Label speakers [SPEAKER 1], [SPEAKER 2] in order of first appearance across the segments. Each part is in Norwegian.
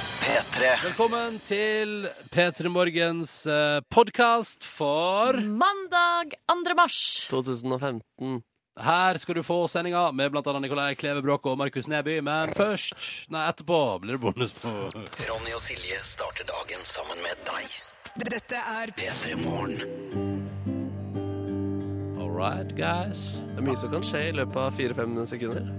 [SPEAKER 1] P3.
[SPEAKER 2] Velkommen til P3 Morgens eh, podkast for
[SPEAKER 3] Mandag 2. mars.
[SPEAKER 4] 2015.
[SPEAKER 2] Her skal du få sendinga med blant annet Nikolai Kleve Bråk og Markus Neby, men først Nei, etterpå blir det bonus på
[SPEAKER 1] Ronny og Silje starter dagen sammen med deg.
[SPEAKER 5] Dette er
[SPEAKER 1] P3 Morgen.
[SPEAKER 2] All right, guys.
[SPEAKER 4] Det er mye som kan skje i løpet av 4-5 sekunder.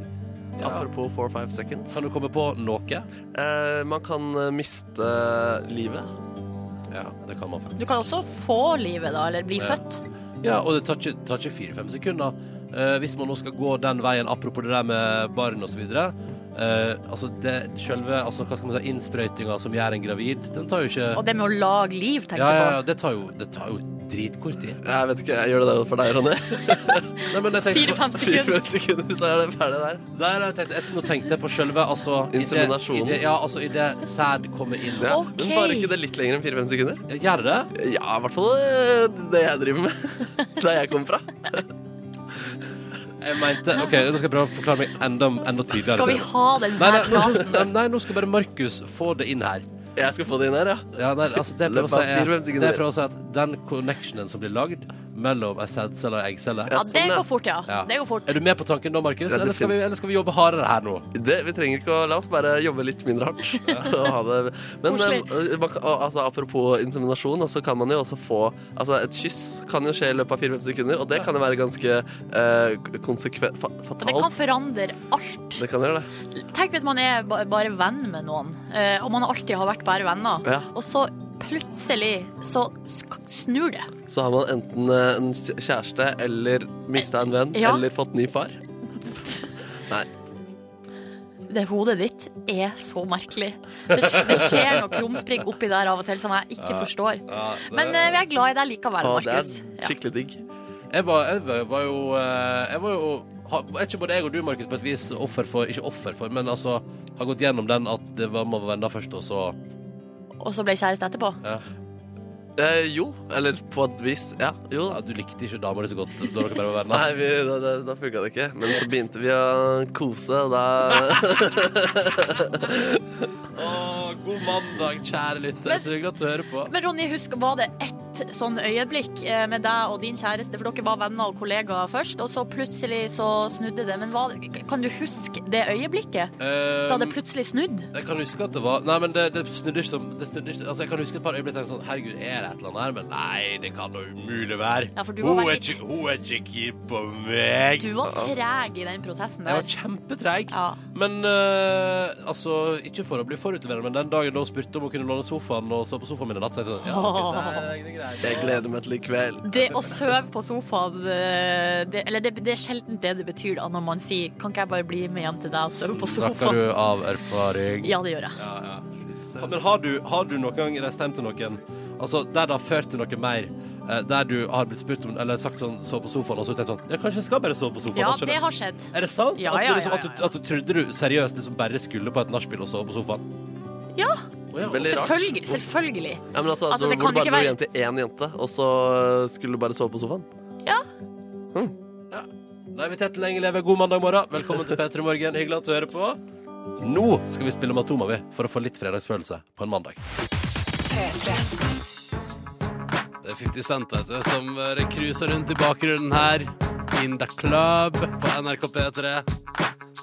[SPEAKER 4] Apropos 4-5 seconds.
[SPEAKER 2] Kan du komme på noe?
[SPEAKER 4] Eh, man kan eh, miste livet.
[SPEAKER 2] Ja, det kan man faktisk.
[SPEAKER 3] Du kan også få livet, da, eller bli
[SPEAKER 2] Ja.
[SPEAKER 3] født.
[SPEAKER 2] Ja, og det tar ikke, tar ikke fire-fem sekunder. Eh, hvis man nå skal gå den veien, apropos det der med barn osv. Uh, altså det selve altså, hva skal man si, innsprøytinga som gjør en gravid, den tar jo ikke
[SPEAKER 3] Og det med å lage liv, tenker
[SPEAKER 2] ja,
[SPEAKER 3] jeg
[SPEAKER 2] ja, ja,
[SPEAKER 3] på.
[SPEAKER 2] det tar jo, det tar jo dritkort tid.
[SPEAKER 4] Jeg vet ikke, jeg gjør det der for deg, Ronny.
[SPEAKER 2] Nei, men jeg tenkte på,
[SPEAKER 3] Fire-fem sekunder.
[SPEAKER 4] 4-5 sekunder, så er det ferdig der.
[SPEAKER 2] nei, nei, jeg tenkte, jeg, nå tenkte jeg på selve altså, i det-
[SPEAKER 4] Inseminasjonen.
[SPEAKER 2] i det- Ja, altså idet sæd kommer inn.
[SPEAKER 4] Ja.
[SPEAKER 3] Ok.
[SPEAKER 4] Men bare ikke det litt lenger enn 4-5 sekunder?
[SPEAKER 2] Gjør det det?
[SPEAKER 4] Ja, i hvert fall eh, det jeg driver med. Der jeg kommer fra.
[SPEAKER 2] Jeg mente OK, nå skal jeg prøve å forklare meg enda, enda tydeligere.
[SPEAKER 3] Skal vi
[SPEAKER 2] til.
[SPEAKER 3] ha den
[SPEAKER 2] Nei,
[SPEAKER 3] her
[SPEAKER 2] nei,
[SPEAKER 3] planen?
[SPEAKER 2] nå, nei, nei, nå skal bare Markus få det inn her.
[SPEAKER 4] Jeg skal få det inn her, ja.
[SPEAKER 2] Ja, nei, altså det jeg prøver å
[SPEAKER 4] Løpet av
[SPEAKER 2] si er,
[SPEAKER 4] fire-fem
[SPEAKER 2] det
[SPEAKER 4] sekunder.
[SPEAKER 2] jeg prøver å si er at den connectionen som blir lagd mellom ei sædcelle og ei eggcelle
[SPEAKER 3] Ja,
[SPEAKER 4] Ja,
[SPEAKER 3] det
[SPEAKER 4] sånn, ja.
[SPEAKER 3] går fort, ja.
[SPEAKER 2] Ja.
[SPEAKER 3] Det går fort.
[SPEAKER 2] Er du med på tanken da, Markus?
[SPEAKER 4] Ja,
[SPEAKER 2] Eller, skal
[SPEAKER 4] definitivt.
[SPEAKER 2] vi- eller skal vi jobbe hardere her nå?
[SPEAKER 4] Det, vi trenger ikke å La oss bare jobbe litt mindre hardt. Og ha det. Men eh, man, kan- og, altså, apropos inseminasjon, så kan man jo også få Altså, et kyss kan jo skje i løpet av 4-5 sekunder, og det kan jo være ganske eh, konsekvent fa
[SPEAKER 3] Og det kan
[SPEAKER 4] fatalt.
[SPEAKER 3] forandre alt.
[SPEAKER 4] Det kan gjøre det.
[SPEAKER 3] Tenk hvis man er ba- bare venn med noen, eh, og man alltid har vært bare venner,
[SPEAKER 4] Ja.
[SPEAKER 3] og så plutselig så sk- snur det.
[SPEAKER 4] Så har man enten eh, en kj- kjæreste eller mista en venn
[SPEAKER 3] Eh, Ja.
[SPEAKER 4] eller fått ny far. Nei.
[SPEAKER 3] Det hodet ditt er så merkelig. Det, det skjer noe krumspring oppi der av og til som jeg ikke forstår. Men eh, vi er glad i deg likevel,
[SPEAKER 4] Og det er
[SPEAKER 3] Markus. Ja.
[SPEAKER 4] skikkelig digg.
[SPEAKER 2] Jeg var, jeg var- var jo eh, Jeg var jo ha- Er ikke både jeg og du, Markus, på et vis offer for Ikke offer for, men altså har gått gjennom den at det var, man var venner først, og så
[SPEAKER 3] Og så ble kjæreste etterpå.
[SPEAKER 2] ja.
[SPEAKER 4] Eh, jo. Eller på et vis. Ja. Jo da.
[SPEAKER 2] ja, Du likte ikke dama di så godt da dere bare var venner?
[SPEAKER 4] Nei, vi, da, da, da funka det ikke. Men så begynte vi å kose, og da
[SPEAKER 2] Å, god mandag, kjære lytter.
[SPEAKER 3] Men-
[SPEAKER 2] Så hyggelig at du hører på.
[SPEAKER 3] Men Ronny, husk, var det ett sånn øyeblikk eh, med deg og din kjæreste? For dere var venner og kollegaer først, og så plutselig så snudde det. Men hva, kan du huske det øyeblikket? Da det
[SPEAKER 2] Um,
[SPEAKER 3] plutselig snudd?
[SPEAKER 2] Jeg kan huske at det var Nei, men det, det snudde ikke som det snudde ikke, Altså, Jeg kan huske et par øyeblikk tenkte sånn Herregud, er det et eller annet her? Men nei, det kan da umulig være.
[SPEAKER 3] Ja, for du var
[SPEAKER 2] hun, er
[SPEAKER 3] veldig-
[SPEAKER 2] ikke, hun er ikke keen på meg.
[SPEAKER 3] Du var treg i den prosessen
[SPEAKER 2] Jeg var
[SPEAKER 3] der.
[SPEAKER 2] kjempetreig.
[SPEAKER 3] Ja.
[SPEAKER 2] Men eh, altså, ikke for å bli forutleverende, men den dagen da hun spurte om hun kunne låne sofaen og så på sofaen min i natt, så jeg sånn Ja, ok, det er- det er greit.
[SPEAKER 4] Jeg gleder meg til i kveld.
[SPEAKER 3] Det å sove på sofaen eh, det, Eller det, det er sjelden det det betyr, da, når man sier 'Kan ikke jeg bare bli med hjem til deg og sove på
[SPEAKER 2] Snakker
[SPEAKER 3] sofaen?'
[SPEAKER 2] du av erfaring?
[SPEAKER 3] Ja, det gjør jeg.
[SPEAKER 2] ja, ja. Ha- Men har du, har du noen gang reist hjem til noen Altså, der det har ført til noe mer eh, Der du har blitt spurt om Eller sagt sånn, sove på sofaen Og så tenkt sånn, ja, kanskje jeg skal bare sove på sofaen
[SPEAKER 3] Ja,
[SPEAKER 2] da skjønner
[SPEAKER 3] det
[SPEAKER 2] jeg».
[SPEAKER 3] har skjedd.
[SPEAKER 2] Er det sant?
[SPEAKER 3] Ja,
[SPEAKER 2] At du
[SPEAKER 3] ja,
[SPEAKER 2] liksom-
[SPEAKER 3] ja,
[SPEAKER 2] At,
[SPEAKER 3] ja,
[SPEAKER 2] du, at du trodde du seriøst liksom bare skulle på et nachspiel og sove på sofaen?
[SPEAKER 3] Ja.
[SPEAKER 2] Å, ja.
[SPEAKER 4] Veldig rart.
[SPEAKER 3] Selvfølgelig. selvfølgelig.
[SPEAKER 4] Ja, men altså,
[SPEAKER 3] Altså,
[SPEAKER 4] det
[SPEAKER 3] det
[SPEAKER 4] hvor
[SPEAKER 3] kan
[SPEAKER 4] du bare
[SPEAKER 3] ikke
[SPEAKER 4] dro
[SPEAKER 3] være-
[SPEAKER 4] hjem til én jente, og så skulle du bare sove på sofaen?
[SPEAKER 2] Naiviteten lenge lever. God mandag morgen. Velkommen til P3 Morgen. Hyggelig at du hører på. Nå skal vi spille Matoma, vi, for å få litt fredagsfølelse på en mandag. Det er 50 Cent, vet du, som eh, cruiser rundt i bakgrunnen her. In the club på NRK P3.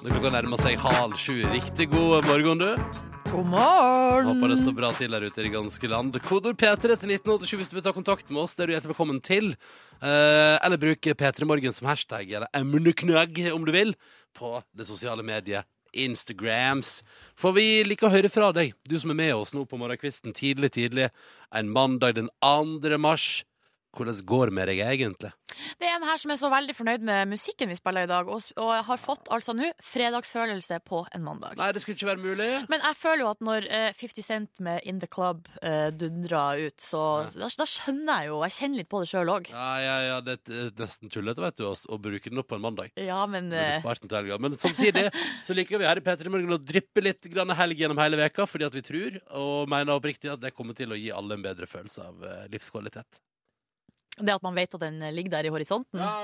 [SPEAKER 2] Når klokka nærmer seg halv sju. Riktig god morgen, du.
[SPEAKER 3] God morgen.
[SPEAKER 2] Håper det står bra til der ute i det ganske land. Kodord P3 til 1987 hvis du vil ta kontakt med oss. Det er du hjertelig velkommen til. Eh, eller bruk P3 Morgen som hashtag, eller emneknagg om du vil, på det sosiale mediet Instagrams. For vi liker å høre fra deg, du som er med oss nå på morgenkvisten tidlig, tidlig. En mandag den 2. mars. Hvordan går det med deg egentlig?
[SPEAKER 3] Det er en her som er så veldig fornøyd med musikken vi spiller i dag, og, og har fått altså nå fredagsfølelse på en mandag.
[SPEAKER 2] Nei, det skulle ikke være mulig.
[SPEAKER 3] Men jeg føler jo at når eh, 50 Cent med In The Club eh, dundrer ut, så da, da skjønner jeg jo Jeg kjenner litt på det sjøl òg.
[SPEAKER 2] Ja, ja, ja, det er nesten tullete, vet du, å å bruke den opp på en mandag.
[SPEAKER 3] Ja, men
[SPEAKER 2] Burde
[SPEAKER 3] eh,
[SPEAKER 2] spart den til helga. Men samtidig så liker vi her i P3 Morgen å dryppe litt grann helg gjennom hele veka, fordi at vi tror og mener oppriktig at det kommer til å gi alle en bedre følelse av eh, livskvalitet.
[SPEAKER 3] det at man vet at den ligger eh, der i horisonten.
[SPEAKER 2] ja,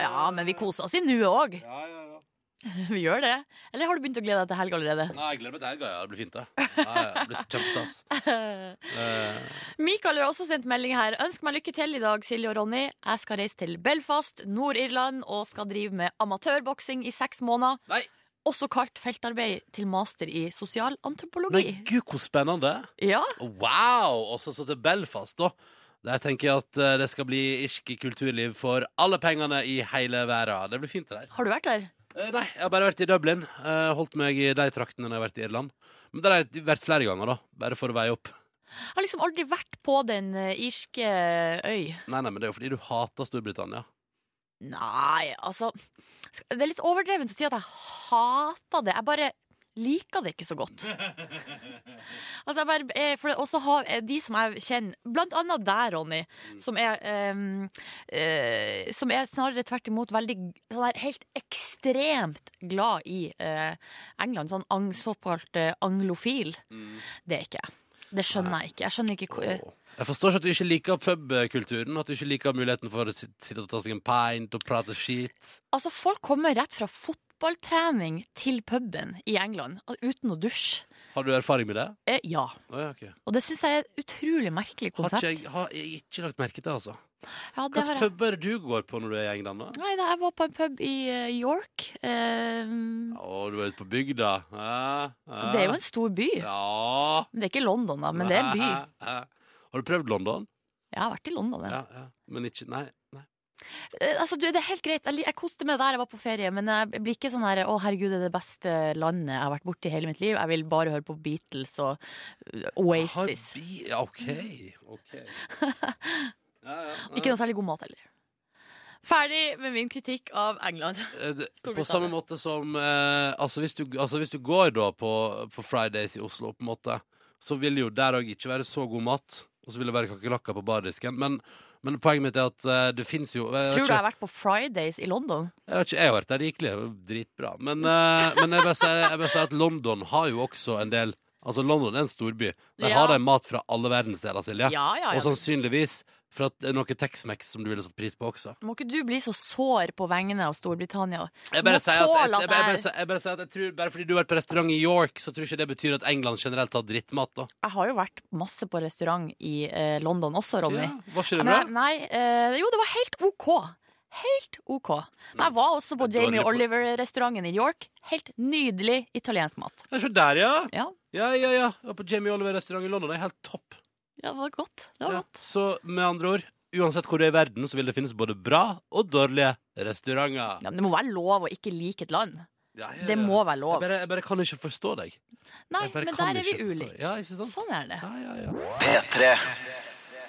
[SPEAKER 3] Ja, men vi koser oss i nuet òg.
[SPEAKER 2] Ja, ja, ja.
[SPEAKER 3] Vi gjør det. Eller har du begynt å glede deg til helg allerede?
[SPEAKER 2] Nei, jeg gleder meg til helga. Ja. Det blir fint, det. Ja, ja, det blir kjempestas. Eh,
[SPEAKER 3] Mikael har også sendt melding her. Ønsk meg lykke til i dag, Silje og Ronny. Jeg skal reise til Belfast, Nord-Irland, og skal drive med amatørboksing i seks måneder.
[SPEAKER 2] Nei.
[SPEAKER 3] Også kalt feltarbeid til master i
[SPEAKER 2] nei,
[SPEAKER 3] sosialantropologi.
[SPEAKER 2] gud, hvor spennende.
[SPEAKER 3] Ja,
[SPEAKER 2] Wow! Og så så til Belfast, da. Der tenker jeg at eh, det skal bli irsk kulturliv for alle pengene i hele verden. Det blir fint, det der.
[SPEAKER 3] har du vært der?
[SPEAKER 2] Eh, nei, jeg har bare vært i Dublin. Eh, holdt meg i de traktene når jeg har vært i Irland. Men der har jeg vært flere ganger, da. Bare for å veie opp.
[SPEAKER 3] Jeg har liksom aldri vært på den eh, irske øy.
[SPEAKER 2] Nei, nei, men det er jo fordi du hater Storbritannia.
[SPEAKER 3] Nei, altså sk- Det er litt overdrevent å si at jeg hater det. Jeg bare liker det ikke så godt. Altså, jeg bare, eh, for det- også har eh, de som jeg kjenner, blant annet deg, Ronny, som er, ehm, eh, som er snarere tvert imot veldig sånn der, helt ekstremt glad i eh, England, sånn ang, såkalt eh, anglofil. Det er ikke jeg. Det skjønner jeg ikke. Jeg skjønner ikke hvor eh,
[SPEAKER 2] Åh. Jeg forstår ikke at du ikke liker pubkulturen. At du ikke liker muligheten for å sit- sitte og ta seg en pint og prate skit.
[SPEAKER 3] Altså, folk kommer rett fra fotballtrening til puben i England al- uten å dusje.
[SPEAKER 2] Har du erfaring med det?
[SPEAKER 3] Eh, ja.
[SPEAKER 2] Å, ja, ok.
[SPEAKER 3] Og det syns jeg er et utrolig merkelig
[SPEAKER 2] Har
[SPEAKER 3] konsept.
[SPEAKER 2] ikke, jeg har jeg ikke lagt merke til det, altså.
[SPEAKER 3] Ja,
[SPEAKER 2] Hva
[SPEAKER 3] det
[SPEAKER 2] slags
[SPEAKER 3] har jeg.
[SPEAKER 2] pub er det du går på når du er i England? da?
[SPEAKER 3] Nei, da, jeg var på en pub i eh, York. Eh,
[SPEAKER 2] Å, du er ute på bygda. Ja, ja.
[SPEAKER 3] det er jo en stor by.
[SPEAKER 2] Ja.
[SPEAKER 3] Men Det er ikke London, da, men det er en by.
[SPEAKER 2] Har du prøvd London?
[SPEAKER 3] Jeg har vært i London, ja.
[SPEAKER 2] Ja, ja. Men ikke Nei. nei.
[SPEAKER 3] Eh, altså, du, det er helt greit. Jeg, li- jeg koste meg der jeg var på ferie, men jeg blir ikke sånn her Å, herregud, det er det beste landet jeg har vært borti i hele mitt liv. Jeg vil bare høre på Beatles og eh,
[SPEAKER 2] Har
[SPEAKER 3] Oasis.
[SPEAKER 2] bi- ja, OK. OK. Ja, ja, ja.
[SPEAKER 3] Ikke noe særlig god mat heller. Ferdig med min kritikk av England.
[SPEAKER 2] Eh, det-
[SPEAKER 3] Storbritannia.
[SPEAKER 2] På samme måte som eh, altså, hvis du, altså hvis du går da på, på Fridays i Oslo, på en måte, så vil jo der òg ikke være så god mat. Og så vil det være kakerlakker på bardisken. Men, men poenget mitt er at eh, det fins jo jeg,
[SPEAKER 3] Tror du
[SPEAKER 2] vet
[SPEAKER 3] jeg
[SPEAKER 2] ikke,
[SPEAKER 3] har vært på Fridays i London?
[SPEAKER 2] jeg, vet ikke, jeg har vært der, det gikk det var dritbra. Men, eh, men jeg bare sier jeg bare sier at London har jo også en del Altså London er en storby. Der
[SPEAKER 3] Ja.
[SPEAKER 2] har de mat fra alle verdensdeler, Silje.
[SPEAKER 3] Ja, ja,
[SPEAKER 2] Og
[SPEAKER 3] ja.
[SPEAKER 2] sannsynligvis fra at det er noe Tex-Mex som du ville satt pris på også.
[SPEAKER 3] Må ikke du bli så sår på vegne av Storbritannia?
[SPEAKER 2] Jeg bare
[SPEAKER 3] Må
[SPEAKER 2] sier at, jeg,
[SPEAKER 3] tåle at
[SPEAKER 2] jeg, bare- jeg, bare
[SPEAKER 3] det er-
[SPEAKER 2] sier- jeg bare sier at jeg tror Bare fordi du har vært på restaurant i York, så tror jeg ikke det betyr at England generelt har drittmat, da.
[SPEAKER 3] Jeg har jo vært masse på restaurant i eh, London også, Ronny.
[SPEAKER 2] Ja, var ikke det
[SPEAKER 3] Men
[SPEAKER 2] bra?
[SPEAKER 3] jeg, nei, eh, jo, det var helt OK. Helt OK. Men jeg var også på
[SPEAKER 2] Det er dårlig
[SPEAKER 3] Jamie
[SPEAKER 2] på-
[SPEAKER 3] Oliver-restauranten i York. Helt nydelig italiensk mat.
[SPEAKER 2] Ja, Se der, ja!
[SPEAKER 3] Ja,
[SPEAKER 2] Ja, ja, ja. Jeg var på Jamie Oliver-restaurant i London. Det er helt topp.
[SPEAKER 3] ja det var godt. Det var
[SPEAKER 2] Ja.
[SPEAKER 3] godt.
[SPEAKER 2] Så med andre ord, uansett hvor du er i verden, så vil det finnes både bra og dårlige restauranter.
[SPEAKER 3] Ja, men det må være lov å ikke like et land.
[SPEAKER 2] Ja, ja, ja.
[SPEAKER 3] Det må være
[SPEAKER 2] jeg
[SPEAKER 3] lov.
[SPEAKER 2] bare, jeg bare kan ikke forstå deg.
[SPEAKER 3] Nei,
[SPEAKER 2] Jeg bare
[SPEAKER 3] men
[SPEAKER 2] kan
[SPEAKER 3] der er vi
[SPEAKER 2] ikke forstå deg.
[SPEAKER 3] ulike.
[SPEAKER 2] Ja, ikke sant?
[SPEAKER 3] Sånn er det.
[SPEAKER 2] Ja, ja, ja.
[SPEAKER 1] P3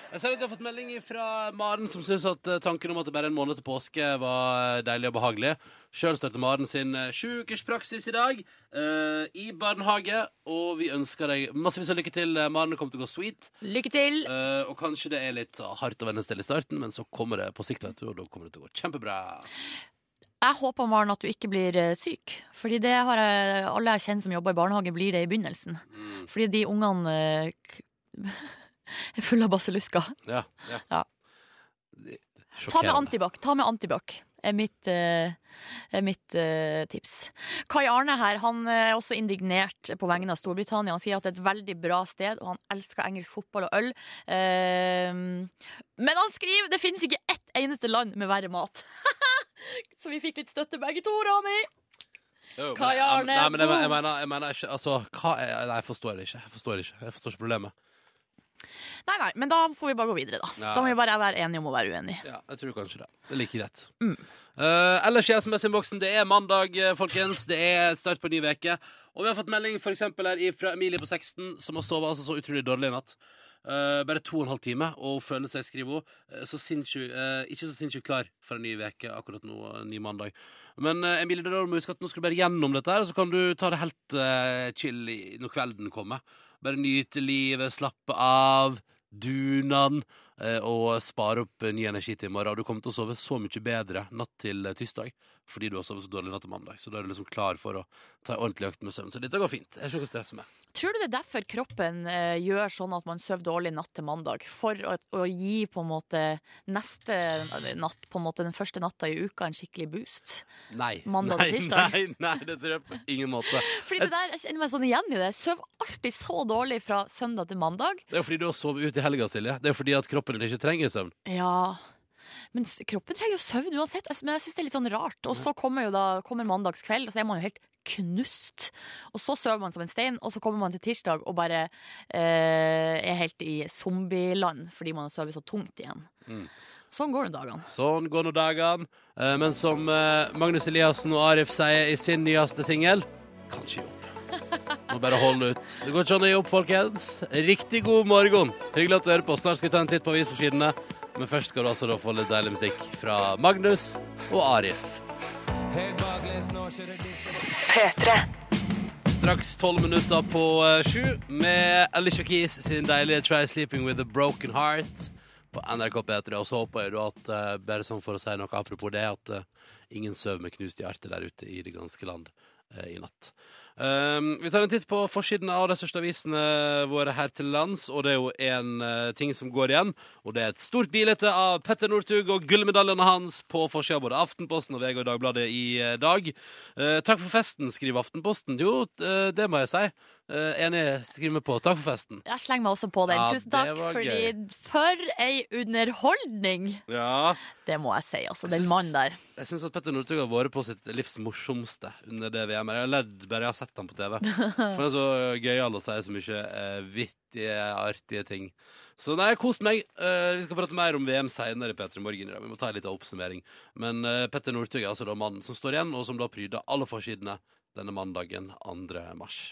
[SPEAKER 2] Jeg ser at du har fått melding fra Maren, som syns at eh, tanken om at det bare er en måned til påske, var eh, deilig og behagelig. Sjøl starter Maren sin eh, sju ukers praksis i dag eh, i barnehage. Og vi ønsker deg massevis av lykke til. eh, Maren det kommer til å gå sweet.
[SPEAKER 3] Lykke til!
[SPEAKER 2] Eh, og kanskje det er litt eh, hardt å venne seg til i starten, men så kommer det på sikt, vet du, og da kommer det til å gå kjempebra.
[SPEAKER 3] Jeg håper, Maren, at du ikke blir eh, syk. Fordi det har jeg, alle jeg kjenner som jobber i barnehage, blir det i begynnelsen.
[SPEAKER 2] Mm.
[SPEAKER 3] Fordi de ungene eh, k- er fulle av basillusker.
[SPEAKER 2] Ja, ja.
[SPEAKER 3] Ja. Ta med
[SPEAKER 2] Sjokkerende.
[SPEAKER 3] antibac. Ta med antibac. Er mitt, eh, er mitt eh, tips. Kai Arne her han er også indignert på vegne av Storbritannia. Han sier at det er et veldig bra sted, og han elsker engelsk fotball og øl. Eh, men han skriver det finnes ikke ett eneste land med verre mat. Så vi fikk litt støtte begge to, Ronny.
[SPEAKER 2] Jo, men-
[SPEAKER 3] Kai
[SPEAKER 2] ja, men-
[SPEAKER 3] Arne,
[SPEAKER 2] Nei, men jeg, jeg
[SPEAKER 3] boom!
[SPEAKER 2] mener, jeg mener ikke Altså, hva er Nei, jeg forstår det ikke. Jeg forstår ikke, jeg forstår ikke problemet.
[SPEAKER 3] Nei, nei, men da får vi bare gå videre, da.
[SPEAKER 2] Ja.
[SPEAKER 3] Da må vi bare være enige om å være uenige.
[SPEAKER 2] Ja, jeg tror kanskje det. Det er like greit. Eh, ellers i SMS-innboksen, det er mandag, eh, folkens. Det er start på en ny uke. Og vi har fått melding for eksempel, her fra Emilie på 16, som har sovet altså, så utrolig dårlig i natt. Eh, bare to og en halv time, og hun føler seg, skriver hun, eh, så sinnssykt eh, ikke så sinnssykt klar for en ny uke akkurat nå. En ny mandag. Men eh, Emilie, da må du huske at nå skal du bare gjennom dette, her, og så kan du ta det helt eh, chill i- når kvelden kommer. Bare nyte livet, slappe av, dunan eh, og spare opp eh, ny energi til i morgen. Og du kommer til å sove så mye bedre natt til eh, tirsdag fordi du har sovet så dårlig natt til mandag. Så da er du liksom klar for å ta en ordentlig økt med søvn. Så dette går fint. Jeg er ikke noe stress med.
[SPEAKER 3] Tror du det er derfor kroppen eh, gjør sånn at man sover dårlig natt til mandag? For å, å gi på en måte neste natt, på en måte den første natta i uka, en skikkelig boost?
[SPEAKER 2] Nei.
[SPEAKER 3] Mandag og
[SPEAKER 2] nei,
[SPEAKER 3] tirsdag.
[SPEAKER 2] Nei, nei, det tror jeg på ingen måte.
[SPEAKER 3] Fordi det der, Jeg kjenner meg sånn igjen i det. Jeg sover alltid så dårlig fra søndag til mandag.
[SPEAKER 2] Det er jo fordi du har sovet ut i helga, Silje. Det er jo fordi at kroppen din ikke trenger søvn.
[SPEAKER 3] Ja men s- kroppen trenger jo søvn uansett, Altså, men jeg syns det er litt sånn rart. Og så kommer jo da kommer mandagskveld, og så er man jo helt knust. Og så sover man som en stein, og så kommer man til tirsdag og bare eh, er helt i zombieland fordi man har sovet så tungt igjen.
[SPEAKER 2] Mm.
[SPEAKER 3] Sånn går det dagene.
[SPEAKER 2] Sånn går nå dagene. Eh, Men som eh, Magnus Eliassen og Arif sier i sin nyeste singel Kanskje jobb. Må bare holde ut. Det går ikke an å gi opp, folkens. Riktig god morgen. Hyggelig at du hører på. Snart skal vi ta en titt på avisforsidene. Men først skal du altså da få litt deilig musikk fra Magnus og Arif. Straks tolv minutter på eh, sju med Alicia Keys sin deilige Try Sleeping With A Broken Heart på NRK P3. Og så håper jeg da at, eh, bare sånn for å si noe apropos det, at eh, ingen sover med knust hjerte der ute i det ganske land eh, i natt. Um, vi tar en titt på forsiden av de største avisene våre her til lands, og det er jo en eh, ting som går igjen, og det er et stort bilete av Petter Northug og gullmedaljene hans på forsida av både Aftenposten og VG og Dagbladet i eh, dag. Eh, takk for festen, skriver Aftenposten. Jo, eh, det må jeg si. Uh, enig, skriver vi på. Takk for festen.
[SPEAKER 3] Jeg slenger meg også på den.
[SPEAKER 2] Ja,
[SPEAKER 3] Tusen
[SPEAKER 2] det
[SPEAKER 3] takk,
[SPEAKER 2] var
[SPEAKER 3] fordi for ei underholdning!
[SPEAKER 2] Ja.
[SPEAKER 3] Det må jeg si, altså.
[SPEAKER 2] Jeg
[SPEAKER 3] Den
[SPEAKER 2] syns-
[SPEAKER 3] mannen der.
[SPEAKER 2] Jeg syns at Petter Northug har vært på sitt livs morsomste under det VM-et. Jeg har ledd bare jeg har sett ham på TV. For han er så gøyal og sier så mye eh, vittige, artige ting. Så nei, kost meg. Eh, vi skal prate mer om VM seinere, Petter i morgen. i dag. Vi må ta en liten oppsummering. Men eh, Petter Northug er altså da mannen som står igjen, og som da pryder alle forsidene denne mandagen 2. mars.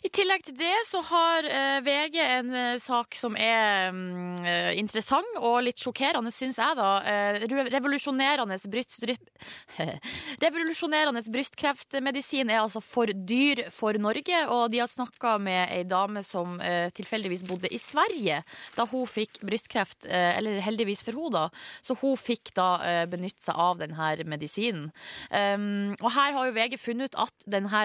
[SPEAKER 3] I tillegg til det så har eh, VG en eh, sak som er mm, eh, interessant og litt sjokkerende, syns jeg, da. Eh, re- revolusjonerende, bryst, dry- revolusjonerende brystkreftmedisin er altså for dyr for Norge, og de har snakka med ei dame som eh, tilfeldigvis bodde i Sverige da hun fikk brystkreft, eh, eller heldigvis for henne, da. Så hun fikk da eh, benytte seg av denne medisinen. Um, og her har jo VG funnet ut at denne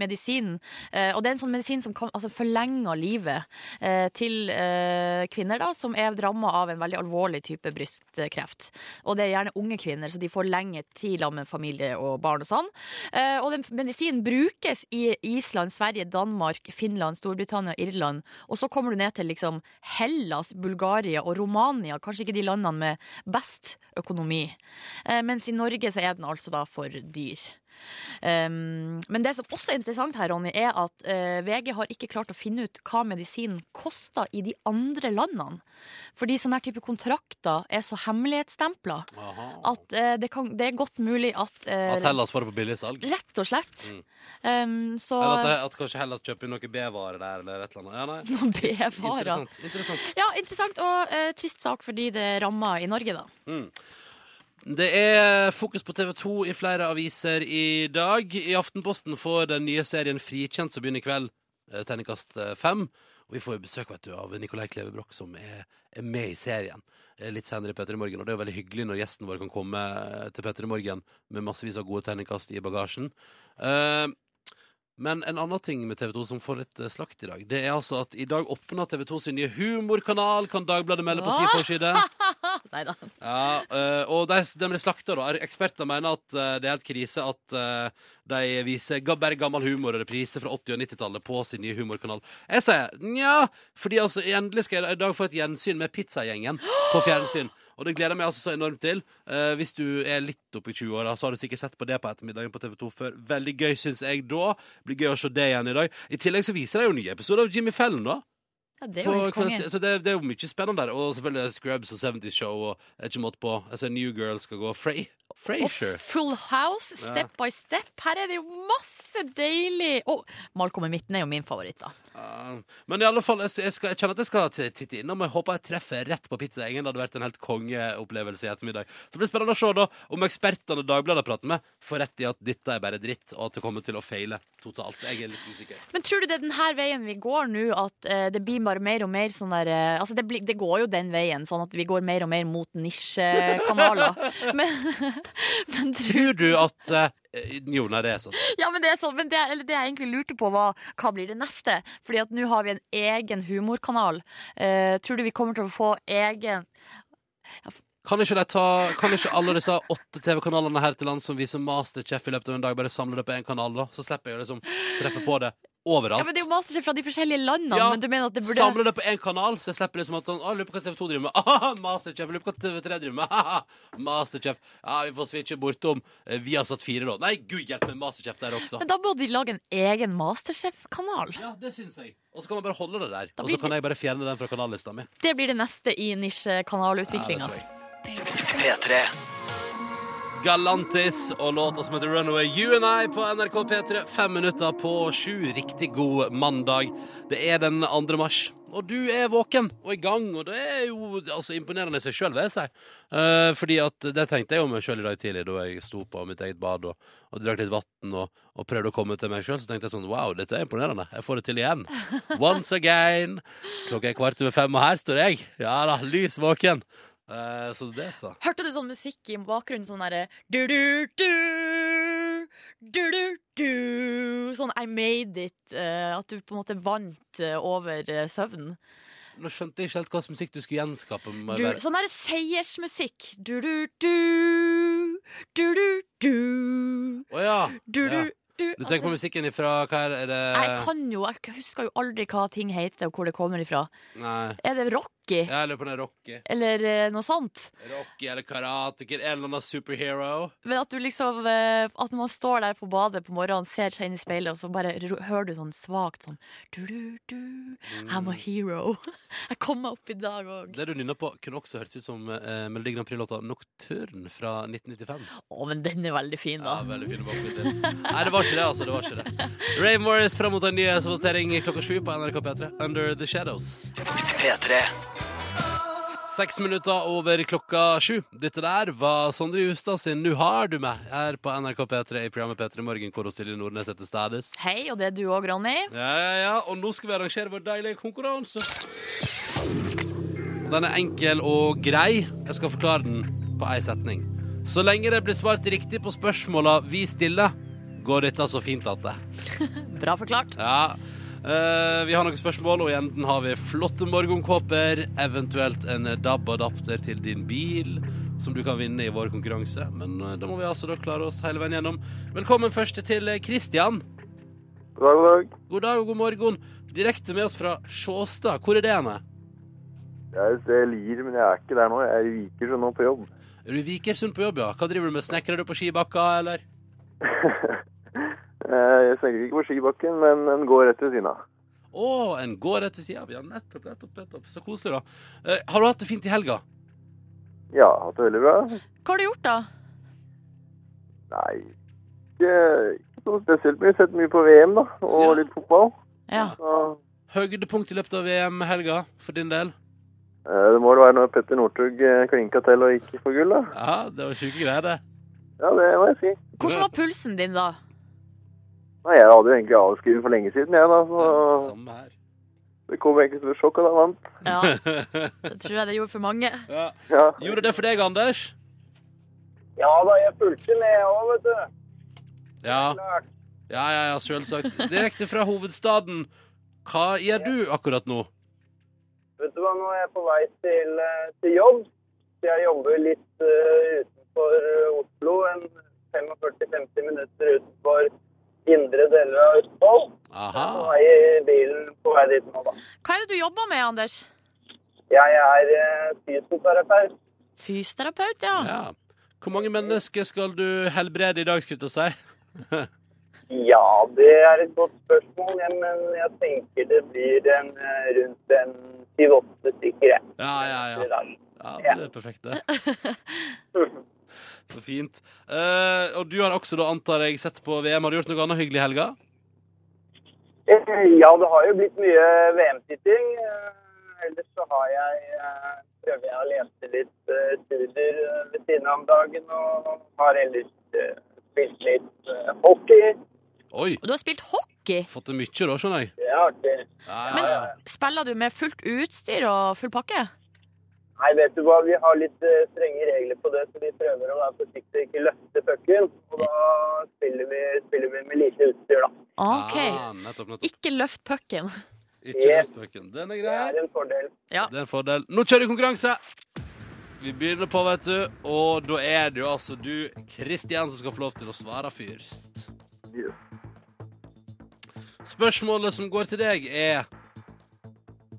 [SPEAKER 3] medisinen Eh, og det er en sånn medisin som kan altså, forlenge livet eh, til eh, kvinner da, som er ramma av en veldig alvorlig type brystkreft. Og det er gjerne unge kvinner, så de får lenge tid sammen med familie og barn og sånn. Eh, og den medisinen brukes i Island, Sverige, Danmark, Finland, Storbritannia, Irland. Og så kommer du ned til liksom Hellas, Bulgaria og Romania, kanskje ikke de landene med best økonomi. Eh, mens i Norge så er den altså da for dyr. Um, men det som også er interessant her, Ronny, er at eh, VG har ikke klart å finne ut hva medisinen koster i de andre landene. Fordi sånne her type kontrakter er så hemmelighetsstempla at eh, det, kan, det er godt mulig at, eh,
[SPEAKER 2] At Hellas får det på billigsalg.
[SPEAKER 3] Rett og slett.
[SPEAKER 2] Mm.
[SPEAKER 3] Um, så
[SPEAKER 2] Eller at, at kanskje Hellas kjøper inn noe B-vare der, eller et eller annet. Ja, nei.
[SPEAKER 3] noen B-varer.
[SPEAKER 2] Interessant. Interessant.
[SPEAKER 3] Ja, interessant og eh, trist sak fordi det rammer i Norge, da.
[SPEAKER 2] Det er fokus på TV 2 i flere aviser i dag. I Aftenposten får den nye serien Frikjent som begynner i kveld, eh, terningkast eh, fem. Og vi får jo besøk vet du, av Nicolai Kleve Broch, som er, er med i serien eh, litt senere i Petter i morgen. Og det er jo veldig hyggelig når gjesten vår kan komme eh, til Petter i morgen med massevis av gode terningkast i bagasjen. Eh, men en annen ting med TV 2 som får litt eh, slakt i dag, det er altså at i dag åpner TV 2 sin nye humorkanal, kan Dagbladet melde på sin forside.
[SPEAKER 3] Nei da.
[SPEAKER 2] Ja, eh, og de, de blir slakta, da. Eksperter mener at eh, det er helt krise at eh, de viser ga- bare gammel humor og reprise fra 80- og 90-tallet på sin nye humorkanal. Jeg sier nja, fordi altså endelig skal jeg i dag få et gjensyn med Pizzagjengen på fjernsyn. Og det gleder jeg meg altså så enormt til. Eh, hvis du er litt oppi 20-åra, så har du sikkert sett på det på ettermiddagen på TV2 før. Veldig gøy, syns jeg da. Blir gøy å se det igjen i dag. I tillegg så viser de jo nye episoder av Jimmy Fallon, da.
[SPEAKER 3] Ja, det er jo
[SPEAKER 2] På
[SPEAKER 3] helt konge.
[SPEAKER 2] kvelds- så det, det er jo mye spennende der. Og selvfølgelig Scrubs og 70's Show og er ikke måte på. Jeg ser New Girl skal gå. Frey,
[SPEAKER 3] Og
[SPEAKER 2] Frasier.
[SPEAKER 3] Full House, Step by Step. Her er det jo masse deilig Å, Malcolm i midten er jo min favoritt, da.
[SPEAKER 2] Ja, Uh, men i alle fall, jeg, jeg, skal, jeg kjenner at jeg skal t- titte innom. Jeg håper jeg treffer rett på pizzaengen. Det hadde vært en helt kongeopplevelse i ettermiddag. Så det blir spennende å se da om ekspertene Dagbladet prater med, får rett i at dette er bare dritt, og at det kommer til å feile totalt. Jeg er litt usikker.
[SPEAKER 3] Men tror du det er denne veien vi går nå, at eh, det blir bare mer og mer sånn der eh, Altså, det, blir, det går jo den veien, sånn at vi går mer og mer mot nisjekanaler. Men, Men tru-
[SPEAKER 2] Tror du at eh, Jo, nei, det er sånn.
[SPEAKER 3] Ja, men det er sånn. Men det, eller det jeg egentlig lurte på, var hva blir det neste? Fordi at nå har vi en egen humorkanal. Eh, tror du vi kommer til å få egen
[SPEAKER 2] Kan ikke, de ta, kan ikke alle disse åtte TV-kanalene her til land som viser Masterchef i løpet av en dag, bare samle det på én kanal, da? Så slipper jeg å liksom treffe på det
[SPEAKER 3] Ja,
[SPEAKER 2] overalt.
[SPEAKER 3] men Det er jo masterchef fra de forskjellige landene,
[SPEAKER 2] Ja,
[SPEAKER 3] men du mener at det burde
[SPEAKER 2] Samle det på én kanal, så jeg slipper liksom at sånn Å, lurer på hva TV2 driver med. Ah, Masterchef. Lurer på hva TV3 driver med. Ah, Masterchef. Ja, vi får switche bortom. eh, Vi har satt fire, da. Nei, gud hjelpe meg, Masterchef der også.
[SPEAKER 3] Men da må de lage en egen masterchef-kanal.
[SPEAKER 2] Ja, det syns jeg. Og så kan man bare holde det der.
[SPEAKER 3] Da
[SPEAKER 2] Og
[SPEAKER 3] blir
[SPEAKER 2] så kan
[SPEAKER 3] det-
[SPEAKER 2] jeg bare fjerne den fra kanallista mi.
[SPEAKER 3] Det blir det neste i
[SPEAKER 2] Ja, det
[SPEAKER 3] nisjekanalutviklinga.
[SPEAKER 2] tror jeg.
[SPEAKER 1] P3.
[SPEAKER 2] Galantis og låta som heter Runaway You and I på NRK P3. Fem minutter på sju. Riktig god mandag. Det er den 2. mars. Og du er våken og i gang, og det er jo altså, imponerende i seg sjøl, vil jeg si. Eh, fordi at det tenkte jeg om meg sjøl i dag tidlig, da jeg sto på mitt eget bad og, og drakk litt vann og, og prøvde å komme til meg sjøl. Så tenkte jeg sånn Wow, dette er imponerende. Jeg får det til igjen. Once again. Klokka er kvart over fem, og her står jeg. Ja da, lys våken. Eh, så det, så.
[SPEAKER 5] Hørte du sånn musikk i bakgrunnen? Sånn derre du-du-du, du-du-du.
[SPEAKER 3] Sånn I made it, eh, at du på en måte vant eh, over eh, søvnen.
[SPEAKER 2] Nå skjønte jeg ikke helt hva slags musikk du skulle gjenskape. må
[SPEAKER 3] Du,
[SPEAKER 2] jeg være-
[SPEAKER 3] sånn der seiersmusikk. Du-du-du, du-du-du,
[SPEAKER 2] Å ja. Ja.
[SPEAKER 3] du-du-du.
[SPEAKER 2] Du tenker på eh. musikken ifra hva er, er
[SPEAKER 3] Altså, Jeg
[SPEAKER 2] det
[SPEAKER 3] kan jo, jeg husker jo aldri hva ting heter og hvor det kommer ifra.
[SPEAKER 2] Nei.
[SPEAKER 3] Er det Rocky?
[SPEAKER 2] Jeg lurer på den Rocky.
[SPEAKER 3] Eller eh, noe sånt.
[SPEAKER 2] Rocky eller Karate Kid. En eller annen superhero.
[SPEAKER 3] Men at du liksom eh, At når man står der på badet på morgenen, ser seg inn i speilet, og så bare ro- hører du sånn svakt sånn du-du-du, I'm a hero. Jeg kom meg opp i dag òg.
[SPEAKER 2] Mm. Det du nynner på, kunne også hørtes ut som eh, Melodi Grand Prix-låta 'Nocturne' fra 1995.
[SPEAKER 3] Å, men den er veldig fin, da.
[SPEAKER 2] Ja, veldig fin bakgrunn. Nei, det var ikke det, altså. Det var ikke det. Ray Morris fram mot en nyhetsvotering klokka sju på NRK P3. 'Under the Shadows'.
[SPEAKER 1] P3.
[SPEAKER 2] Seks minutter over klokka sju. Dette der var Sondre Justad sin 'Nu har du meg' her på NRK P3 i programmet P3 Morgen, hvor hun Silje Nordnes er til stades.
[SPEAKER 3] Hei, og det er du òg, Ronny.
[SPEAKER 2] Ja, ja, ja, og nå skal vi arrangere vår deilige konkurranse. Den er enkel og grei. Jeg skal forklare den på ei setning. Så lenge det blir svart riktig på spørsmåla vi stiller, går dette så fint at det.
[SPEAKER 3] Bra forklart.
[SPEAKER 2] Ja. Eh, vi har noen spørsmål, og i enden har vi flotte morgenkåper, eventuelt en DAB-adapter til din bil, som du kan vinne i vår konkurranse. Men eh, da må vi altså da klare oss hele veien gjennom. Velkommen først til eh, Christian.
[SPEAKER 6] God dag, god dag.
[SPEAKER 2] God dag og god morgen. Direkte med oss fra Sjåstad. Hvor er det hen? er?
[SPEAKER 6] Jeg, jeg lir, men jeg er ikke der nå. Jeg er i Viker så nå på jobb.
[SPEAKER 2] Er du i Vikersund på jobb, ja? Hva driver du med? Snekrer du på skibakka, eller?
[SPEAKER 6] Eh, jeg snakker ikke på skibakken, men den går rett ved siden av.
[SPEAKER 2] Å, en går rett ved sida av. Ja, nettopp, nettopp, nettopp. Så koselig, da. Eh, har du hatt det fint i helga?
[SPEAKER 6] Ja, hatt det veldig bra.
[SPEAKER 2] Mm.
[SPEAKER 3] Hva har du gjort, da?
[SPEAKER 6] Nei, ikke, ikke noe spesielt mye. Sett mye på VM, da, og
[SPEAKER 2] Ja.
[SPEAKER 6] litt fotball.
[SPEAKER 3] Ja.
[SPEAKER 6] Så,
[SPEAKER 2] Høydepunkt i løpet av VM-helga, for din del?
[SPEAKER 6] eh, det må vel være når Petter Northug eh, klinka til og gikk for gull, da.
[SPEAKER 2] Ja, det var sjuke greier, det.
[SPEAKER 6] Ja, det må jeg si.
[SPEAKER 3] Hvordan var pulsen din, da?
[SPEAKER 6] Nei, jeg hadde jo egentlig avskrevet for lenge siden, jeg, da. Så
[SPEAKER 2] Samme her.
[SPEAKER 6] det kom egentlig som et sjokk at han vant.
[SPEAKER 3] Ja, det tror jeg det gjorde for mange.
[SPEAKER 2] ja.
[SPEAKER 6] Ja.
[SPEAKER 2] Gjorde det for deg, Anders?
[SPEAKER 6] ja da, jeg fulgte med, jeg òg, vet du.
[SPEAKER 2] Ja,
[SPEAKER 6] Klart.
[SPEAKER 2] ja, ja, ja selvsagt. Direkte fra hovedstaden. Hva gjør du akkurat nå?
[SPEAKER 6] Vet du hva, nå er jeg på vei til, eh, til jobb. Så jeg jobber litt eh, utenfor eh, Oslo, en 45-50 minutter utenfor indre deler av Østfold.
[SPEAKER 2] Aha.
[SPEAKER 6] På vei i bilen på vei dit nå, da.
[SPEAKER 3] Hva er det du jobber med, Anders?
[SPEAKER 6] Jeg er eh, fysioterapeut.
[SPEAKER 3] Fysioterapeut, ja.
[SPEAKER 2] Ja. Hvor mange mennesker skal du helbrede i dag, skulle jeg til å si?
[SPEAKER 6] Ja, det er et godt spørsmål, ja, men jeg tenker det blir en, eh, rundt en 7-8 stykker. jeg,
[SPEAKER 2] Ja, ja,
[SPEAKER 6] i
[SPEAKER 2] ja.
[SPEAKER 6] dag.
[SPEAKER 2] ja men det er perfekt, det. Så fint. Eh, og du har også, da antar jeg, sett på VM. Har du gjort noe annet hyggelig i helga?
[SPEAKER 6] Eh, Ja, det har jo blitt mye VM-titting. Eh, Ellers så har jeg eh, prøver jeg å lese litt eh, studier eh, ved siden av om dagen, og har ellers eh, spilt litt eh, hockey.
[SPEAKER 2] Oi.
[SPEAKER 3] Og du har spilt hockey.
[SPEAKER 2] Fått til mye, da, skjønner jeg.
[SPEAKER 6] Det er artig.
[SPEAKER 2] Ja,
[SPEAKER 3] Men
[SPEAKER 2] ja, ja.
[SPEAKER 3] s- spiller du med fullt utstyr og full pakke?
[SPEAKER 6] Nei, vet du hva, vi har litt eh, strenge regler på det, så vi prøver å være forsiktige og ikke løfte pucken. Og da spiller vi, spiller vi med lite utstyr, da.
[SPEAKER 3] OK.
[SPEAKER 2] Ah, nettopp, nettopp.
[SPEAKER 3] Ikke løft pucken.
[SPEAKER 2] Ikke
[SPEAKER 6] Yeah.
[SPEAKER 2] løftbøken. Den er
[SPEAKER 6] Det
[SPEAKER 2] grei.
[SPEAKER 6] er en fordel.
[SPEAKER 2] Det er en fordel. Nå kjører vi konkurranse! Vi begynner på, vet du, og da er det jo altså du, Kristian, som skal få lov til å svare først. Spørsmålet som går til deg, er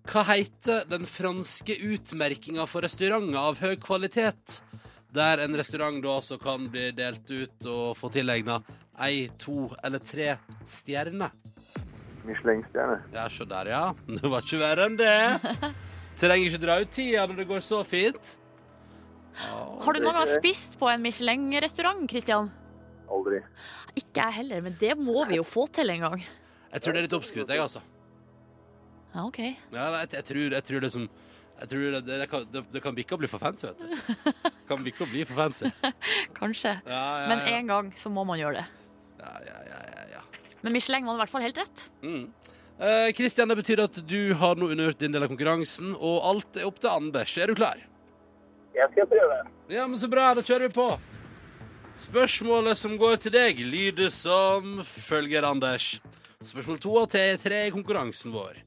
[SPEAKER 2] Hva heter den franske utmerkinga for restauranter av høy kvalitet? Der en restaurant da altså kan bli delt ut og få tilegna ei, to eller tre stjerner.
[SPEAKER 7] Michelin-stjerne.
[SPEAKER 2] Ja, se der, ja. Det var ikke verre enn det. Trenger ikke dra ut tida når det går så fint.
[SPEAKER 3] Har du noen gang spist på en Michelin-restaurant, Christian?
[SPEAKER 7] Aldri.
[SPEAKER 3] Ikke jeg heller, men det må vi jo få til en gang.
[SPEAKER 2] Jeg tror det er litt oppskrytt, jeg, altså.
[SPEAKER 3] Ja, OK.
[SPEAKER 2] Ja, nei, jeg, jeg, tror, jeg tror det som jeg tror det, det, det, kan, det, det kan bikke og bli for fancy, vet du. Kan bikke og bli for fancy.
[SPEAKER 3] Kanskje.
[SPEAKER 2] Ja, ja,
[SPEAKER 3] Men
[SPEAKER 2] ja.
[SPEAKER 3] en gang så må man gjøre det.
[SPEAKER 2] ja, ja, ja, ja, ja.
[SPEAKER 3] Men Michelin var i hvert fall helt rett.
[SPEAKER 2] Mm. Eh, Kristian, det betyr at du har nå undergjort din del av konkurransen, og alt er opp til Anders. Er du klar?
[SPEAKER 6] Jeg skal prøve.
[SPEAKER 2] Ja, men så bra, da kjører vi på. Spørsmålet som går til deg, lyder som følger, Anders. Spørsmål to av tre- tre i konkurransen vår.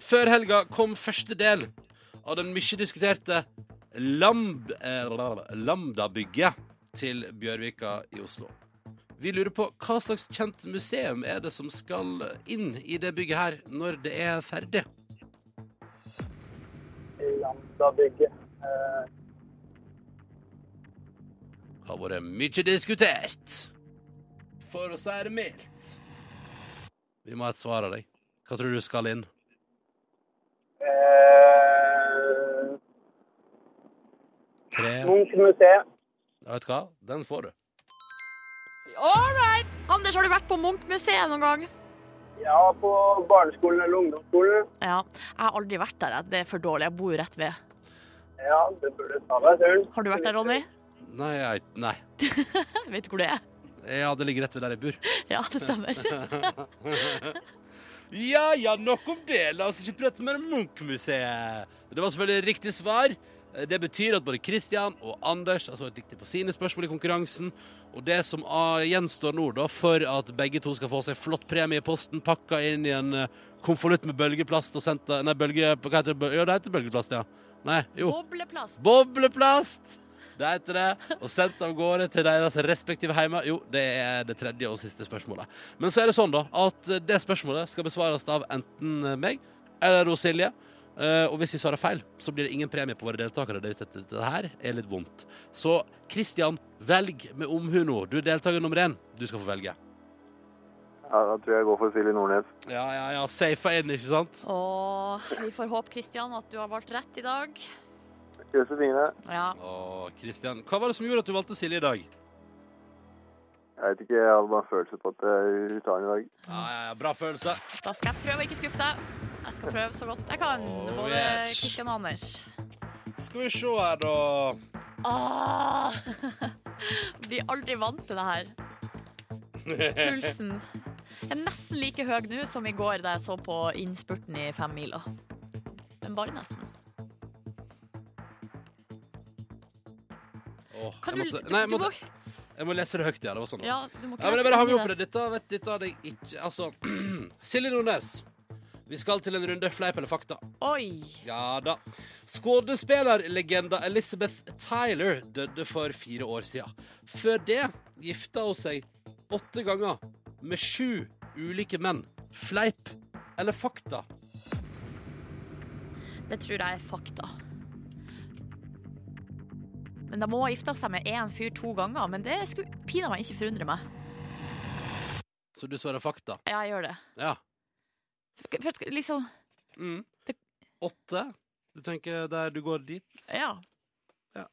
[SPEAKER 2] Før helga kom første del av den mye diskuterte Lamb, eh, Lambda-bygget til Bjørvika i Oslo. Vi lurer på hva slags kjent museum er det som skal inn i det bygget her når det er ferdig?
[SPEAKER 6] Lambda-bygget. Eh,
[SPEAKER 2] har vært mye diskutert. For å si det mildt. Vi må ha et svar av deg. Hva tror du skal inn?
[SPEAKER 6] eh,
[SPEAKER 2] Tre
[SPEAKER 6] Munch museum.
[SPEAKER 2] Vet du hva? Den får du.
[SPEAKER 3] All right! Anders, har du vært på Munch-museet noen gang?
[SPEAKER 6] Ja, på barneskolen eller ungdomsskolen.
[SPEAKER 3] Ja. Jeg har aldri vært der. jeg. Det er for dårlig. Jeg bor jo rett ved.
[SPEAKER 6] Ja, det burde ta deg turen.
[SPEAKER 3] Har du vært der, Ronny?
[SPEAKER 2] Nei, jeg, nei.
[SPEAKER 3] Vet du hvor det er?
[SPEAKER 2] Ja, det ligger rett ved der jeg bor.
[SPEAKER 3] Ja, det stemmer.
[SPEAKER 2] Ja ja, nok om det. La oss ikke prate mer om Munch-museet. Det var selvfølgelig riktig svar. Det betyr at både Christian og Anders har svart riktig på sine spørsmål i konkurransen. Og det som ah, gjenstår nå, da, for at begge to skal få seg flott premie i posten, pakka inn i en eh, konvolutt med bølgeplast og sendt Nei, bølge... Hva heter det? Bøl- Ja, det heter bølgeplast, ja. Nei, jo.
[SPEAKER 3] Bobleplast.
[SPEAKER 2] Bobleplast! Det heter det. Og sendt av gårde til deres respektive heimer. Jo, det er det tredje og siste spørsmålet. Men så er det sånn, da, at det spørsmålet skal besvares av enten meg eller hos Silje. Eh, og hvis vi svarer feil, så blir det ingen premie på våre deltakere. Det, dette, dette her er litt vondt. Så Kristian, velg med omhu nå. Du er deltaker nummer én. Du skal få velge.
[SPEAKER 7] Ja, da tror jeg jeg går for Silje Nordnes.
[SPEAKER 2] Ja, ja, ja. Safa inn, ikke sant?
[SPEAKER 3] Og vi får håpe, Kristian, at du har valgt rett i dag.
[SPEAKER 7] Josefine.
[SPEAKER 3] Ja.
[SPEAKER 2] Å, Kristian. Hva var det som gjorde at du valgte Silje i dag?
[SPEAKER 7] Jeg vet ikke, jeg hadde bare en følelse på at eh, hun tar den i dag.
[SPEAKER 2] Ja, ja, ja. Bra følelse.
[SPEAKER 3] Da skal jeg prøve å ikke skuffe deg. Jeg skal prøve så godt jeg kan.
[SPEAKER 2] Oh,
[SPEAKER 3] Både
[SPEAKER 2] yes.
[SPEAKER 3] Kristian og Anders.
[SPEAKER 2] Skal vi se her, da.
[SPEAKER 3] Åh. Ah! Blir aldri vant til det her. Pulsen er nesten like høy nå som i går da jeg så på innspurten i femmila. Men bare nesten.
[SPEAKER 2] Åh,
[SPEAKER 3] Kan
[SPEAKER 2] jeg
[SPEAKER 3] du,
[SPEAKER 2] måtte,
[SPEAKER 3] du,
[SPEAKER 2] nei, jeg
[SPEAKER 3] du
[SPEAKER 2] måtte,
[SPEAKER 3] må,
[SPEAKER 2] jeg må lese det høyt, ja. Det var sånn. Ja,
[SPEAKER 3] ja, du må ikke
[SPEAKER 2] ja men
[SPEAKER 3] lese
[SPEAKER 2] jeg bare har meg
[SPEAKER 3] inni
[SPEAKER 2] opp på
[SPEAKER 3] det.
[SPEAKER 2] det. Dette, vet, dette hadde jeg ikke Altså Silje Nordnes. Vi skal til en runde fleip eller fakta.
[SPEAKER 3] Oi.
[SPEAKER 2] Ja da. Skuespillerlegenda Elizabeth Tyler døde for fire år siden. Før det gifta hun seg åtte ganger med sju ulike menn. Fleip eller fakta?
[SPEAKER 3] Det tror jeg er fakta. Men da må hun ha gifta seg med én fyr to ganger. Men det skulle pinadø meg ikke forundre meg.
[SPEAKER 2] Så du svarer fakta?
[SPEAKER 3] Ja, jeg gjør det.
[SPEAKER 2] Ja.
[SPEAKER 3] For, for, liksom,
[SPEAKER 2] Mm.
[SPEAKER 3] Det-
[SPEAKER 2] Åtte? Du tenker der du går dit?
[SPEAKER 3] ja.
[SPEAKER 2] Ja.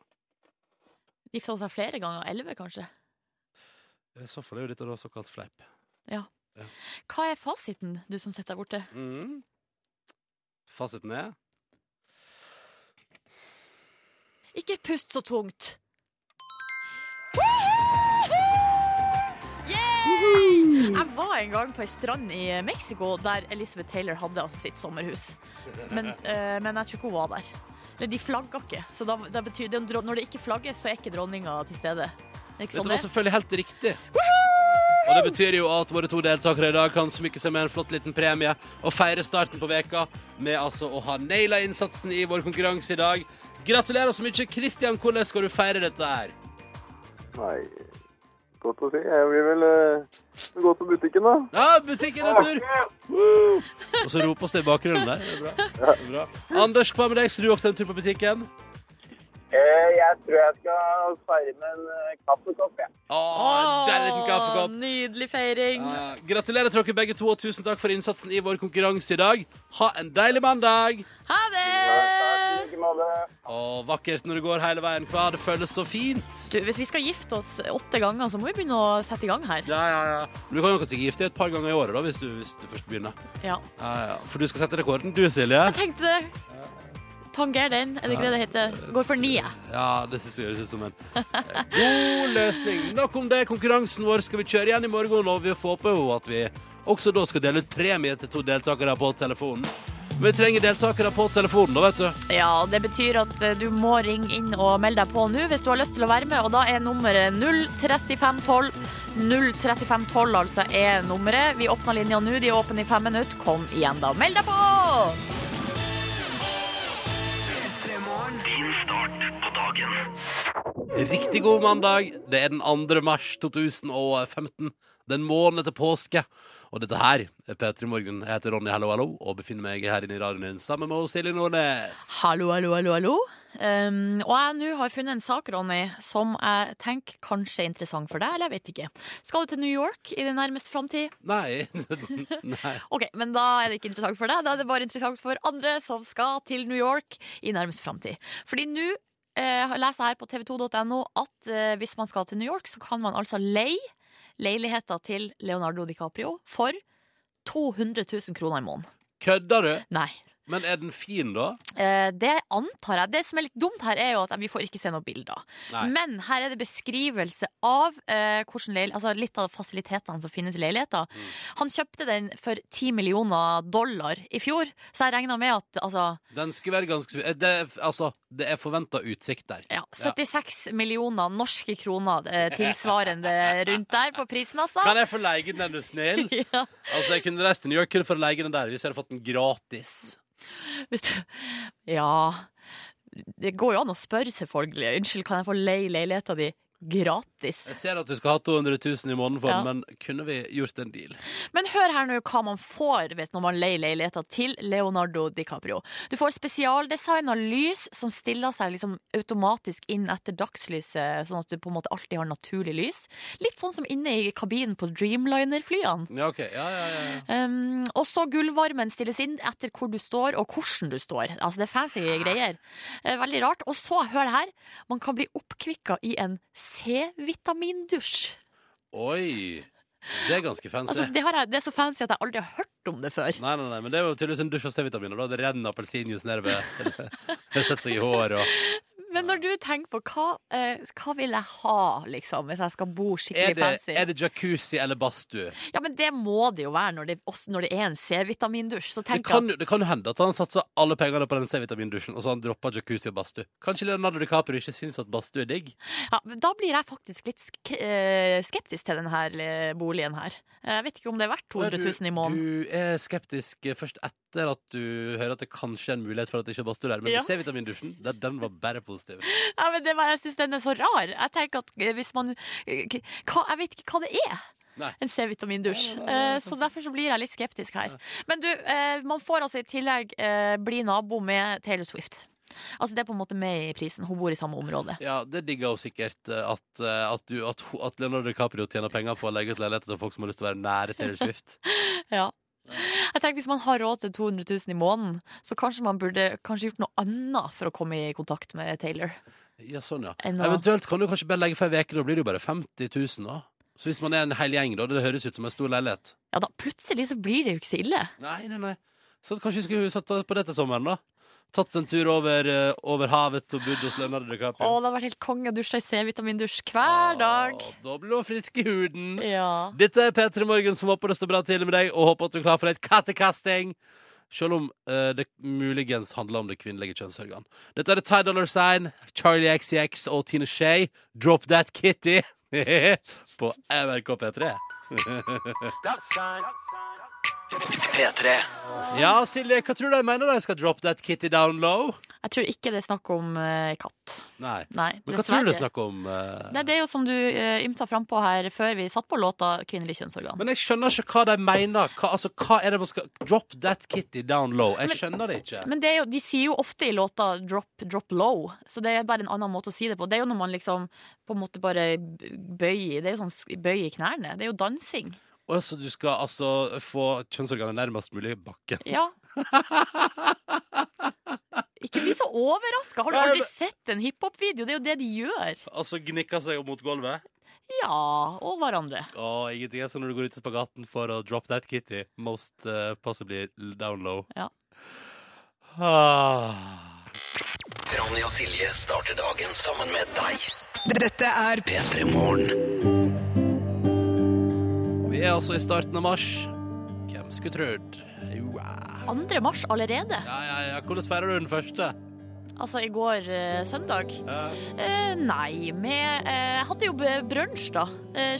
[SPEAKER 3] Gifta hun seg flere ganger? Elleve, kanskje?
[SPEAKER 2] I så fall er jo dette da såkalt fleip.
[SPEAKER 3] Hva er fasiten, du som sitter der borte?
[SPEAKER 2] Mm. Fasiten er
[SPEAKER 3] Ikke pust så tungt! Yeah! Jeg var en gang på ei strand i Mexico der Elizabeth Taylor hadde altså sitt sommerhus. Men, eh, men jeg tror ikke hun var der. Nei, de flagger ikke. Så da, da betyr det, når det ikke flagges, så er ikke dronninga til stede. Er Ikke
[SPEAKER 2] Dette
[SPEAKER 3] sånn
[SPEAKER 2] var
[SPEAKER 3] det?
[SPEAKER 2] selvfølgelig helt riktig. Og det betyr jo at våre to deltakere i dag kan smykke seg med en flott liten premie og feire starten på veka med altså å ha naila innsatsen i vår konkurranse i dag. Gratulerer så mye. Kristian, hvordan skal du feire dette her?
[SPEAKER 7] Nei, godt å si. Jeg vil vel eh, gå på butikken, da.
[SPEAKER 2] Ja, butikken er tur! Woo! Og så ropes det i bakgrunnen der. Det er bra. Det er bra. Anders, hva med deg? Skal du også en tur på butikken?
[SPEAKER 6] Eh, Jeg tror jeg skal feire med en eh, kaffekopp, jeg.
[SPEAKER 2] Å, det er en liten kaffekopp.
[SPEAKER 3] nydelig feiring.
[SPEAKER 2] Ah, Ja, gratulerer til dere begge to, og tusen takk for innsatsen i vår konkurranse i dag. Ha en deilig mandag!
[SPEAKER 3] Ha det!
[SPEAKER 6] I like måte.
[SPEAKER 2] Og vakkert når det går hele veien hva. Det føles så fint.
[SPEAKER 3] Du, hvis vi skal gifte oss åtte ganger, så må vi begynne å sette i gang her.
[SPEAKER 2] Ja, ja, ja. Men du kan jo kanskje gifte deg et par ganger i året, da, hvis du, hvis du først begynner.
[SPEAKER 3] Ja.
[SPEAKER 2] Ja, ja. For du skal sette rekorden, du, Silje.
[SPEAKER 3] Jeg tenkte det. Tanger den, er det ikke det det heter? Går for ni, jeg.
[SPEAKER 2] Ja, det synes jeg høres ut som en eh, god løsning. Nok om det. Konkurransen vår skal vi kjøre igjen i morgen, og vi får på at vi også da skal dele ut premie til to deltakere på telefonen. Men vi trenger deltakere på telefonen, da, vet du.
[SPEAKER 3] Ja, og det betyr at eh, du må ringe inn og melde deg på nå hvis du har lyst til å være med, og da er nummeret 03512. 03512 altså er nummeret. Vi åpner linja nå, de er åpne i fem minutter. Kom igjen, da. Meld deg på!
[SPEAKER 2] Riktig god mandag. Det er den 2. mars 2015. Det er en måned til påske. Og dette her er P3 Morgen. Jeg heter Ronny Hallo Hallo og befinner meg her inne i radioen din sammen med Silje Nordnes.
[SPEAKER 3] Hallo, hallo, hallo, hallo. Um, og jeg nå har funnet en sak, Ronny, som jeg tenker kanskje er interessant for deg, eller jeg vet ikke. Skal du til New York i den nærmeste framtid?
[SPEAKER 2] Nei. Nei.
[SPEAKER 3] Ok, men da er det ikke interessant for deg, da er det bare interessant for andre som skal til New York i nærmeste framtid. Fordi nå eh, leser jeg her på tv2.no at eh, hvis man skal til New York, så kan man altså leie leiligheter til Leonardo DiCaprio for 200 000 kroner i måneden.
[SPEAKER 2] Kødder du?
[SPEAKER 3] Nei.
[SPEAKER 2] Men er den fin, da?
[SPEAKER 3] Eh, Det antar jeg. Det som er litt dumt her, er jo at vi får ikke se noen bilder.
[SPEAKER 2] Nei.
[SPEAKER 3] Men her er det beskrivelse av eh, hvordan leil- altså litt av fasilitetene som finnes i leiligheter.
[SPEAKER 2] Mm.
[SPEAKER 3] Han kjøpte den for 10 millioner dollar i fjor, så jeg regner med at altså,
[SPEAKER 2] Den skulle være ganske eh, det, er- Altså, det er forventa utsikt der.
[SPEAKER 3] ja, 76 millioner norske kroner eh, tilsvarende rundt der på prisen, altså.
[SPEAKER 2] Kan jeg få leie den, er du snill?
[SPEAKER 3] Ja.
[SPEAKER 2] Altså, Jeg kunne reist til New York kun for å leie den der, hvis jeg hadde fått den gratis.
[SPEAKER 3] Hvis du, ja Det går jo an å spørre, selvfølgelig. Unnskyld, kan jeg få leie leiligheta di gratis?
[SPEAKER 2] Jeg ser at du skal ha 200 000 i måneden for
[SPEAKER 3] Ja.
[SPEAKER 2] den, men kunne vi gjort en deal?
[SPEAKER 3] Men hør her nå hva man får vet, når man leier leiligheter til Leonardo DiCaprio. Du får spesialdesigna lys som stiller seg liksom automatisk inn etter dagslyset, sånn at du på en måte alltid har naturlig lys. Litt sånn som inne i kabinen på Dreamliner-flyene.
[SPEAKER 2] Ja, OK. Ja, ja, ja. ja.
[SPEAKER 3] Um, og så gulvvarmen stilles inn etter hvor du står og hvordan du står. Altså Det er fancy greier. Eh, Veldig rart. Og så, hør her, man kan bli oppkvikka i en C-vitamindusj.
[SPEAKER 2] Oi. Det er ganske fancy.
[SPEAKER 3] Altså, det, har jeg- det er så fancy at jeg aldri har hørt om det før.
[SPEAKER 2] Nei, nei, nei, men det er jo tydeligvis en dusj av C-vitaminer. Da Det renner appelsinjuice nedover. Det setter seg i hår og
[SPEAKER 3] Men når du tenker på hva, eh, hva vil jeg ha, liksom, hvis jeg skal bo
[SPEAKER 2] er
[SPEAKER 3] skikkelig
[SPEAKER 2] det,
[SPEAKER 3] fancy?
[SPEAKER 2] er det jacuzzi eller badstue?
[SPEAKER 3] Ja, men det må det jo være når det, også når det er en C-vitamindusj. Så
[SPEAKER 2] Det
[SPEAKER 3] tenk
[SPEAKER 2] kan, jo- det kan jo hende at han satser alle pengene på den C-vitamindusjen, og så har han droppa jacuzzi og badstue. Kanskje Leonardo DiCaprio ikke syns at badstue er digg?
[SPEAKER 3] at ja, men Da blir jeg faktisk litt sk eh, skeptisk til denne boligen her. Jeg vet ikke om det er verdt 200 000 i måneden.
[SPEAKER 2] Du er skeptisk eh, først etter at du hører at det kanskje er en mulighet for at det ikke er badstue der, men
[SPEAKER 3] Ja.
[SPEAKER 2] C-vitamindusjen, den- den var bare positiv.
[SPEAKER 3] Ja, men det er bare, jeg syns den er så rar. Jeg tenker at eh, hvis man eh, k- hva, Jeg vet ikke hva det er.
[SPEAKER 2] Nei.
[SPEAKER 3] En C-vitamindusj. Eh, Så derfor så blir jeg litt skeptisk her. Men du, eh, man får altså i tillegg eh, bli nabo med Taylor Swift. Altså Det er på en måte med i prisen. Hun bor i samme område.
[SPEAKER 2] Ja, det digger hun sikkert. eh, At, eh, at, du, at, ho- at Leonardo DiCaprio tjener penger på å legge ut leiligheter til folk som har lyst til å være nære Taylor Swift.
[SPEAKER 3] Ja. Jeg tenker Hvis man har råd til 200 000 i måneden, så kanskje man burde kanskje gjort noe annet for å komme i kontakt med Taylor.
[SPEAKER 2] Ja, sånn, ja.
[SPEAKER 3] Enn å-
[SPEAKER 2] Eventuelt kan du kanskje bare legge for ei uke, da blir det jo bare 50 000, da. Så hvis man er en hel gjeng, da, det høres ut som en stor leilighet.
[SPEAKER 3] Ja da, Plutselig så blir det jo ikke så ille.
[SPEAKER 2] Nei, nei, nei. Så kanskje vi skulle satt på det til sommeren, da. Tatt en tur over, eh, over havet og bodd hos Leonardo
[SPEAKER 3] Å,
[SPEAKER 2] DiCaprio.
[SPEAKER 3] det har vært helt konge å dusje i C-vitamindusj hver dag.
[SPEAKER 2] Å, Da blir hun frisk i huden.
[SPEAKER 3] Ja.
[SPEAKER 2] Dette er P3 Morgen som håper det står bra til med deg, og håper at du er klar for et kattekasting. Selv om eh, det muligens handler om det kvinnelige kjønnsorgan. Dette er The Tide Dollar Sign, Charlie XCX og Tine Shay. Drop That Kitty på NRK P3.
[SPEAKER 1] P3.
[SPEAKER 2] Ja, Silje, hva tror du de mener de skal drop that kitty down low?
[SPEAKER 3] Jeg tror ikke det er snakk om eh, katt.
[SPEAKER 2] Nei.
[SPEAKER 3] Nei,
[SPEAKER 2] Men hva tror du det er snakk om? eh?
[SPEAKER 3] Nei, det er jo som du eh, ymta frampå her før vi satt på låta 'Kvinnelig kjønnsorgan'.
[SPEAKER 2] Men jeg skjønner ikke hva de mener. Hva, altså, hva er det man skal Drop that kitty down low. Jeg
[SPEAKER 3] Men-
[SPEAKER 2] skjønner det ikke.
[SPEAKER 3] Men det er jo, de sier jo ofte i låta 'drop, drop low', så det er bare en annen måte å si det på. Det er jo når man liksom på en måte bare bøyer Det er jo sånn sk- bøy i knærne. Det er jo dansing.
[SPEAKER 2] Og så du skal altså få kjønnsorganet nærmest mulig bakken.
[SPEAKER 3] Ja. Ikke bli så overraska. Har du
[SPEAKER 2] Nei,
[SPEAKER 3] aldri
[SPEAKER 2] men-
[SPEAKER 3] sett en hiphop-video? Det er jo det de gjør.
[SPEAKER 2] Altså gnikker seg opp mot gulvet.
[SPEAKER 3] Ja, og hverandre.
[SPEAKER 2] Å, ingenting er sånn når du går ut i spagaten for å drop that kitty. Most eh, possibly down low.
[SPEAKER 3] Ja.
[SPEAKER 2] Ah.
[SPEAKER 1] Ronny og Silje starter dagen sammen med deg.
[SPEAKER 8] Dette er
[SPEAKER 1] P3 Morgen.
[SPEAKER 2] Vi er altså i starten av mars. Hvem skulle trodd? eh. Wow.
[SPEAKER 3] 2. mars allerede?
[SPEAKER 2] Ja, ja, ja. Hvordan feirer du den første?
[SPEAKER 3] Altså i går eh, søndag? Eh, nei, med eh, Jeg hadde jo brunsj, da. Eh,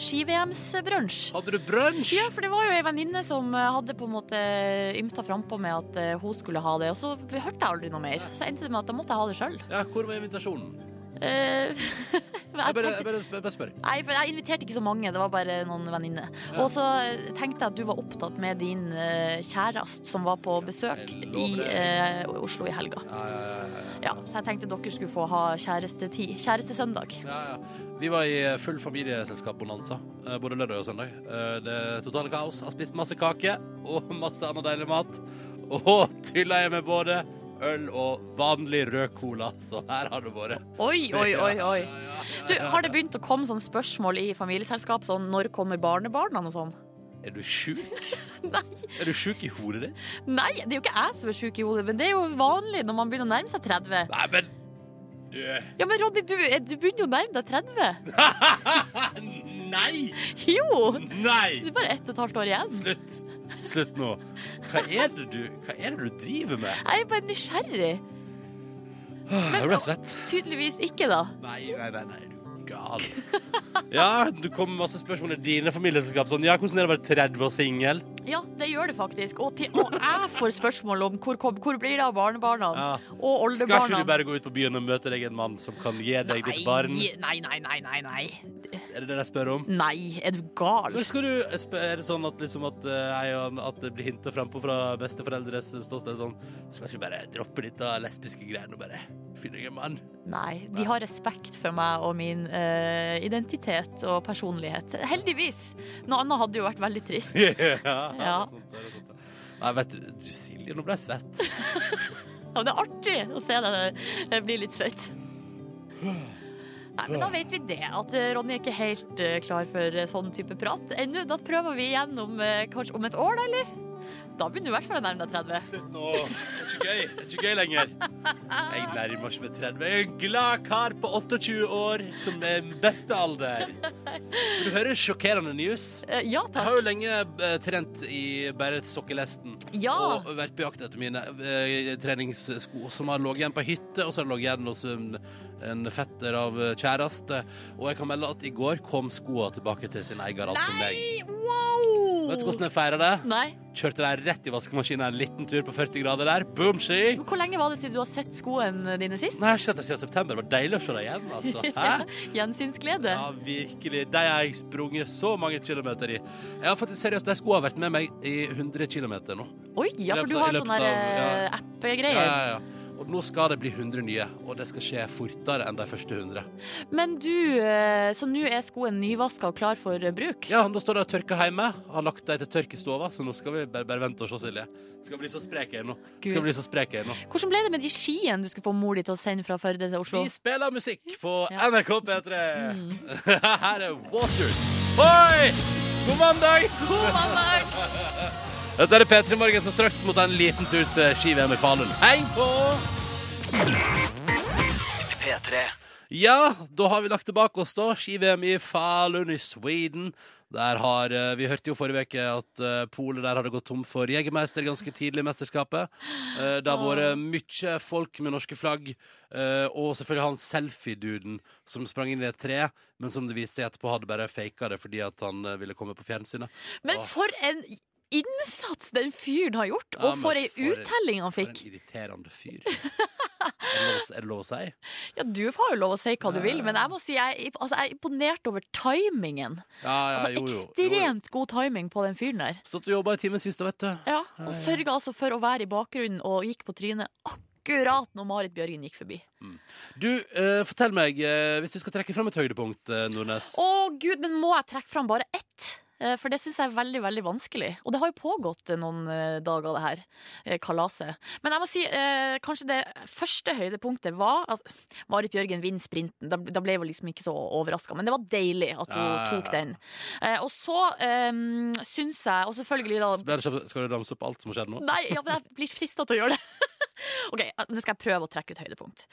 [SPEAKER 3] Ski-VMs-brunsj.
[SPEAKER 2] Hadde du brunsj?
[SPEAKER 3] Ja, for det var jo ei venninne som eh, hadde på en måte eh, ymta frampå med at eh, hun skulle ha det, og så hørte jeg aldri noe mer. Så endte det med at da måtte jeg ha det sjøl.
[SPEAKER 2] Ja, hvor var invitasjonen?
[SPEAKER 3] jeg
[SPEAKER 2] Jeg bare,
[SPEAKER 3] tenkte,
[SPEAKER 2] jeg bare, jeg bare spør.
[SPEAKER 3] nei, for jeg inviterte ikke så mange, det var bare noen venninner. Og så eh, tenkte jeg at du var opptatt med din eh, kjæreste som var på besøk
[SPEAKER 2] Jeg
[SPEAKER 3] i
[SPEAKER 2] lover det.
[SPEAKER 3] eh, Oslo i helga.
[SPEAKER 2] Ja, ja, ja, ja.
[SPEAKER 3] Ja, så jeg tenkte dere skulle få ha kjærestetid. Kjærestesøndag.
[SPEAKER 2] Ja, ja. Vi var i eh, full familieselskap-bonanza eh, både lørdag og søndag. Eh, Det er totale kaos. Har spist masse kake og masse annen deilig mat. Og tylla jeg med både øl og vanlig rød cola, så her har det vært.
[SPEAKER 3] Oi, oi, oi, oi.
[SPEAKER 2] Ja, ja, ja.
[SPEAKER 3] Du, har det begynt å komme sånne spørsmål i familieselskap, sånn når kommer barnebarna og sånn?
[SPEAKER 2] Er du sjuk?
[SPEAKER 3] Nei.
[SPEAKER 2] Er du sjuk i hodet ditt?
[SPEAKER 3] Nei, det er jo ikke jeg som er syk i hodet, men det er jo vanlig når man begynner å nærme seg 30.
[SPEAKER 2] Nei, men du
[SPEAKER 3] Ja, men Roddy, du, eh, du begynner jo å nærme deg 30.
[SPEAKER 2] Nei!
[SPEAKER 3] Jo! Det
[SPEAKER 2] Nei!
[SPEAKER 3] er bare ett og et halvt år igjen.
[SPEAKER 2] Slutt. Slutt nå. Hva er det du, hva er det du driver med?
[SPEAKER 3] Jeg er bare nysgjerrig. Ah,
[SPEAKER 2] Jeg ble svett.
[SPEAKER 3] Tydeligvis ikke, da.
[SPEAKER 2] Nei, nei, nei, nei, du er gal. Ja, du kommer med masse spørsmål i dine familieselskap. Sånn, ja, hvordan er det å være 30 og singel?
[SPEAKER 3] Ja, det gjør det faktisk. Og, til, og jeg får spørsmål om hvor, kom, hvor blir det av barnebarna
[SPEAKER 2] Ja.
[SPEAKER 3] og
[SPEAKER 2] Skal ikke
[SPEAKER 3] oldebarna.
[SPEAKER 2] du bare gå ut på byen og møte deg en mann som kan gi deg ditt barn?
[SPEAKER 3] Nei, nei, nei, nei, nei, nei.
[SPEAKER 2] Er det det jeg spør om?
[SPEAKER 3] Nei, er du gal?
[SPEAKER 2] Men skal du, er det sånn at, liksom at, eh, jeg og han- at det blir hinta frampå fra besteforeldres ståsted? Sånn, skal ikke bare droppe litt av lesbiske greiene og bare finne deg en mann?
[SPEAKER 3] Nei, de har respekt for meg og min eh, identitet og personlighet. Heldigvis. Noe annet hadde jo vært veldig trist.
[SPEAKER 2] ja.
[SPEAKER 3] Ja.
[SPEAKER 2] Sånt, der, sånt der. Nei, vet du, du Silje, nå ble jeg svett.
[SPEAKER 3] Ja, men det er artig å se deg eh, bli litt svett. Nei, men da vet vi det, at eh, Ronny er ikke helt eh, klar for eh, sånn type prat ennå. Da prøver vi igjen om eh, kanskje om et år, da, eller? Da begynner du i hvert fall å nærme deg 30.
[SPEAKER 2] Slutt nå. Det er ikke gøy. Det er ikke gøy lenger. Jeg nærmer meg med 30. Jeg er en glad kar på 28 år som er min beste alder. Vil du høre sjokkerende news?
[SPEAKER 3] Eh, ja
[SPEAKER 2] Jeg
[SPEAKER 3] takk.
[SPEAKER 2] har jo lenge eh, trent i bare sokkelesten
[SPEAKER 3] Ja.
[SPEAKER 2] og vært på jakt etter mine eh, treningssko som har ligget igjen på hytte, og så har det ligget igjen hos en, en fetter av eh, kjæreste. Og jeg kan melde at i går kom skoene tilbake til sin eier, altså meg.
[SPEAKER 3] Wow!
[SPEAKER 2] Vet du hvordan jeg feirer det?
[SPEAKER 3] Nei.
[SPEAKER 2] Kjørte deg rett i vaskemaskinen en liten tur på 40 grader der. Boomshi!
[SPEAKER 3] Men hvor lenge var det siden du har sett skoene dine sist?
[SPEAKER 2] Nei, jeg har ikke sett deg siden september. Det var deilig å se deg igjen, altså. Hæ?
[SPEAKER 3] Gjensynsglede?
[SPEAKER 2] Ja, virkelig. De har jeg sprunget så mange kilometer i. Jeg har faktisk seriøst, De skulle ha vært med meg i 100 km nå.
[SPEAKER 3] Oi, ja,
[SPEAKER 2] I
[SPEAKER 3] for du
[SPEAKER 2] løpet av-
[SPEAKER 3] har
[SPEAKER 2] i
[SPEAKER 3] sånne
[SPEAKER 2] løpet
[SPEAKER 3] der,
[SPEAKER 2] av- ja.
[SPEAKER 3] eh, app-greier.
[SPEAKER 2] Ja, ja, ja. Og nå skal det bli 100 nye, og det skal skje fortere enn de første 100.
[SPEAKER 3] Men du, eh, så nå er skoen nyvaska og klar for eh, bruk?
[SPEAKER 2] Ja, da står de og tørker hjemme. Har lagt dem til tørk i stova, så nå skal vi bare, bare vente og se, Silje. Skal bli så sprek jeg er nå.
[SPEAKER 3] Gud.
[SPEAKER 2] Skal bli så sprek jeg er nå.
[SPEAKER 3] Hvordan ble det med de skiene du skulle få mor di til å sende fra Førde til Oslo?
[SPEAKER 2] Vi spiller musikk på
[SPEAKER 3] Ja.
[SPEAKER 2] NRK P3. Her er Waters. Oi! God mandag! Dette er P3 Morgen som straks må ta en liten tur til ski-VM i Falun. Hei på!
[SPEAKER 1] P3.
[SPEAKER 2] Ja, da har vi lagt det bak oss, da. Ski-VM i Falun i Sweden. Der har, eh, Vi hørte jo forrige uke at eh, polet der hadde gått tom for Jegermeister ganske tidlig i mesterskapet. Eh, Det har vært mye folk med norske flagg, eh, og selvfølgelig han selfie-duden som sprang inn i et tre, men som det viste seg etterpå hadde bare faka det fordi at han eh, ville komme på fjernsynet.
[SPEAKER 3] Men
[SPEAKER 2] Åh.
[SPEAKER 3] for en innsats den fyren har gjort,
[SPEAKER 2] Ja,
[SPEAKER 3] og for
[SPEAKER 2] men
[SPEAKER 3] ei
[SPEAKER 2] for en-
[SPEAKER 3] uttelling han
[SPEAKER 2] For en
[SPEAKER 3] fikk.
[SPEAKER 2] irriterende fyr. Er det lov, er det lov å si?
[SPEAKER 3] Ja, Du har jo lov å si hva du vil, men jeg må si jeg, altså, jeg er imponert over timingen.
[SPEAKER 2] Ja, ja,
[SPEAKER 3] Altså
[SPEAKER 2] jo, jo. jo, jo.
[SPEAKER 3] Ekstremt god timing på den fyren der.
[SPEAKER 2] Stått og jobba i timevis, da, vet du.
[SPEAKER 3] Ja, Og sørga altså for å være i bakgrunnen og gikk på trynet akkurat når Marit Bjørgen gikk forbi.
[SPEAKER 2] Du, eh, fortell meg, eh, hvis du skal trekke fram et høydepunkt, eh, Nordnes.
[SPEAKER 3] Å gud, men må jeg trekke fram bare ett? Eh, For det syns jeg er veldig veldig vanskelig. Og det har jo pågått eh, noen eh, dager, det her eh, kalaset. Men jeg må si, eh, kanskje det første høydepunktet var altså, Marit Bjørgen vinner sprinten. Da, da ble jeg jo liksom ikke så overraska, men det var deilig at hun
[SPEAKER 2] Ja, ja, ja.
[SPEAKER 3] tok den. Eh, Og så um, syns jeg, og selvfølgelig da
[SPEAKER 2] Bare kjapt, Skal du ramse opp alt som har skjedd nå?
[SPEAKER 3] Nei, ja, men jeg blir frista til å gjøre det. Ok, Nå skal jeg prøve å trekke ut høydepunkt.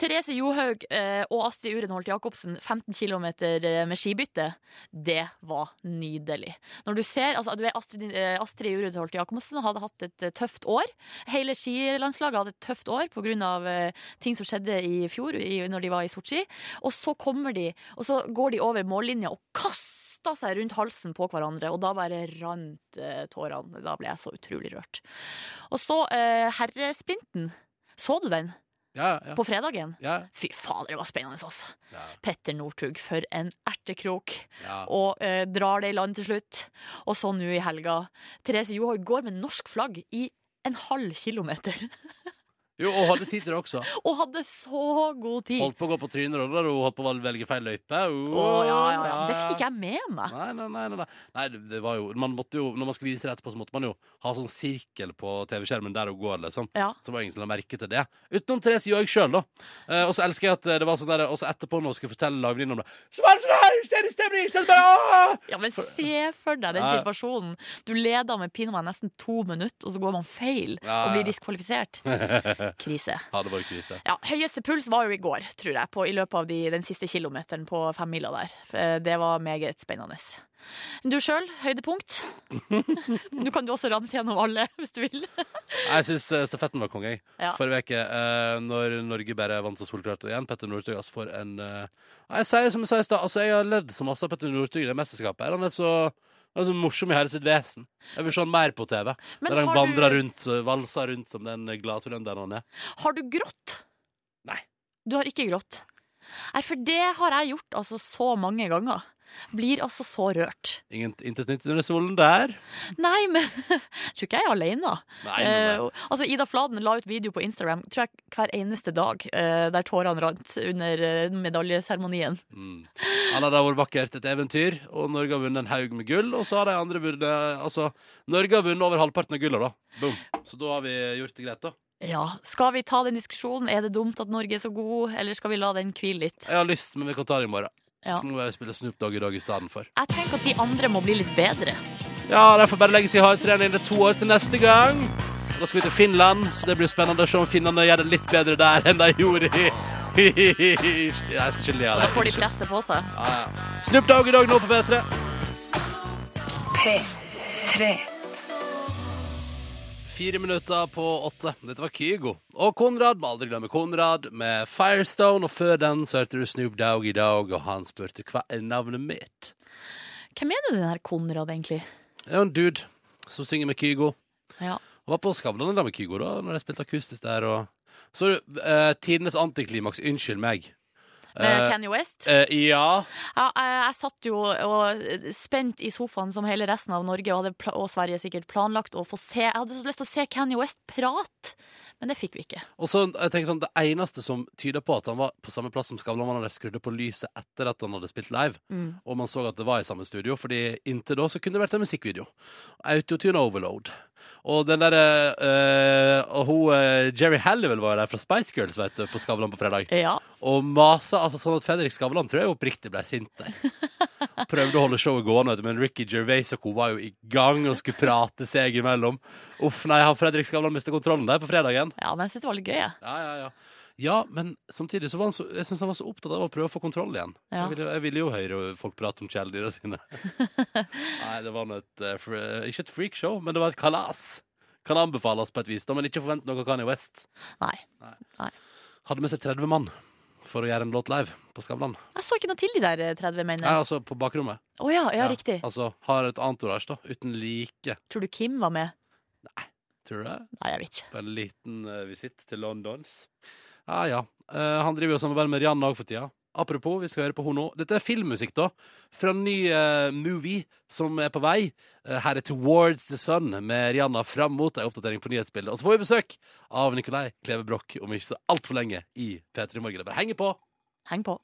[SPEAKER 3] Therese Johaug eh, og Astrid Urenholt Jacobsen, 15 km med skibytte. Det var nydelig. Når du ser, altså, du er Astrid, eh, Astrid Urenholt Jacobsen hadde hatt et eh, tøft år. Hele skilandslaget hadde et tøft år pga. Eh, ting som skjedde i fjor i, når de var i Sotsji. Og så kommer de, og så går de over mållinja og kaster seg rundt halsen på hverandre, og da bare rant eh, tårene. Da ble jeg så utrolig rørt. Og så eh, herresprinten. Så du den
[SPEAKER 2] Ja, ja.
[SPEAKER 3] på fredagen?
[SPEAKER 2] ja,
[SPEAKER 3] Fy fader, det var spennende, altså.
[SPEAKER 2] ja,
[SPEAKER 3] Petter Northug, for en ertekrok.
[SPEAKER 2] ja.
[SPEAKER 3] Og eh, drar det i land til slutt. Og så nå i helga. Therese Johaug går med norsk flagg i en halv kilometer.
[SPEAKER 2] Jo, og hadde tid til det også.
[SPEAKER 3] Og hadde så god tid!
[SPEAKER 2] Holdt på å gå på trynet da, da hun holdt på å velge feil løype.
[SPEAKER 3] Å, ja, ja, ja. Det fikk ikke jeg med meg.
[SPEAKER 2] Nei, nei, nei, nei, nei. nei det, det var jo, man måtte jo, Når man skulle vise det etterpå, så måtte man jo ha sånn sirkel på TV-skjermen der hun går. liksom
[SPEAKER 3] Ja.
[SPEAKER 2] Så det var ingen som la merke til det. Utenom Therese Johaug sjøl, da. Eh, og så elsker jeg at eh, det var sånn der Og så etterpå, når hun skulle fortelle lagvenninnen om det Så var det sånn her hysterisk stemning! i stedet bare, «Åh!»
[SPEAKER 3] Ja, men se for deg den
[SPEAKER 2] Ja, ja.
[SPEAKER 3] situasjonen. Du leder med pin meg nesten to minutter, og så går man feil
[SPEAKER 2] Ja,
[SPEAKER 3] og
[SPEAKER 2] ja.
[SPEAKER 3] blir diskvalifisert. Krise.
[SPEAKER 2] Ja, det var jo krise.
[SPEAKER 3] Ja, Høyeste puls var jo i går, tror jeg, på, i løpet av de, den siste kilometeren på femmila der. Eh, Det var meget spennende. Du sjøl, høydepunkt? Nå kan du også ramse gjennom alle, hvis du vil.
[SPEAKER 2] Jeg syns stafetten var konge. jeg.
[SPEAKER 3] Ja.
[SPEAKER 2] Forrige uke, eh, når Norge bare vant så solklart og igjen. Petter Northug, altså for en eh, Jeg sier som jeg sa i stad, altså jeg har ledd så masse av Petter Northug i det mesterskapet. her. Han er så, han er så morsom i hele sitt vesen. Jeg vil se han mer på TV.
[SPEAKER 3] Men
[SPEAKER 2] der han
[SPEAKER 3] har du-
[SPEAKER 2] vandrer rundt, eh, valser rundt som den glade trønderen han er.
[SPEAKER 3] Har du grått?
[SPEAKER 2] Nei.
[SPEAKER 3] Du har ikke grått? Nei, for det har jeg gjort altså så mange ganger. Blir altså så rørt.
[SPEAKER 2] Ingen- Intet nytt under solen der.
[SPEAKER 3] Nei, men jeg tror ikke jeg er alene.
[SPEAKER 2] Nei, nei, nei.
[SPEAKER 3] Eh, altså, Ida Fladen la ut video på Instagram tror jeg, hver eneste dag eh, der tårene rant under eh, medaljeseremonien.
[SPEAKER 2] Mm. Han hadde vært vakkert et eventyr, og Norge har vunnet en haug med gull. Og så har de andre vunnet Altså, Norge har vunnet over halvparten av gullet, da. Boom. Så da har vi gjort det greit, da.
[SPEAKER 3] Ja, Skal vi ta den diskusjonen? Er det dumt at Norge er så god, eller skal vi la den hvile litt?
[SPEAKER 2] Jeg har lyst, men vi kan ta det i morgen.
[SPEAKER 3] Ja.
[SPEAKER 2] Så nå må jeg spille Snoop Dogg i dag i stedet for.
[SPEAKER 3] Jeg tenker at de andre må bli litt bedre.
[SPEAKER 2] Ja, de får bare legge seg i hardtrening. Det er to år til neste gang. Da skal vi til Finland, så det blir spennende å se om finnene gjør det litt bedre der enn de gjorde i Jeg skal ikke le av
[SPEAKER 3] Da får de
[SPEAKER 2] det.
[SPEAKER 3] presset på seg.
[SPEAKER 2] Ja, ja. Snoop Dogg i dag nå på P3.
[SPEAKER 8] P3.
[SPEAKER 2] Fire minutter på åtte. Dette var Kygo. Og Konrad, må aldri glemme Konrad, med Firestone. Og før den så hørte du Snoop Dogg i dag, og han spurte hva er navnet mitt?
[SPEAKER 3] Hvem er nå den her Konrad, egentlig?
[SPEAKER 2] Det er jo en dude som synger med Kygo.
[SPEAKER 3] Ja.
[SPEAKER 2] Jeg var på Skavlan da med Kygo da Når jeg spilte akustisk der og... Så uh, tidenes antiklimaks Unnskyld meg
[SPEAKER 3] Eh,
[SPEAKER 2] Eh,
[SPEAKER 3] Kanye West?
[SPEAKER 2] eh, Ja
[SPEAKER 3] Ja, jeg, jeg satt jo og, eh, spent i sofaen som hele resten av Norge og, hadde, pla- og Sverige sikkert planlagt å få se. Jeg hadde så lyst til å se Kanye West prate, men det fikk vi ikke.
[SPEAKER 2] Og så jeg tenker sånn Det eneste som tyder på at han var på samme plass som Skavlan var Når de skrudde på lyset etter at han hadde spilt live Og man så at det var i samme studio Fordi inntil da så kunne det vært en musikkvideo Autotune Overload Og den der eh, Og hun, eh, Jerry Halliwell var jo der fra Spice Girls vet du, På Skavlan på fredag
[SPEAKER 3] Ja,
[SPEAKER 2] Og masa altså sånn at Fredrik Skavlan tror jeg oppriktig ble sint der. Prøvde å holde showet gående, vet du, men Ricky Gervais og co. var jo i gang og skulle prate seg imellom. Uff, nei, har Fredrik Skavlan mistet kontrollen der på fredagen?
[SPEAKER 3] ja men jeg syns det var litt gøy, jeg.
[SPEAKER 2] Ja, ja, ja. Ja, men samtidig så var han så, jeg synes han var så opptatt av å prøve å få kontroll igjen.
[SPEAKER 3] Ja.
[SPEAKER 2] Jeg, ville, jeg ville jo høre folk prate om kjæledyra sine. Nei, det var nå et eh, fr- Ikke et freakshow, men det var et kalas. Kan anbefales på et vis, da, men ikke forvent noe av Kanye West.
[SPEAKER 3] Nei.
[SPEAKER 2] Hadde med seg 30 mann for å gjøre en låt live på Skavlan.
[SPEAKER 3] Jeg så ikke noe til de der eh, 30
[SPEAKER 2] Nei,
[SPEAKER 3] mennene. Å
[SPEAKER 2] altså på bakrommet.
[SPEAKER 3] ja, ja, riktig.
[SPEAKER 2] Altså, Har et entourage, da. Uten like.
[SPEAKER 3] Tror du Kim var med?
[SPEAKER 2] Tror du det?
[SPEAKER 3] Nei, jeg vet ikke.
[SPEAKER 2] på en liten eh, visitt til Londons. Ja, ja. Eh, han driver jo samarbeid med Rihanna òg for tida. Apropos, vi skal høre på henne nå. Dette er filmmusikk, da. Fra en ny eh, movie som er på vei. Eh, her er 'Towards the Sun' med Rihanna fram mot ei oppdatering på nyhetsbildet. Og så får vi besøk av Nicolai Kleve Broch om ikke så altfor lenge i P3 Morgen. Det bare henger på.
[SPEAKER 3] Heng på.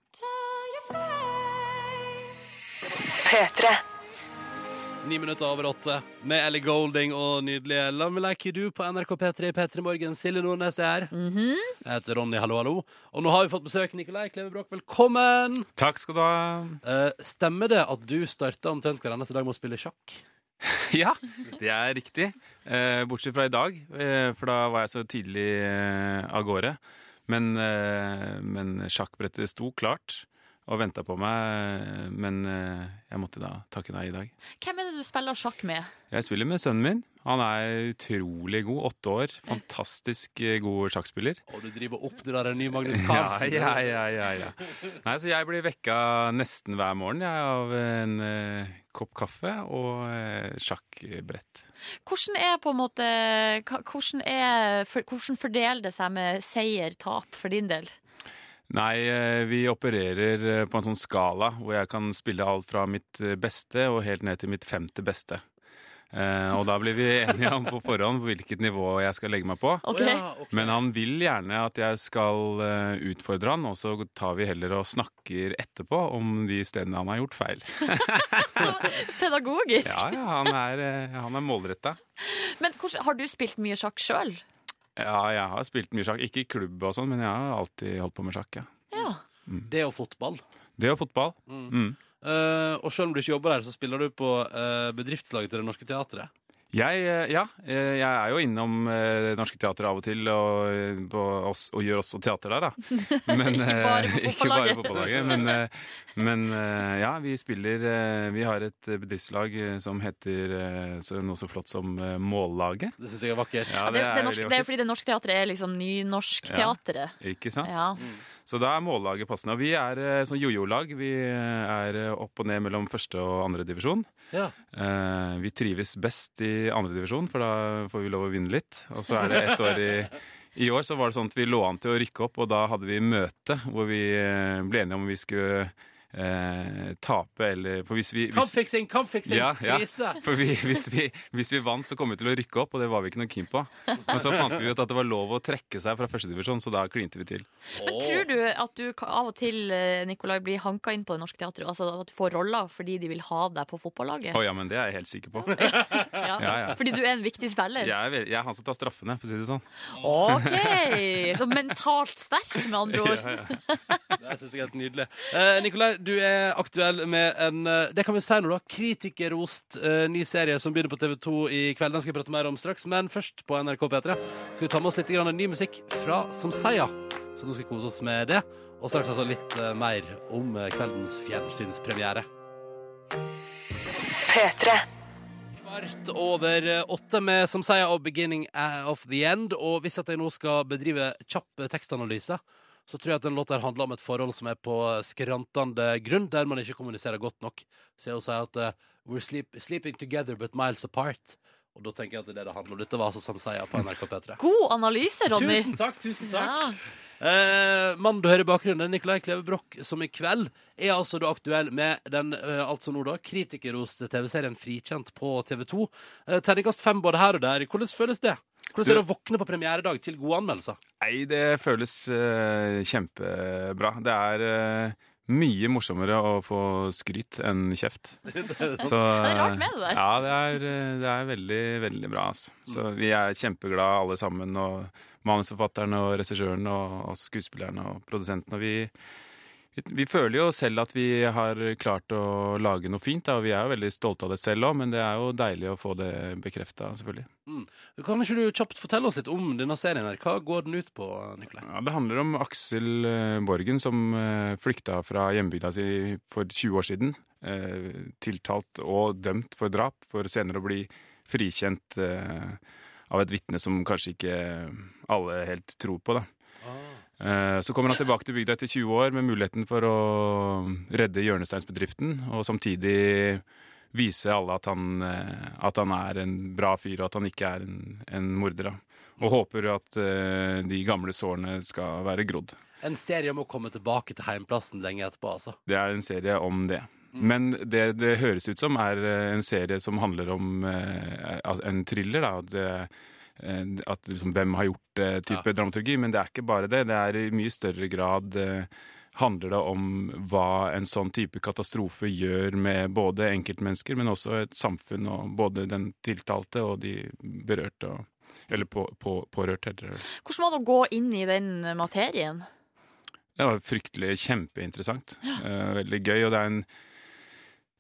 [SPEAKER 2] Ni minutter over åtte med Ellie Golding og nydelige La me like you do på NRK P3 P3 Morgen. Silje Nordnes er her.
[SPEAKER 8] Mhm.
[SPEAKER 2] Jeg heter Ronny, hallo, hallo. Og nå har vi fått besøk. Nikolai Kleve Broch, velkommen!
[SPEAKER 8] Takk skal du ha.
[SPEAKER 2] Eh, stemmer det at du starta omtrent hver eneste dag med å spille sjakk?
[SPEAKER 8] Ja, det er riktig. Eh, bortsett fra i dag, eh, for da var jeg så tidlig eh, av gårde. Men, eh, men sjakkbrettet sto klart og venta på meg, men eh, jeg måtte da takke nei i dag.
[SPEAKER 3] Hvem er det du spiller sjakk med?
[SPEAKER 8] Jeg spiller med sønnen min. Han er utrolig god. Åtte år. Fantastisk eh, god sjakkspiller.
[SPEAKER 2] Og du driver og oppdrar en ny Magnus Carlsen?
[SPEAKER 8] Ja, ja, ja, ja, ja. Nei, så jeg blir vekka nesten hver morgen jeg, av en eh, kopp kaffe og eh, sjakkbrett.
[SPEAKER 3] Hvordan er på en måte hva- Hvordan, er, for, hvordan fordeler det seg med seier-tap for din del?
[SPEAKER 8] Nei, eh, vi opererer eh, på en sånn skala hvor jeg kan spille alt fra mitt eh, beste og helt ned til mitt femte beste. Eh, og da blir vi enige om på forhånd hvilket nivå jeg skal legge meg på.
[SPEAKER 3] Ok?
[SPEAKER 2] Å, ja, ok.
[SPEAKER 8] Men han vil gjerne at jeg skal eh, utfordre han, og så tar vi heller og snakker etterpå om de stedene han har gjort feil.
[SPEAKER 3] Pedagogisk.
[SPEAKER 8] Ja, ja, han er, eh, han er målretta.
[SPEAKER 3] Men hvordan, har du spilt mye sjakk sjøl?
[SPEAKER 8] Ja, jeg har spilt mye sjakk. Ikke i klubb og sånn, men jeg har alltid holdt på med sjakk. Ja.
[SPEAKER 3] Ja.
[SPEAKER 2] Det og fotball.
[SPEAKER 8] Det og fotball. Mm.
[SPEAKER 2] Eh, og selv om du ikke jobber her, så spiller du på eh, bedriftslaget til Det Norske Teatret.
[SPEAKER 8] Jeg, eh, ja, eh, jeg er jo innom eh, Norske Teater av og til, og, eh, på oss, og gjør også teater der, da. Men,
[SPEAKER 3] Ikke
[SPEAKER 8] eh,
[SPEAKER 3] bare på
[SPEAKER 8] ikke bare
[SPEAKER 3] fotballaget.
[SPEAKER 8] på fotballaget. Men, eh, men eh, ja, vi spiller eh, Vi har et bedriftslag eh, som heter eh, så- noe så flott som eh, Mållaget.
[SPEAKER 2] Det syns jeg er vakkert.
[SPEAKER 8] Ja,
[SPEAKER 3] det, det, er norsk,
[SPEAKER 8] veldig
[SPEAKER 3] det er
[SPEAKER 8] vakkert.
[SPEAKER 3] fordi det norske teatret er liksom nynorsk
[SPEAKER 8] Ja.
[SPEAKER 3] teatret.
[SPEAKER 8] Ikke sant?
[SPEAKER 3] Ja.
[SPEAKER 8] Så da er mållaget passende. Og vi er eh, sånn jojo-lag. Vi eh, er eh, opp og ned mellom første og andre divisjon.
[SPEAKER 2] Ja.
[SPEAKER 8] Eh, Vi trives best i andre divisjon, for da får vi lov å vinne litt. Og så er det ett år i I år så var det sånn at vi lå an til å rykke opp, og da hadde vi møte hvor vi eh, ble enige om vi skulle eh, tape eller For hvis vi hvis,
[SPEAKER 2] Kampfiksing, kampfiksing,
[SPEAKER 8] Ja, ja.
[SPEAKER 2] krise!
[SPEAKER 8] for vi, hvis, vi, hvis vi vant, så kom vi til å rykke opp, og det var vi ikke noe keen på. Men så fant vi ut at det var lov å trekke seg fra førstedivisjon, så da klinte vi til.
[SPEAKER 3] Men tror du at du ka- av og til eh, Nikolai, blir hanka inn på det norske teatret? Altså at du får roller fordi de vil ha deg på fotballaget?
[SPEAKER 8] Å ja, men det er jeg helt sikker på.
[SPEAKER 3] Ja.
[SPEAKER 8] ja, ja.
[SPEAKER 3] Fordi du er en viktig spiller?
[SPEAKER 8] Jeg er, vel- jeg er han som tar straffene, for å si det sånn.
[SPEAKER 3] OK! Så mentalt sterk, med andre ord.
[SPEAKER 2] Det synes jeg er helt nydelig. Eh, Nikolai, du er aktuell med en eh, Det kan vi si nå, da. Kritikerrost, eh, ny serie som begynner på TV2 i kveld. Den skal jeg prate mer om straks, men først på NRK P3 skal vi ta med oss litt grann ny musikk fra Samseia. Så nå skal vi kose oss med det. Og straks altså litt eh, mer om eh, kveldens fjernsynspremiere. Kvart over eh, åtte med Samseia og Beginning eh, of the End. Og hvis at jeg nå skal bedrive kjapp eh, tekstanalyse så tror jeg at den låta her handler om et forhold som er på eh, skrantende grunn, der man ikke kommuniserer godt nok. Så jeg vil si at eh, We're sleep, sleeping together but miles apart. Og da tenker jeg at det er det det handler om. Dette var altså Samseia på NRK P3.
[SPEAKER 3] God analyse, Ronny.
[SPEAKER 2] Tusen takk, tusen takk.
[SPEAKER 3] Ja.
[SPEAKER 2] Eh, Mannen du hører i bakgrunnen, Nicolai Kleve Broch, som i kveld er altså da aktuell med den eh, altså nå da kritikerroste TV-serien Frikjent på TV2. Eh, Terningkast fem både her og der. Hvordan føles det? Hvordan er det å våkne på premieredag til gode anmeldelser?
[SPEAKER 8] Nei, det føles eh, kjempebra. Det er eh, mye morsommere å få skryt enn kjeft. Så,
[SPEAKER 3] Det er rart med det der.
[SPEAKER 8] Ja, det er, eh, det er veldig, veldig bra. Altså. Så vi er kjempeglade alle sammen, og manusforfatterne og regissøren og, og skuespillerne og produsenten. Og vi, vi, vi føler jo selv at vi har klart å lage noe fint, da, og vi er jo veldig stolte av det selv òg, men det er jo deilig å få det bekrefta, selvfølgelig.
[SPEAKER 2] Kan ikke du kjapt fortelle oss litt om denne serien her? Hva går den ut på, Nikolai?
[SPEAKER 8] Ja, det handler om Aksel eh, Borgen som eh, flykta fra hjembygda si for 20 år siden. eh, Tiltalt og dømt for drap, for senere å bli frikjent eh, av et vitne som kanskje ikke alle helt tror på. Da. Eh, Så kommer han tilbake til bygda etter 20 år med muligheten for å redde hjørnesteinsbedriften, og samtidig vise alle at han, eh, at han er en bra fyr, og at han ikke er en, en morder. Da. Og håper at eh, de gamle sårene skal være grodd.
[SPEAKER 2] En serie om å komme tilbake til heimplassen lenge etterpå, altså.
[SPEAKER 8] Det er en serie om det. Men det det høres ut som, er eh, en serie som handler om eh, al- en thriller. Da, at det, eh, at liksom, hvem har gjort det, type dramaturgi. Men det er ikke bare det. Det er i mye større grad eh, handler det om hva en sånn type katastrofe gjør med både enkeltmennesker, men også et samfunn og både den tiltalte og de berørte. Og, eller på, på, pårørte. heter det vel.
[SPEAKER 3] Hvordan var det å gå inn i den materien?
[SPEAKER 8] Det var fryktelig kjempeinteressant. Eh, veldig gøy. Og det er en,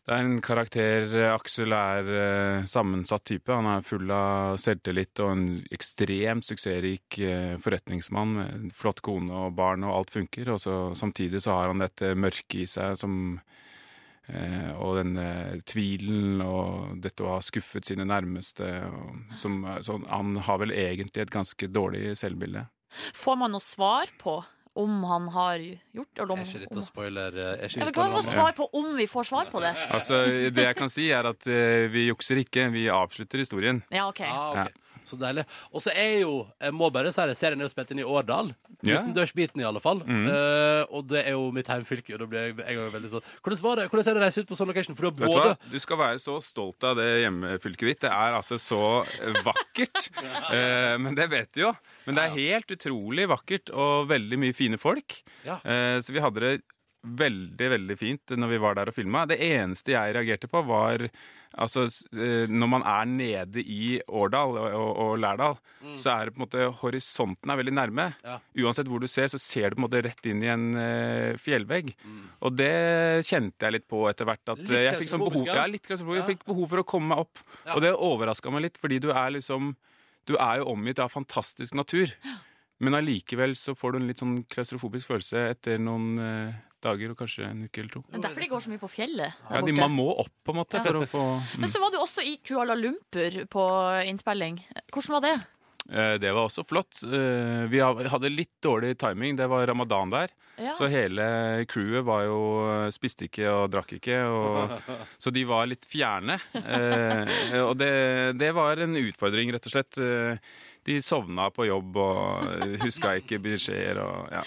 [SPEAKER 8] det er en karakter eh, Aksel er eh, sammensatt type. Han er full av selvtillit og en ekstremt suksessrik eh, forretningsmann. med en Flott kone og barn, og alt funker. Og så, samtidig så har han dette mørket i seg som eh, og denne tvilen og dette å ha skuffet sine nærmeste. Og, som, er sånn- han har vel egentlig et ganske dårlig selvbilde.
[SPEAKER 3] Får man noe svar på om han har gjort det? eller om-
[SPEAKER 2] Er ikke dette
[SPEAKER 3] om-
[SPEAKER 2] spoiler? eh, Er
[SPEAKER 3] Ja,
[SPEAKER 2] ikke
[SPEAKER 3] men
[SPEAKER 2] dette
[SPEAKER 3] Kan vi få
[SPEAKER 2] noe-
[SPEAKER 3] svar på om vi får svar på det?
[SPEAKER 8] Altså, Det jeg kan si, er at eh, vi jukser ikke. Vi avslutter historien.
[SPEAKER 3] Ja, OK.
[SPEAKER 2] Ah, ok. Så deilig. Og så er jo, jeg må bare si det, serien er jo spilt inn i Årdal.
[SPEAKER 8] Ja. Mhm.
[SPEAKER 2] Utendørsbiten, i alle fall. Eh, og det er jo mitt heimfylke, og da blir jeg en gang veldig sånn Hvordan var det Hvordan er det å reise ut på sånn location? For du har
[SPEAKER 8] Vet du hva?
[SPEAKER 2] både
[SPEAKER 8] Du skal være så stolt av det hjemmefylket ditt. Det er altså så vakkert. Eh, men det vet du jo. Men det er helt utrolig vakkert og veldig mye fine folk.
[SPEAKER 2] Ja.
[SPEAKER 8] Eh, så vi hadde det veldig, veldig fint når vi var der og filma. Det eneste jeg reagerte på, var altså s- eh, når man er nede i Årdal og, og, og Lærdal, så er det på en måte horisonten er veldig nærme.
[SPEAKER 2] Mm. Ja.
[SPEAKER 8] Uansett hvor du ser, så ser du på en måte rett inn i en eh, fjellvegg. Og det kjente jeg litt på etter hvert. At
[SPEAKER 2] Mm. Litt
[SPEAKER 8] eh, jeg fikk sånn
[SPEAKER 2] klaustrofobisk,
[SPEAKER 8] behov,
[SPEAKER 2] ja.
[SPEAKER 8] ja, litt klaustrofobisk.
[SPEAKER 2] Ja.
[SPEAKER 8] Jeg fikk behov for å komme meg opp. Og det overraska meg litt, fordi du er liksom Du er jo omgitt av fantastisk natur. Men allikevel så får du en litt sånn klaustrofobisk følelse etter noen eh, dager og kanskje en uke eller to.
[SPEAKER 3] Men derfor de går så mye på fjellet. der
[SPEAKER 8] Ja, de,
[SPEAKER 3] borte.
[SPEAKER 8] man må opp på en måte for å få
[SPEAKER 3] Men
[SPEAKER 8] mm.
[SPEAKER 3] så var du også i Kuala Lumpur på innspilling. Hvordan var det?
[SPEAKER 8] Eh, Det var også flott. Eh, Vi ha- hadde litt dårlig timing. Det var ramadan der.
[SPEAKER 3] Ja.
[SPEAKER 8] Så hele crewet var jo eh, spiste ikke og drakk ikke, og, så de var litt fjerne. Eh, og det, det var en utfordring, rett og slett. Eh, De sovna på jobb og huska ikke beskjeder og ja.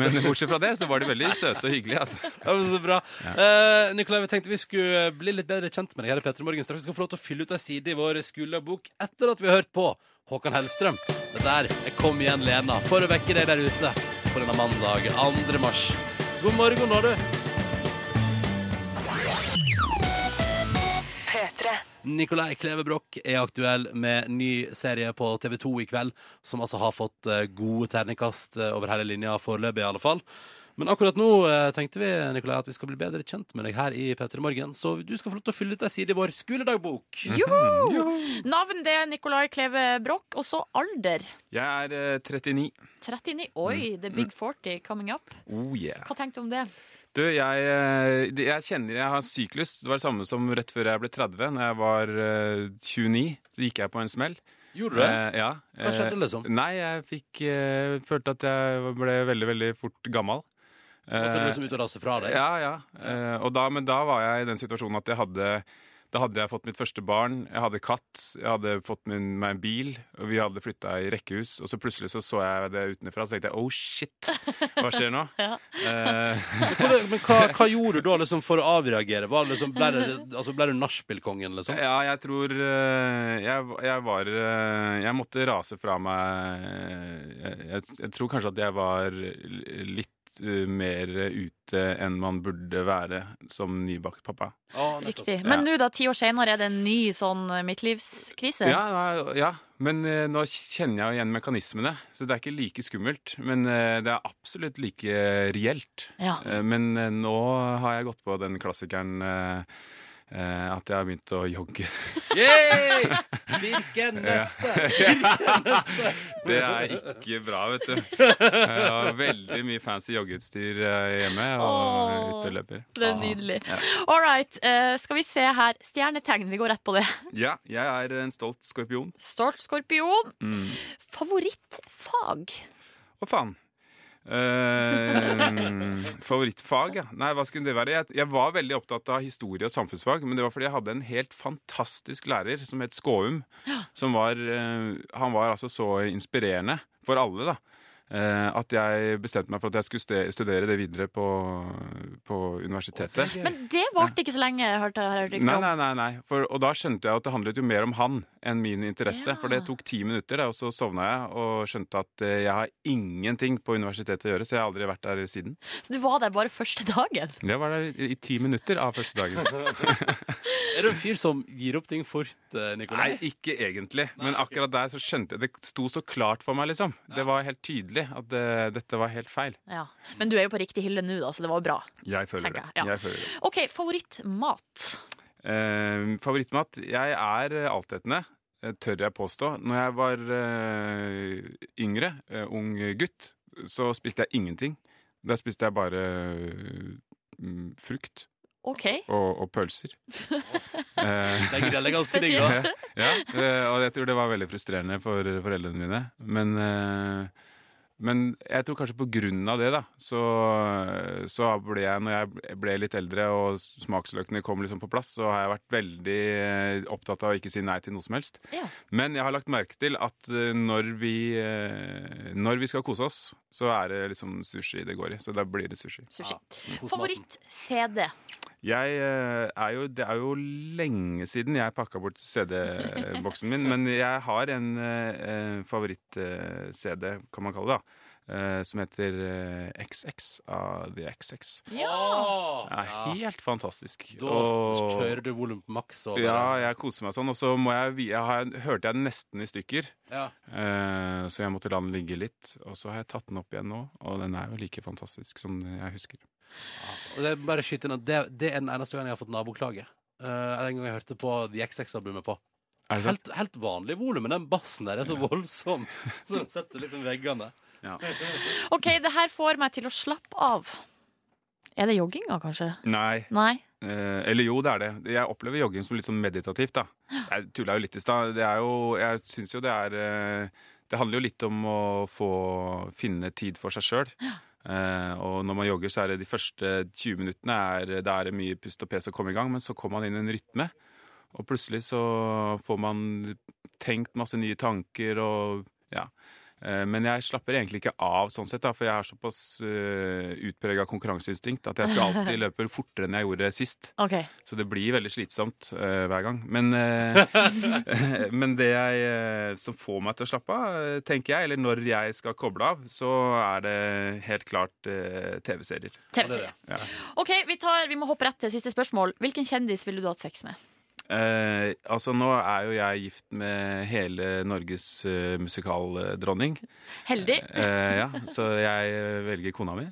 [SPEAKER 8] Men bortsett fra det, så var de veldig søte og hyggelige, altså.
[SPEAKER 2] Ja, men så bra. Eh, Nikolai, vi tenkte vi skulle bli litt bedre kjent med deg her i Petter Morgen. Straks skal vi få lov til å fylle ut ei side i vår skolebok etter at vi har hørt på Håkan Hellstrøm. Det der er Kom igjen, Lena, for å vekke deg der ute på denne mandag 2. mars. God morgen, nå, du. Nikolai Kleve Broch er aktuell med ny serie på TV2 i kveld, som altså har fått eh, gode terningkast eh, over hele linja foreløpig, i alle fall. Men akkurat nå eh, tenkte vi Nikolai, at vi skal bli bedre kjent med deg her i P3 Morgen, så du skal få lov til å fylle ut ei side i vår skoledagbok.
[SPEAKER 3] Joho! Navn det er Nicolai Kleve Broch, og så alder.
[SPEAKER 8] Jeg er eh, 39.
[SPEAKER 3] 39.
[SPEAKER 8] Mm.
[SPEAKER 3] Oi, the big 40 coming up.
[SPEAKER 8] Oh yeah.
[SPEAKER 3] Hva tenkte du om det?
[SPEAKER 8] Du, jeg, eh, det- jeg kjenner jeg har syklus. Det var det samme som rett før jeg ble 30, når jeg var eh, 29. Så gikk jeg på en smell.
[SPEAKER 2] Gjorde du det?
[SPEAKER 8] Eh, ja.
[SPEAKER 2] Hva skjedde,
[SPEAKER 8] Eh,
[SPEAKER 2] liksom?
[SPEAKER 8] Nei, jeg fikk eh, Følte at jeg ble veldig, veldig fort gammel.
[SPEAKER 2] Måtte du
[SPEAKER 8] Eh,
[SPEAKER 2] liksom ut og rase fra deg?
[SPEAKER 8] ja, ja. Eh, og da, men da var jeg i den situasjonen at jeg hadde da hadde jeg fått mitt første barn, jeg hadde katt, jeg hadde fått min, meg en bil, og vi hadde flytta i rekkehus. Og så plutselig så, så jeg det utenfra, så tenkte jeg oh shit, hva skjer nå? Eh,
[SPEAKER 2] Men hvordan- Men hva, hva gjorde du da liksom for å avreagere? Var det liksom, ble, det, altså, ble du nachspielkongen, liksom?
[SPEAKER 8] Ja, jeg tror eh, jeg, jeg var eh, Jeg måtte rase fra meg eh, jeg, jeg tror kanskje at jeg var l- litt eh, mer ute enn man burde være som nybakt pappa.
[SPEAKER 2] Ah,
[SPEAKER 3] Riktig. Men nå, da, ti år senere, er det en ny sånn eh, midtlivskrise?
[SPEAKER 8] Ja, nei, ja, men eh, nå kjenner jeg jo igjen mekanismene, så det er ikke like skummelt. Men eh, det er absolutt like reelt.
[SPEAKER 3] Ja.
[SPEAKER 8] Eh, Men eh, nå har jeg gått på den klassikeren eh, eh, at jeg har begynt å jogge.
[SPEAKER 2] Yay! Hvilken neste?
[SPEAKER 8] Det er ikke bra, vet du. Jeg har veldig mye fancy joggeutstyr eh, hjemme og
[SPEAKER 3] Åh.
[SPEAKER 8] ute og løper.
[SPEAKER 3] Det er nydelig.
[SPEAKER 8] Ah,
[SPEAKER 3] All right, eh, skal vi se her. Stjernetegn, vi går rett på det.
[SPEAKER 8] Ah. Ja, jeg er en stolt skorpion.
[SPEAKER 3] Stolt skorpion.
[SPEAKER 8] Mm.
[SPEAKER 3] Favorittfag?
[SPEAKER 8] Å, faen. Eh, favorittfag, ja. Nei, hva skulle det være? Jeg, jeg var veldig opptatt av historie og samfunnsfag, men det var fordi jeg hadde en helt fantastisk lærer som het Skåum. Som var eh, Han var altså så inspirerende for alle, da. eh, at jeg bestemte meg for at jeg skulle ste- studere det videre på, på universitetet.
[SPEAKER 3] Men det varte ikke så lenge, hørte jeg. Hørte
[SPEAKER 8] Nei,
[SPEAKER 3] ikke om.
[SPEAKER 8] nei, nei, nei. For, og da skjønte jeg at det handlet jo mer om han enn min interesse.
[SPEAKER 3] Ja.
[SPEAKER 8] For det tok ti minutter, det, og så sovna jeg og skjønte at eh, jeg har ingenting på universitetet å gjøre, så jeg har aldri vært der siden.
[SPEAKER 3] Så du var der bare første dagen?
[SPEAKER 8] Jeg var der i, i ti minutter av første dagen.
[SPEAKER 2] Er du en fyr som gir opp ting fort, eh,
[SPEAKER 8] Nei,
[SPEAKER 2] Nikolai?
[SPEAKER 8] ikke egentlig. Men akkurat der så skjønte jeg Det sto så klart for meg, liksom. Det var helt tydelig at eh, dette var helt feil.
[SPEAKER 3] Ja. Men du er jo på riktig hylle nå, da, så det var jo bra.
[SPEAKER 8] Jeg føler det.
[SPEAKER 3] Tenker jeg, ja.
[SPEAKER 8] Jeg føler det.
[SPEAKER 3] OK, favorittmat.
[SPEAKER 8] Eh, favorittmat? Jeg er eh, altetende. eh, Tør jeg påstå. Når jeg var eh, yngre, eh, ung gutt, så spiste jeg ingenting. Da spiste jeg bare mm, frukt
[SPEAKER 3] OK.
[SPEAKER 8] og, og pølser. Eh,
[SPEAKER 2] Det er grell, det er ganske digg, da.
[SPEAKER 3] Spesielt.
[SPEAKER 8] ja, eh, og jeg tror det var veldig frustrerende for eh, foreldrene mine. Men, eh, men jeg tror kanskje på grunn av det, da, så, så ble jeg, når jeg ble litt eldre og smaksløkene kom liksom på plass, så har jeg vært veldig eh, opptatt av å ikke si nei til noe som helst.
[SPEAKER 3] Ja.
[SPEAKER 8] Men jeg har lagt merke til at eh, når vi, eh, når vi skal kose oss, så er det liksom sushi det går i. Så da blir det sushi.
[SPEAKER 3] Sushi.
[SPEAKER 2] Kos maten.
[SPEAKER 3] Favoritt-CD.
[SPEAKER 8] Jeg eh, er jo, det er jo lenge siden jeg pakka bort CD-boksen min, men jeg har en eh, favoritt-CD, kan man kalle det, da, eh, som heter eh, XX av The XX.
[SPEAKER 2] Åh,
[SPEAKER 8] Det er
[SPEAKER 2] ja.
[SPEAKER 8] helt fantastisk.
[SPEAKER 2] Da
[SPEAKER 8] Og-
[SPEAKER 2] kjører du volum på maks. og bare-
[SPEAKER 8] ja, jeg koser meg sånn. Og så må jeg, vi- jeg har, hørte jeg den nesten i stykker,
[SPEAKER 2] Ja.
[SPEAKER 8] eh, så jeg måtte la den ligge litt. Og så har jeg tatt den opp igjen nå, og den er jo like fantastisk som jeg husker.
[SPEAKER 2] Og det, er bare å skyte inn at det, det er den eneste gangen jeg har fått naboklage. Eh, den gangen jeg hørte på The XX-albumet på.
[SPEAKER 8] Er det sant?
[SPEAKER 2] Helt, helt vanlig volum, men den bassen der er så voldsom. Så den setter liksom veggene.
[SPEAKER 3] OK, det her får meg til å slappe av. Er det jogginga, kanskje?
[SPEAKER 8] Nei.
[SPEAKER 3] Nei?
[SPEAKER 8] Eh, eller jo, det er det. Jeg opplever jogging som litt sånn meditativt, da. Jeg tulla jo litt i stad. Det er jo Jeg syns jo det er eh, Det handler jo litt om å få finne tid for seg sjøl. og når man jogger, så er det de første 20 minuttene er, Da er det mye pust og pes å komme i gang, men så kommer man inn i en rytme. Og plutselig så får man tenkt masse nye tanker og ja. Eh, Men jeg slapper egentlig ikke av, sånn sett, da, for jeg har såpass uh, utprega konkurranseinstinkt at jeg skal alltid løpe fortere enn jeg gjorde sist.
[SPEAKER 3] OK.
[SPEAKER 8] Så det blir veldig slitsomt eh, hver gang. Men, eh, men det jeg, eh, som får meg til å slappe av, eh, tenker jeg, eller når jeg skal koble av, så er det helt klart eh, TV-serier.
[SPEAKER 3] TV-serie.
[SPEAKER 8] Ja.
[SPEAKER 3] OK, vi, tar, vi må hoppe rett til siste spørsmål. Hvilken kjendis ville du hatt sex med?
[SPEAKER 8] Eh, altså, nå er jo jeg gift med hele Norges eh, musikaldronning.
[SPEAKER 3] Heldig?
[SPEAKER 8] Eh, ja, så jeg eh, velger kona mi.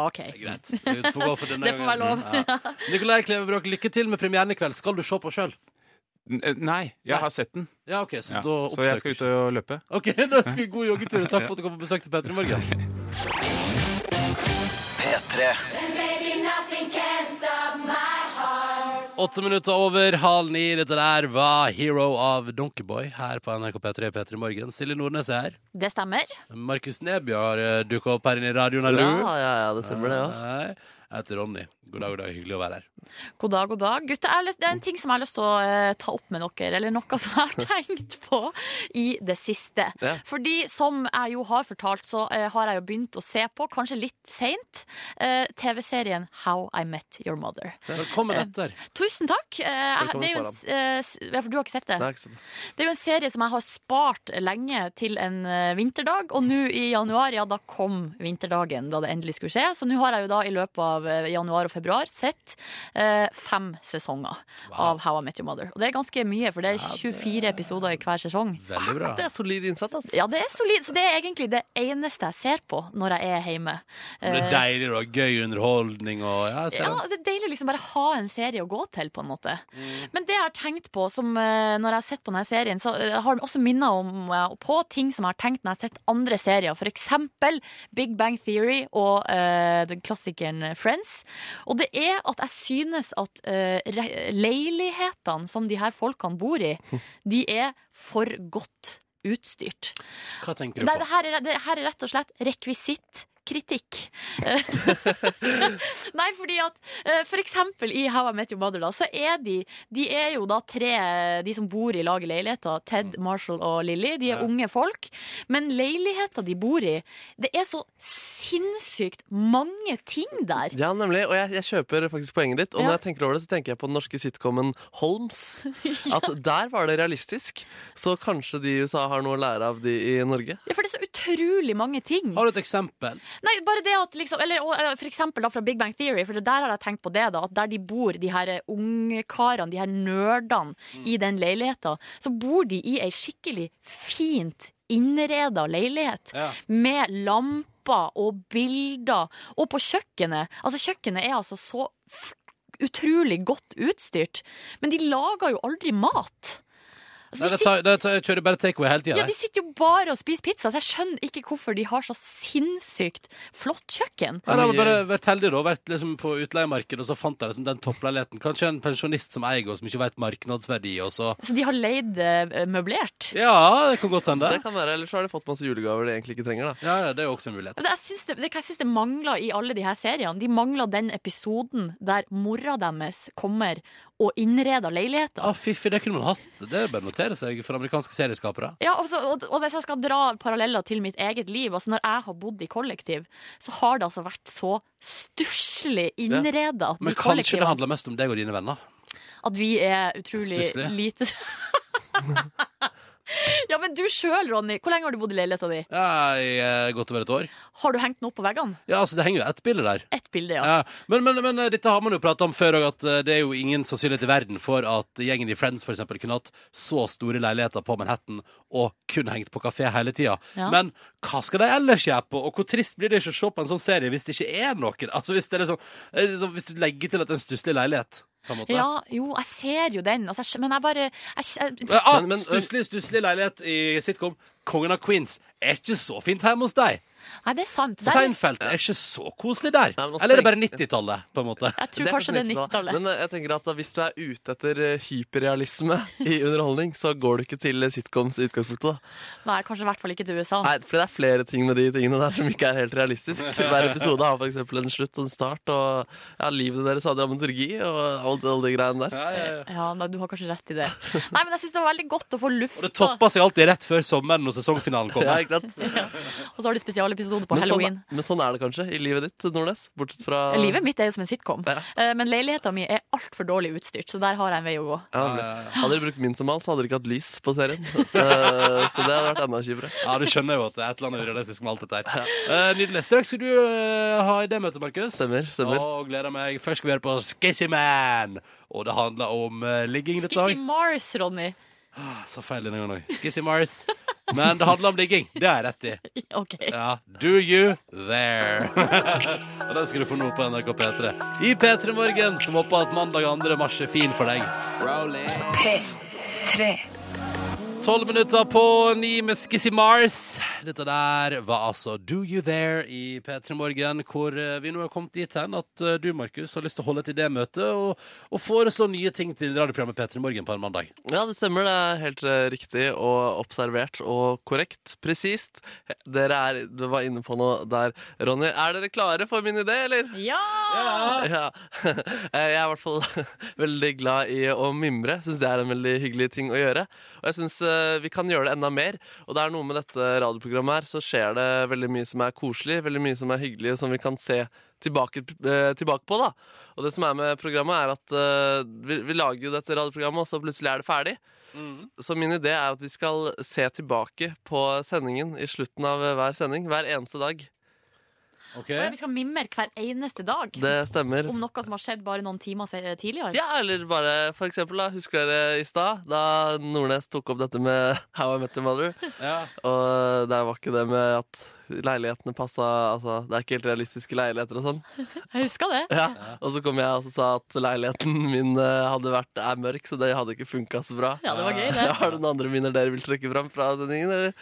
[SPEAKER 3] OK.
[SPEAKER 2] Greit. Det får gå for denne
[SPEAKER 3] Det får være lov.
[SPEAKER 2] gangen. eh. Ja. Nikolai Klevebrok, lykke til med premieren i kveld. Skal du se på sjøl?
[SPEAKER 8] N eh, nei, jeg
[SPEAKER 2] Nei.
[SPEAKER 8] har sett den.
[SPEAKER 2] Ja, OK, så
[SPEAKER 8] Ja.
[SPEAKER 2] da
[SPEAKER 8] Så jeg skal ut
[SPEAKER 2] oppsøker
[SPEAKER 8] og løpe.
[SPEAKER 2] OK, da skal vi god joggetur. og Takk for at du kom på besøk til Petter i morgen.
[SPEAKER 1] P3.
[SPEAKER 2] Åtte minutter over halv ni. Dette der var Hero av Donkeyboy her på NRK P3 Petter i morgen. Silje Nordnes er her.
[SPEAKER 3] Det stemmer.
[SPEAKER 2] Markus Neby har eh, dukket opp her inne i radioen. Er
[SPEAKER 4] Ja,
[SPEAKER 2] du?
[SPEAKER 4] ja, ja, det stemmer det, ja.
[SPEAKER 2] Nei. Jeg heter Ronny. God dag, god dag. Hyggelig å være her.
[SPEAKER 3] God dag, god dag. Gutter, jeg har lyst- det er en ting som jeg har lyst til å eh, ta opp med dere, eller noe som jeg har tenkt på i det siste.
[SPEAKER 4] Ja.
[SPEAKER 3] Fordi som jeg jo har fortalt, så eh, har jeg jo begynt å se på, kanskje litt seint, eh, TV-serien How I Met Your Mother.
[SPEAKER 2] Velkommen etter.
[SPEAKER 3] Tusen takk! Eh, jeg, det er jo en, s- eh, s- ja, for du har ikke sett det?
[SPEAKER 4] Nei, ikke sant.
[SPEAKER 3] Det er jo en serie som jeg har spart lenge til en eh, vinterdag, og nå i januar, ja da kom vinterdagen da det endelig skulle skje. Så nå har jeg jo da i løpet av eh, januar og februar sett eh, fem sesonger av How I Met Your Mother. Og det er ganske mye, for det er 24 episoder i hver sesong.
[SPEAKER 2] Veldig bra.
[SPEAKER 4] Det er solid innsats, ass.
[SPEAKER 3] Ja, det er solid, så det er egentlig det eneste jeg ser på når jeg er hjemme.
[SPEAKER 2] Det
[SPEAKER 3] Eh,
[SPEAKER 2] er deilig og gøy underholdning og Ja, jeg ser
[SPEAKER 3] ja,
[SPEAKER 2] den.
[SPEAKER 3] det er deilig å liksom bare ha en serie å gå til, på en måte.
[SPEAKER 2] Mm.
[SPEAKER 3] Men det jeg har tenkt på, som eh, når jeg har sett på denne serien, så eh, har den også minnet om eh, på ting som jeg har tenkt når jeg har sett andre serier, for eksempel Big Bang Theory og eh, den klassikeren Friends. Og det er at jeg synes at eh, re- leilighetene som de her folkene bor i, de er for godt utstyrt.
[SPEAKER 2] Hva tenker du
[SPEAKER 3] Nei, det
[SPEAKER 2] på?
[SPEAKER 3] her, er, det her er rett og slett rekvisittkritikk Nei, fordi at eh, For eksempel i How I Met Your Mother da, Så er de, de er jo da tre De som bor i lag i leiligheter Ted, Marshall og Lily, de er unge folk Men leiligheter de bor i Det er så sinnssykt Mange ting der
[SPEAKER 4] Ja, nemlig. Og jeg, jeg kjøper faktisk poenget ditt. Og
[SPEAKER 3] Ja.
[SPEAKER 4] når jeg tenker over det, så tenker jeg på den norske sitcomen Holmes. At der var det realistisk. Så kanskje de i USA har noe å lære av de i Norge.
[SPEAKER 3] Ja, for det er så utrolig mange ting
[SPEAKER 2] Har du et eksempel?
[SPEAKER 3] Nei, bare det at liksom Eller og, eh, for eksempel da fra Big Bang Theory, for det der har jeg tenkt på det, da. At der de bor, de her eh, ungkarene, de her nerdene,
[SPEAKER 2] Mm.
[SPEAKER 3] i den leiligheta, så bor de i ei skikkelig fint innreda leilighet.
[SPEAKER 2] Ja.
[SPEAKER 3] Med lamper og bilder. Og på kjøkkenet. Altså, kjøkkenet er altså så f utrolig godt utstyrt, men de lager jo aldri mat. Altså,
[SPEAKER 2] Nei,
[SPEAKER 3] de
[SPEAKER 2] det tar, det tar, jeg kjører bare takeaway hele tida.
[SPEAKER 3] ja, De sitter jo bare og spiser pizza, så jeg skjønner ikke hvorfor de har så sinnssykt flott kjøkken.
[SPEAKER 2] Nei, da har jeg bare vært heldig da, vært liksom på utleiemarkedet, og så fant jeg liksom den toppleiligheten. Kanskje en pensjonist som eier og som ikke vet markedsverdi, og så
[SPEAKER 3] Så Altså, de har leid eh, møblert.
[SPEAKER 2] Ja, det kan godt hende.
[SPEAKER 4] Det kan være, Eller så har de fått masse julegaver de egentlig ikke trenger. da
[SPEAKER 2] Ja, ja, det er jo også en mulighet.
[SPEAKER 3] Altså, Jeg syns det, det, jeg syns det mangler i alle de her seriene. De mangler den episoden der mora deres kommer og innreder leiligheter.
[SPEAKER 2] Ja, Fiffi, det kunne man hatt. Det er bare å notere seg for amerikanske serieskapere.
[SPEAKER 3] Ja, altså, og, og hvis jeg skal dra paralleller til mitt eget liv altså Når jeg har bodd i kollektiv, så har det altså vært så stusslig innreda
[SPEAKER 2] Men kanskje det
[SPEAKER 3] de kollektivene
[SPEAKER 2] handler mest om deg og dine venner.
[SPEAKER 3] at vi er utrolig
[SPEAKER 2] Stusslig.
[SPEAKER 3] lite Ja, men du sjøl, Ronny, hvor lenge har du bodd i leiligheta di?
[SPEAKER 2] Ja, i eh, godt over et år.
[SPEAKER 3] Har du hengt den opp på veggene?
[SPEAKER 2] Ja, altså, det henger jo ett bilde der.
[SPEAKER 3] Ett bilde, ja.
[SPEAKER 2] Ja. Men, men, men eh, dette har man jo prata om før òg, at eh, det er jo ingen sannsynlighet i verden for at gjengen i Friends for eksempel, kunne hatt så store leiligheter på Manhattan og kun hengt på kafé hele tida.
[SPEAKER 3] Ja.
[SPEAKER 2] Men hva skal de ellers gjøre på, og hvor trist blir det ikke å se på en sånn serie hvis det ikke er noen? Altså Hvis, det er liksom, eh, liksom, hvis du legger til at det er en stusslig leilighet, på en måte.
[SPEAKER 3] Ja, jo, jeg ser jo den, altså, jeg, skj- men jeg bare jeg, skj-
[SPEAKER 2] Eh, Ah,
[SPEAKER 4] Men- men-
[SPEAKER 2] stusslig, stusslig leilighet i sitcom. Kongen av Queens er ikke så fint hjemme hos deg.
[SPEAKER 3] Nei, det er sant. Det er,
[SPEAKER 2] Seinfeld er ikke så koselig der.
[SPEAKER 4] Nei, men nå
[SPEAKER 2] Eller er det bare
[SPEAKER 4] spreng-
[SPEAKER 2] 90-tallet, på en måte?
[SPEAKER 3] jeg tror
[SPEAKER 4] er
[SPEAKER 3] kanskje det er 90-tallet.
[SPEAKER 4] Men eh, jeg tenker at da, hvis du er ute etter eh, hyperrealisme i underholdning, så går du ikke til eh, sitcoms i utgangspunktet. da
[SPEAKER 3] Nei, kanskje i hvert fall ikke til USA.
[SPEAKER 4] Nei, For det er flere ting med de tingene der som ikke er helt realistisk. Hver episode har for eksempel en slutt og en start, og ja, livet deres har dramaturgi og alt, alle de greiene der.
[SPEAKER 2] Ja, ja, ja.
[SPEAKER 3] Ja, nei, Du har kanskje rett i det. Nei, men jeg syns det var veldig godt å få
[SPEAKER 2] Og det
[SPEAKER 3] lufta.
[SPEAKER 2] toppa seg alltid rett før sommeren og sesongfinalen
[SPEAKER 4] Ja,
[SPEAKER 2] kommer.
[SPEAKER 4] ikke sant?
[SPEAKER 3] Og så har de spesialepisode på
[SPEAKER 4] Men
[SPEAKER 3] halloween.
[SPEAKER 4] Sånn, men sånn er det kanskje i livet ditt, Nordnes? Bortsett fra
[SPEAKER 3] Livet mitt er jo som en sitcom,
[SPEAKER 4] Ja.
[SPEAKER 3] Eh, men leiligheta mi er altfor dårlig utstyrt, så der har jeg en vei å gå.
[SPEAKER 4] Ja, nemlig. hadde dere brukt min som mal, så hadde dere ikke hatt lys på serien. Eh, så det hadde vært enda kjipere.
[SPEAKER 2] Ja, du skjønner jo at det er et eller annet urealistisk med alt dette her. Eh, nydelig. Straks skal du eh, ha idémøte, Markus.
[SPEAKER 4] Stemmer, stemmer.
[SPEAKER 2] Og gleder meg. Først skal vi høre på Skissy Man. Og det handler om eh, ligging dette
[SPEAKER 3] Skissy
[SPEAKER 2] òg.
[SPEAKER 3] Mars, Ronny.
[SPEAKER 2] Så feil denne gangen òg. Skissy Mars. Men det handler om ligging. Det har jeg rett i.
[SPEAKER 3] OK.
[SPEAKER 2] Ja, Do you there? Og den skal du få nå på NRK P3. I P3 Morgen, som håper at mandag 2. mars er fin for deg. Tolv minutter på ni med Skissy Mars. Dette der var altså Do You There i P3 Morgen, hvor eh, vi nå har kommet dit hen at eh, du, Markus, har lyst til å holde et idémøte og, og foreslå nye ting til radioprogrammet P3 Morgen på en mandag.
[SPEAKER 4] Ja, det stemmer. Det er helt eh, riktig og observert og korrekt. Presist. Dere er, du var inne på noe der, Ronny. Er dere klare for min idé, eller?
[SPEAKER 5] Ja!
[SPEAKER 4] Ja. Eh, Jeg er i hvert fall veldig glad i å mimre. Syns det er en veldig hyggelig ting å gjøre. Og jeg syns vi kan gjøre det enda mer. Og det er noe med dette radioprogrammet her, så skjer det veldig mye som er koselig, veldig mye som er hyggelig, og som vi kan se tilbake, eh, tilbake på. da. Og det som er med programmet, er at eh, vi, vi lager jo dette radioprogrammet, og så plutselig er det ferdig. Så, så min idé er at vi skal se tilbake på sendingen i slutten av eh, hver sending. Hver eneste dag.
[SPEAKER 2] Ok?
[SPEAKER 3] Å ja, Vi skal mimre hver eneste dag
[SPEAKER 4] Det stemmer.
[SPEAKER 3] om noe som har skjedd bare noen timer se- tidligere.
[SPEAKER 4] Ja, eller bare for eksempel, da, husker dere i stad, da Nordnes tok opp dette med How I Met Your Mother?
[SPEAKER 2] Ja.
[SPEAKER 4] Og der var ikke det med at leilighetene passa Altså, det er ikke helt realistiske leiligheter og sånn.
[SPEAKER 3] Jeg husker det.
[SPEAKER 4] Ja. Og så kom jeg og så sa at leiligheten min eh, hadde vært, er mørk, så det hadde ikke funka så bra.
[SPEAKER 3] Ja, det var gøy, det.
[SPEAKER 4] Ja, Har du noen andre minner dere vil trekke fram fra sendingen? Eller?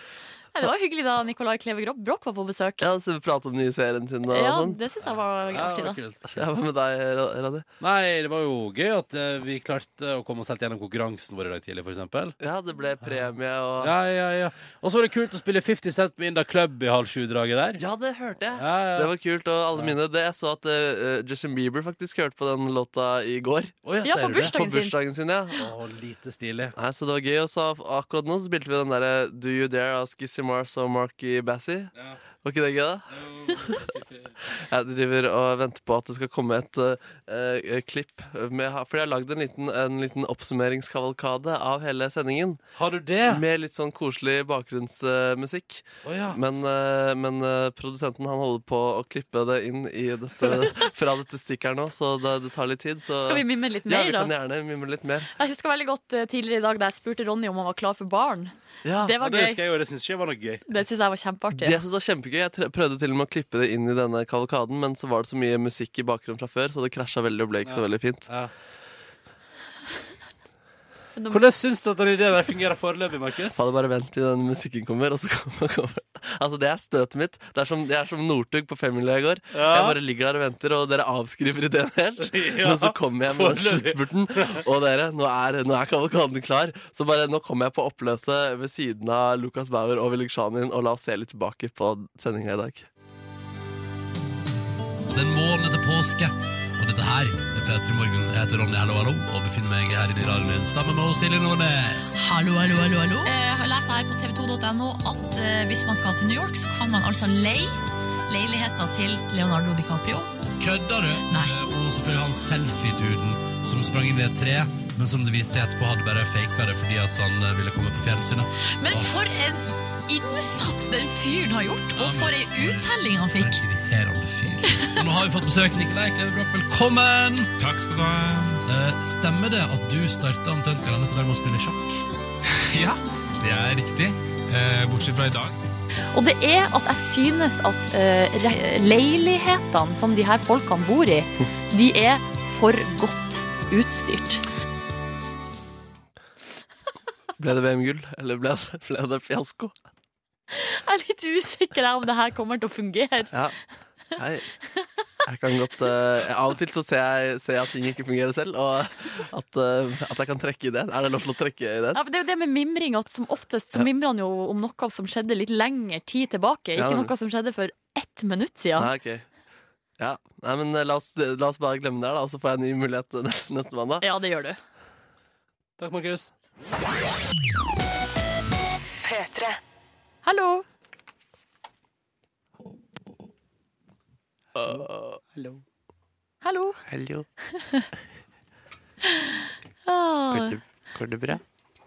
[SPEAKER 3] Nei, Det var hyggelig da Nicolai Kleve Grob Broch var på besøk.
[SPEAKER 4] Ja, så vi prater om den nye serien sin og
[SPEAKER 3] Ja,
[SPEAKER 4] sånn.
[SPEAKER 3] det syns jeg var
[SPEAKER 2] Ja, det
[SPEAKER 3] artig, da.
[SPEAKER 2] var kult.
[SPEAKER 4] Ja, Hva med deg, Ra- Radi?
[SPEAKER 2] Nei, det var jo gøy at eh, vi klarte å komme oss helt gjennom konkurransen vår i dag tidlig, for eksempel.
[SPEAKER 4] Ja, det ble premie og
[SPEAKER 2] Ja, ja, ja. Og så var det kult å spille 50 Cent med Inda Club i halv sju-draget der.
[SPEAKER 4] Ja, det hørte jeg.
[SPEAKER 2] Ja, ja.
[SPEAKER 4] Det var kult, og alle mine det, Jeg så at eh, Justin Bieber faktisk hørte på den låta i går.
[SPEAKER 2] Å, ja,
[SPEAKER 3] Ja,
[SPEAKER 2] ser
[SPEAKER 3] på
[SPEAKER 2] du det?
[SPEAKER 4] På
[SPEAKER 3] bursdagen sin.
[SPEAKER 4] bursdagen sin, ja.
[SPEAKER 2] Å, lite stilig.
[SPEAKER 4] Nei, så det var gøy. Og så akkurat nå så spilte vi den derre Do You Dare av Skizzy Mars og Marky Bassey.
[SPEAKER 2] Ja.
[SPEAKER 4] Var ikke det gøy, da? Jeg driver og venter på at det skal komme et eh, eh, klipp. Med, for jeg har lagd en liten, en liten oppsummeringskavalkade av hele sendingen.
[SPEAKER 2] Har du det?
[SPEAKER 4] Med litt sånn koselig bakgrunnsmusikk.
[SPEAKER 2] Å ja.
[SPEAKER 4] Men, eh, men eh, produsenten han holder på å klippe det inn i dette, fra dette stikket her nå, så det, det tar litt tid. Så
[SPEAKER 3] Skal vi mimre litt
[SPEAKER 4] ja, vi
[SPEAKER 3] mer,
[SPEAKER 4] kan
[SPEAKER 3] da?
[SPEAKER 4] gjerne mimre litt mer.
[SPEAKER 3] Jeg husker veldig godt eh, tidligere i dag da jeg spurte Ronny om han var klar for barn.
[SPEAKER 4] Ja,
[SPEAKER 3] Det
[SPEAKER 2] Ja,
[SPEAKER 3] var
[SPEAKER 2] det
[SPEAKER 3] gøy.
[SPEAKER 2] husker jeg jo, det syns ikke jeg var noe gøy.
[SPEAKER 3] Det syns jeg var kjempeartig.
[SPEAKER 4] Det jeg synes var kjempegøy, jeg tre- prøvde til og med å klippe det inn i denne kavalkaden, men så var det så mye musikk i bakgrunnen fra før, så det krasja veldig og ble ikke så veldig fint.
[SPEAKER 2] Ja.
[SPEAKER 3] Nå-
[SPEAKER 2] Hvordan syns du at den ideen der fungerer foreløpig, Markus?
[SPEAKER 4] Bare, bare vent til den musikken kommer, og så kommer, kommer. Altså, det er støtet mitt. Det er som, jeg er som Northug på Femmila i går. Jeg bare ligger der og venter, og dere avskriver ideen helt.
[SPEAKER 2] Ja,
[SPEAKER 4] Men så kommer jeg med den sluttspurten, og dere, nå er, nå er kavalkaden klar. Så bare, nå kommer jeg på oppløset ved siden av Lukas Bauer og Velik Shanin, og la oss se litt tilbake på sendinga i dag.
[SPEAKER 2] Det er en måned til påske, og dette her er Petter Morgen. Jeg heter Ronny Hallo Hallo og befinner meg her inne i radioen min sammen med Silje Nordnes.
[SPEAKER 9] Hallo, hallo, hallo, hallo.
[SPEAKER 5] Eh, Jeg har lest her på tv2.no at eh, hvis man skal til New York, så kan man altså leie leiligheter til Leonardo DiCaprio.
[SPEAKER 2] Kødder du?
[SPEAKER 5] Nei.
[SPEAKER 2] Eh, Og selvfølgelig han selfietuden som sprang inn i et tre, men som det viste seg etterpå hadde bare fake bare fordi at han eh, ville komme på fjernsynet.
[SPEAKER 5] Men for en innsats den fyren har gjort, og for ei uttelling han
[SPEAKER 2] Det er
[SPEAKER 5] fikk.
[SPEAKER 2] en irriterende fyr. Og nå har vi fått besøk. Nikolai Klevebrok, velkommen!
[SPEAKER 10] Takk skal du ha.
[SPEAKER 2] Eh, Stemmer det at du starta omtrent kalenderen til deg med å spille sjakk?
[SPEAKER 10] Ja, det er riktig. Eh, bortsett fra i dag.
[SPEAKER 3] Og det er at jeg synes at eh, re- leilighetene som de her folkene bor i, de er for godt utstyrt.
[SPEAKER 4] Ble det VM-gull, eller ble det, ble det fiasko?
[SPEAKER 3] Jeg er litt usikker jeg om det her kommer til å fungere.
[SPEAKER 4] Ja. Hei. Jeg kan godt eh, Av og til så ser jeg, ser jeg at ting ikke fungerer selv, og at, eh, at jeg kan trekke ideen. Er det lov til å trekke ideen?
[SPEAKER 3] Ja, for det er jo det med mimring at som oftest så
[SPEAKER 4] Ja.
[SPEAKER 3] mimrer han jo om noe som skjedde litt lengre tid tilbake,
[SPEAKER 4] Ja,
[SPEAKER 3] ikke
[SPEAKER 4] men-
[SPEAKER 3] noe som skjedde for ett minutt siden.
[SPEAKER 4] Nei, ok. Ja. Nei, men eh, la oss, la oss bare glemme det her, da, og så får jeg en ny mulighet eh, neste- neste mandag.
[SPEAKER 3] Ja, det gjør du.
[SPEAKER 2] Takk, Markus.
[SPEAKER 3] Hallo! Hallo.
[SPEAKER 4] Hallo.
[SPEAKER 3] Ah,
[SPEAKER 4] Går det bra?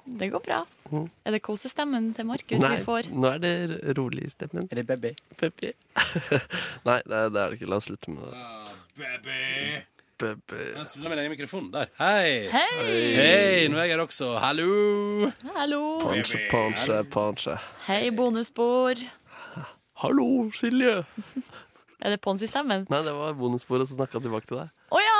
[SPEAKER 3] det går bra.
[SPEAKER 4] Mm.
[SPEAKER 3] Er det kosestemmen til Markus vi får?
[SPEAKER 4] nå er det rolig i stemmen. Er det baby? Nei, det, er- det er det ikke. La oss slutte med det.
[SPEAKER 2] Baby!
[SPEAKER 4] Baby.
[SPEAKER 2] Jeg skrudde min egen mikrofon. Der. Hei!
[SPEAKER 3] Hei!
[SPEAKER 2] Hei, nå er jeg her også. Hallo!
[SPEAKER 3] Hallo!
[SPEAKER 4] Ponche, ponche, ponche.
[SPEAKER 3] Hei, bonusbord.
[SPEAKER 4] Hallo, Silje.
[SPEAKER 3] Er det Ponsi-stemmen?
[SPEAKER 4] Nei, det var bonusbordet som snakka tilbake til deg.
[SPEAKER 3] Å ja!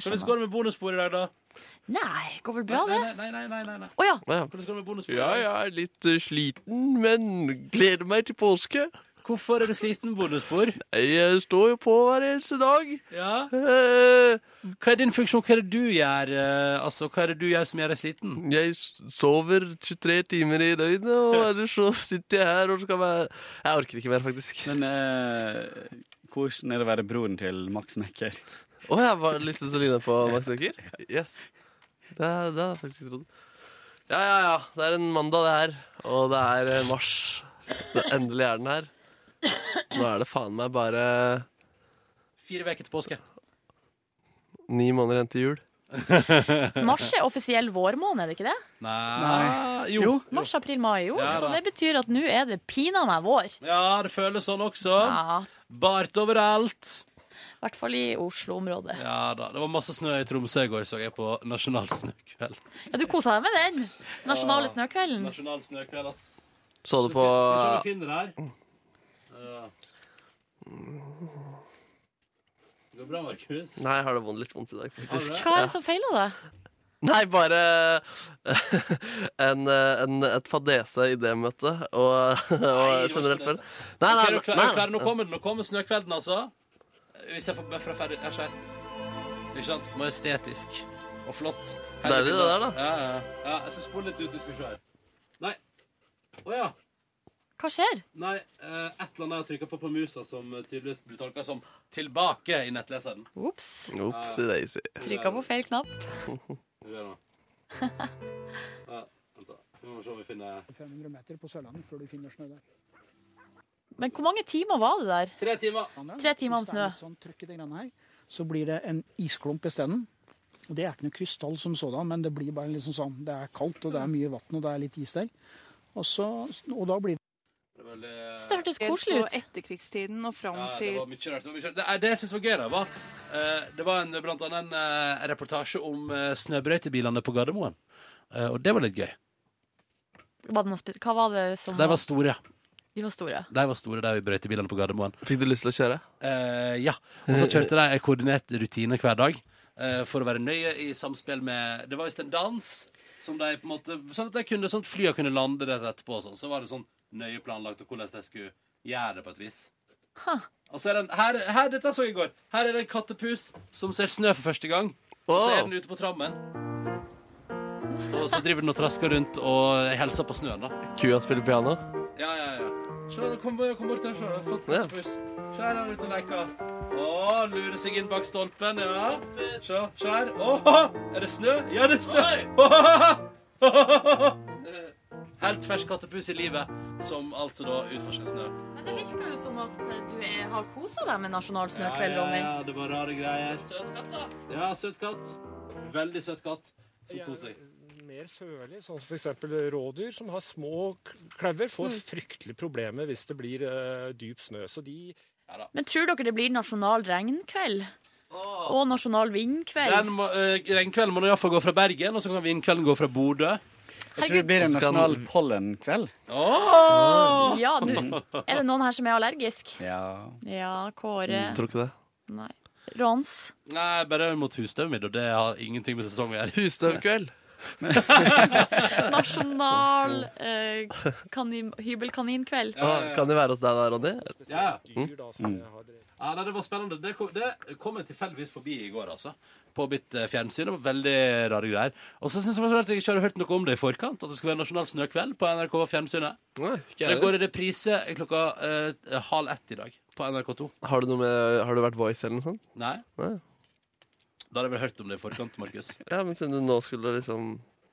[SPEAKER 2] Hvordan
[SPEAKER 3] skjønner.
[SPEAKER 2] går det med bonusspor i dag, da?
[SPEAKER 3] Nei, går vel bra, det?
[SPEAKER 2] Nei, nei, nei, nei, nei.
[SPEAKER 3] Å ja.
[SPEAKER 4] Ja.
[SPEAKER 2] Hvordan går det med bonusspor? i
[SPEAKER 4] ja,
[SPEAKER 2] dag?
[SPEAKER 4] jeg er litt eh, sliten, men gleder meg til påske.
[SPEAKER 2] Hvorfor er du sliten, bonusspor?
[SPEAKER 4] Jeg står jo på hver eneste dag.
[SPEAKER 2] Ja.
[SPEAKER 4] Eh,
[SPEAKER 2] Hva er din funksjon? Hva er det du gjør, eh, altså, hva er det du gjør som gjør deg sliten?
[SPEAKER 4] Jeg s- sover 23 timer i døgnet, og ellers så sitter jeg her og skal være Jeg orker ikke mer, faktisk.
[SPEAKER 9] Men eh, hvordan er det å være broren til Max Mekker?
[SPEAKER 4] Å, jeg var litt sånn som ligner på Max Øker? Yes. Det, er- det hadde jeg faktisk ikke trodd. Ja, ja, ja. Det er en mandag, det her. Og det er eh, mars. Det endelig er den her. Nå er det faen meg bare
[SPEAKER 2] Fire uker til påske.
[SPEAKER 4] ni måneder igjen til jul.
[SPEAKER 3] Mars er offisiell vårmåned, er det ikke det?
[SPEAKER 2] Nei,
[SPEAKER 9] Nei.
[SPEAKER 2] Jo.
[SPEAKER 3] Mars, april, mai, jo.
[SPEAKER 2] Ja,
[SPEAKER 3] så
[SPEAKER 2] da.
[SPEAKER 3] det betyr at nå er det pinadø meg vår.
[SPEAKER 2] Ja, det føles sånn også.
[SPEAKER 3] Ja,
[SPEAKER 2] Bart overalt.
[SPEAKER 3] I hvert fall i Oslo-området.
[SPEAKER 2] Ja da. Det var masse snø i Tromsø i går, så jeg på nasjonal snøkveld.
[SPEAKER 3] Ja, du kosa deg med den nasjonale
[SPEAKER 2] Ja.
[SPEAKER 3] snøkvelden.
[SPEAKER 2] Nasjonal snøkveld, ass.
[SPEAKER 4] Så du
[SPEAKER 2] Skal
[SPEAKER 4] på
[SPEAKER 2] vi se om vi finner det her? Ja. Det går bra, Markus.
[SPEAKER 4] Nei, jeg har det vondt, litt vondt i dag, faktisk.
[SPEAKER 3] Hva er det som feiler deg?
[SPEAKER 4] Nei, bare eh, en, eh, en, et fadese i det møtet, og, og
[SPEAKER 2] det var
[SPEAKER 4] generelt
[SPEAKER 2] ikke
[SPEAKER 4] vel.
[SPEAKER 2] det. Ok,
[SPEAKER 4] Nei, nei,
[SPEAKER 2] er du
[SPEAKER 4] nei,
[SPEAKER 2] klar, er du
[SPEAKER 4] nei,
[SPEAKER 2] klar? Nå kommer den. Nå kommer snøkvelden, altså. Hvis jeg får bøfra ferdig Her skjer. Ikke sant? Majestetisk og flott.
[SPEAKER 4] Deilig, det der, da.
[SPEAKER 2] Ja, ja. ja jeg skal spole litt ut. Vi skal se her. Nei. Å ja.
[SPEAKER 3] Hva skjer?
[SPEAKER 2] Nei, eh, et eller annet jeg har trykka på på musa som eh, tydeligvis blir tolka som 'tilbake' i nettleseren.
[SPEAKER 3] Ops.
[SPEAKER 4] Opsi daisy.
[SPEAKER 3] Trykka på feil knapp.
[SPEAKER 2] Skal vi gjøre nå? Ja, vent da. Vi må se om vi finner
[SPEAKER 6] 500 meter på Sørlandet før du finner snø der.
[SPEAKER 3] Men hvor mange timer var det der?
[SPEAKER 2] Tre timer!
[SPEAKER 3] Tre timer om
[SPEAKER 6] Hvis det
[SPEAKER 3] snø.
[SPEAKER 6] er litt sånn trøkk i det greiene her, så blir det en isklump isteden. Og Det er ikke noe krystall som sådan, men det blir bare liksom sånn. Det er kaldt, og det er mye vann, og det er litt is der. Og, så, og da blir
[SPEAKER 2] Det var veldig-
[SPEAKER 3] Så det hørtes koselig ut.
[SPEAKER 5] etterkrigstiden og fram
[SPEAKER 2] Ja, det var mye rart. Det, var mye rart. det, det jeg synes var gøy, da, var eh, Det var en, blant annet en eh, reportasje om eh, snøbrøytebilene på Gardermoen. Eh, og det var litt gøy.
[SPEAKER 3] Var det noe spe- Hva var det som
[SPEAKER 2] De var store.
[SPEAKER 3] De var store.
[SPEAKER 2] De var store, de brøytebilene på Gardermoen.
[SPEAKER 4] Fikk du lyst til å kjøre?
[SPEAKER 2] Eh, ja. Og så kjørte de en koordinert rutine hver dag eh, for å være nøye i samspill med Det var visst en dans som de på en måte Sånn at de kunne, sånn at flya kunne lande rett etterpå og sånn. Så var det sånn nøye planlagt og hvordan de skulle gjøre det på et vis. Og så er det en, her, her, dette så jeg i går. Her er det en kattepus som ser snø for første gang. Og så er den ute på trammen. Og så driver den og trasker rundt og hilser på snøen, da.
[SPEAKER 4] Kua spiller piano.
[SPEAKER 2] Ja, ja, ja. Se, da, kom, kom bort her, se. da. Flott
[SPEAKER 4] Ja.
[SPEAKER 2] kattepus. Se her, han er ute og leker. Å, lurer seg inn bak stolpen, ja. Se, se her. Å, er det snø? Ja, det er snø! Helt fersk kattepus i livet, som altså da utforsker snø.
[SPEAKER 3] Men det virker jo som at du har kosa deg med nasjonal
[SPEAKER 2] ja, det var rare greier. Søt katt, da. Ja, søt katt. Veldig søt katt. Så koselig.
[SPEAKER 6] mer sørlig, sånn som f.eks. rådyr som har små klauver, får fryktelige problemer hvis det blir eh, dyp snø. Så de
[SPEAKER 3] Men tror dere det blir nasjonal regnkveld? Og nasjonal vindkveld?
[SPEAKER 2] Den må, eh, regnkvelden må nå iallfall gå fra Bergen, og så kan vindkvelden gå fra Bodø.
[SPEAKER 9] Jeg tror det blir en
[SPEAKER 4] Skal-
[SPEAKER 9] nasjonal pollenkveld.
[SPEAKER 2] Åh!
[SPEAKER 3] Ja, nå er det noen her som er allergisk.
[SPEAKER 9] Ja.
[SPEAKER 3] Ja, Kåre
[SPEAKER 4] Tror ikke det.
[SPEAKER 3] Nei. Rons.
[SPEAKER 2] Nei, bare mot husstøvet mitt, og det har ingenting med sesongen å gjøre.
[SPEAKER 4] Husstøvkveld.
[SPEAKER 3] Nasjonal eh, kanin, hybelkaninkveld.
[SPEAKER 4] Ah, Kan de være hos deg da, Ronny?
[SPEAKER 2] Ja. Mm. ja, nei, Det var spennende. Det kom, det kom jeg tilfeldigvis forbi i går, altså. På mitt eh, fjernsyn. Det var veldig rare greier. Og så syns jeg det var så rart at jeg ikke hadde hørt noe om det i forkant. At det skulle være nasjonal snøkveld på NRK Fjernsynet.
[SPEAKER 4] Nei, ikke
[SPEAKER 2] Det
[SPEAKER 4] jeg
[SPEAKER 2] går
[SPEAKER 4] heller.
[SPEAKER 2] i reprise klokka eh, halv ett i dag på NRK2.
[SPEAKER 4] Har du noe med Har du vært Voice eller noe sånt?
[SPEAKER 2] Nei?
[SPEAKER 4] Nei.
[SPEAKER 2] Da hadde jeg vel hørt om det i forkant, Markus.
[SPEAKER 4] Ja, men siden du nå skulle liksom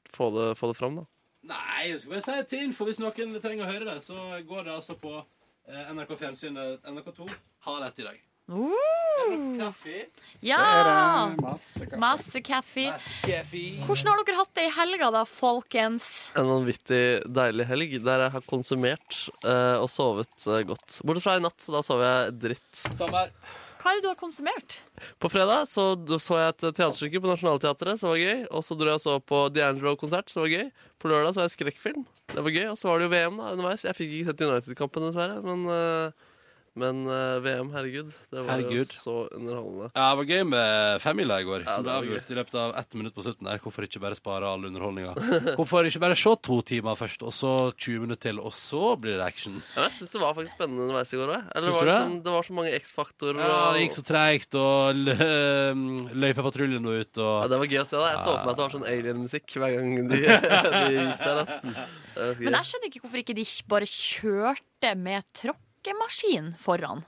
[SPEAKER 4] få det, få det fram, da.
[SPEAKER 2] Nei, jeg skal bare si til info hvis noen trenger å høre det, så går det altså på eh, NRK Fjernsynet NRK2 halv ett i dag.
[SPEAKER 3] Uh,
[SPEAKER 2] Kaffe.
[SPEAKER 3] ja!
[SPEAKER 9] Masse kaffe.
[SPEAKER 3] Masse kaffe. Hvordan har dere hatt det i helga, da, folkens?
[SPEAKER 4] En vanvittig deilig helg der jeg har konsumert eh, og sovet eh, godt. Bortsett fra i natt, da sov jeg dritt.
[SPEAKER 2] Samme her.
[SPEAKER 3] Hva er det du har konsumert?
[SPEAKER 4] På fredag så, så jeg et teaterstykke på Nationaltheatret, som var gøy. Og så dro jeg og så på D'Angelo-konsert, som var gøy. På lørdag så jeg skrekkfilm. Det var gøy. Og så var det jo VM da, underveis. Jeg fikk ikke sett United-kampen, dessverre. Men eh, Men eh, VM, herregud, det var
[SPEAKER 2] Herregud.
[SPEAKER 4] jo så underholdende.
[SPEAKER 2] Ja, det var gøy med femmila i går,
[SPEAKER 4] Ja,
[SPEAKER 2] som
[SPEAKER 4] det
[SPEAKER 2] ble
[SPEAKER 4] var
[SPEAKER 2] avgjort i løpet av ett minutt på slutten der. Hvorfor ikke bare spare all underholdninga? Hvorfor ikke bare se to timer først, og så 20 minutter til, og så blir det action?
[SPEAKER 4] Ja, men jeg syns det var faktisk spennende underveis i går òg.
[SPEAKER 2] Syns
[SPEAKER 4] Det, var
[SPEAKER 2] du det?
[SPEAKER 4] liksom, det var så mange X-faktorer.
[SPEAKER 2] Ja, det
[SPEAKER 4] og-
[SPEAKER 2] gikk så treigt, og lø- løypepatruljen nå ut, og
[SPEAKER 4] Ja, det var gøy å se. da Jeg så for meg at det var sånn alien-musikk hver gang de, de gikk der. ass. Det var
[SPEAKER 3] Men
[SPEAKER 4] gøy.
[SPEAKER 3] jeg skjønner ikke hvorfor ikke de bare kjørte med tråkkemaskin foran.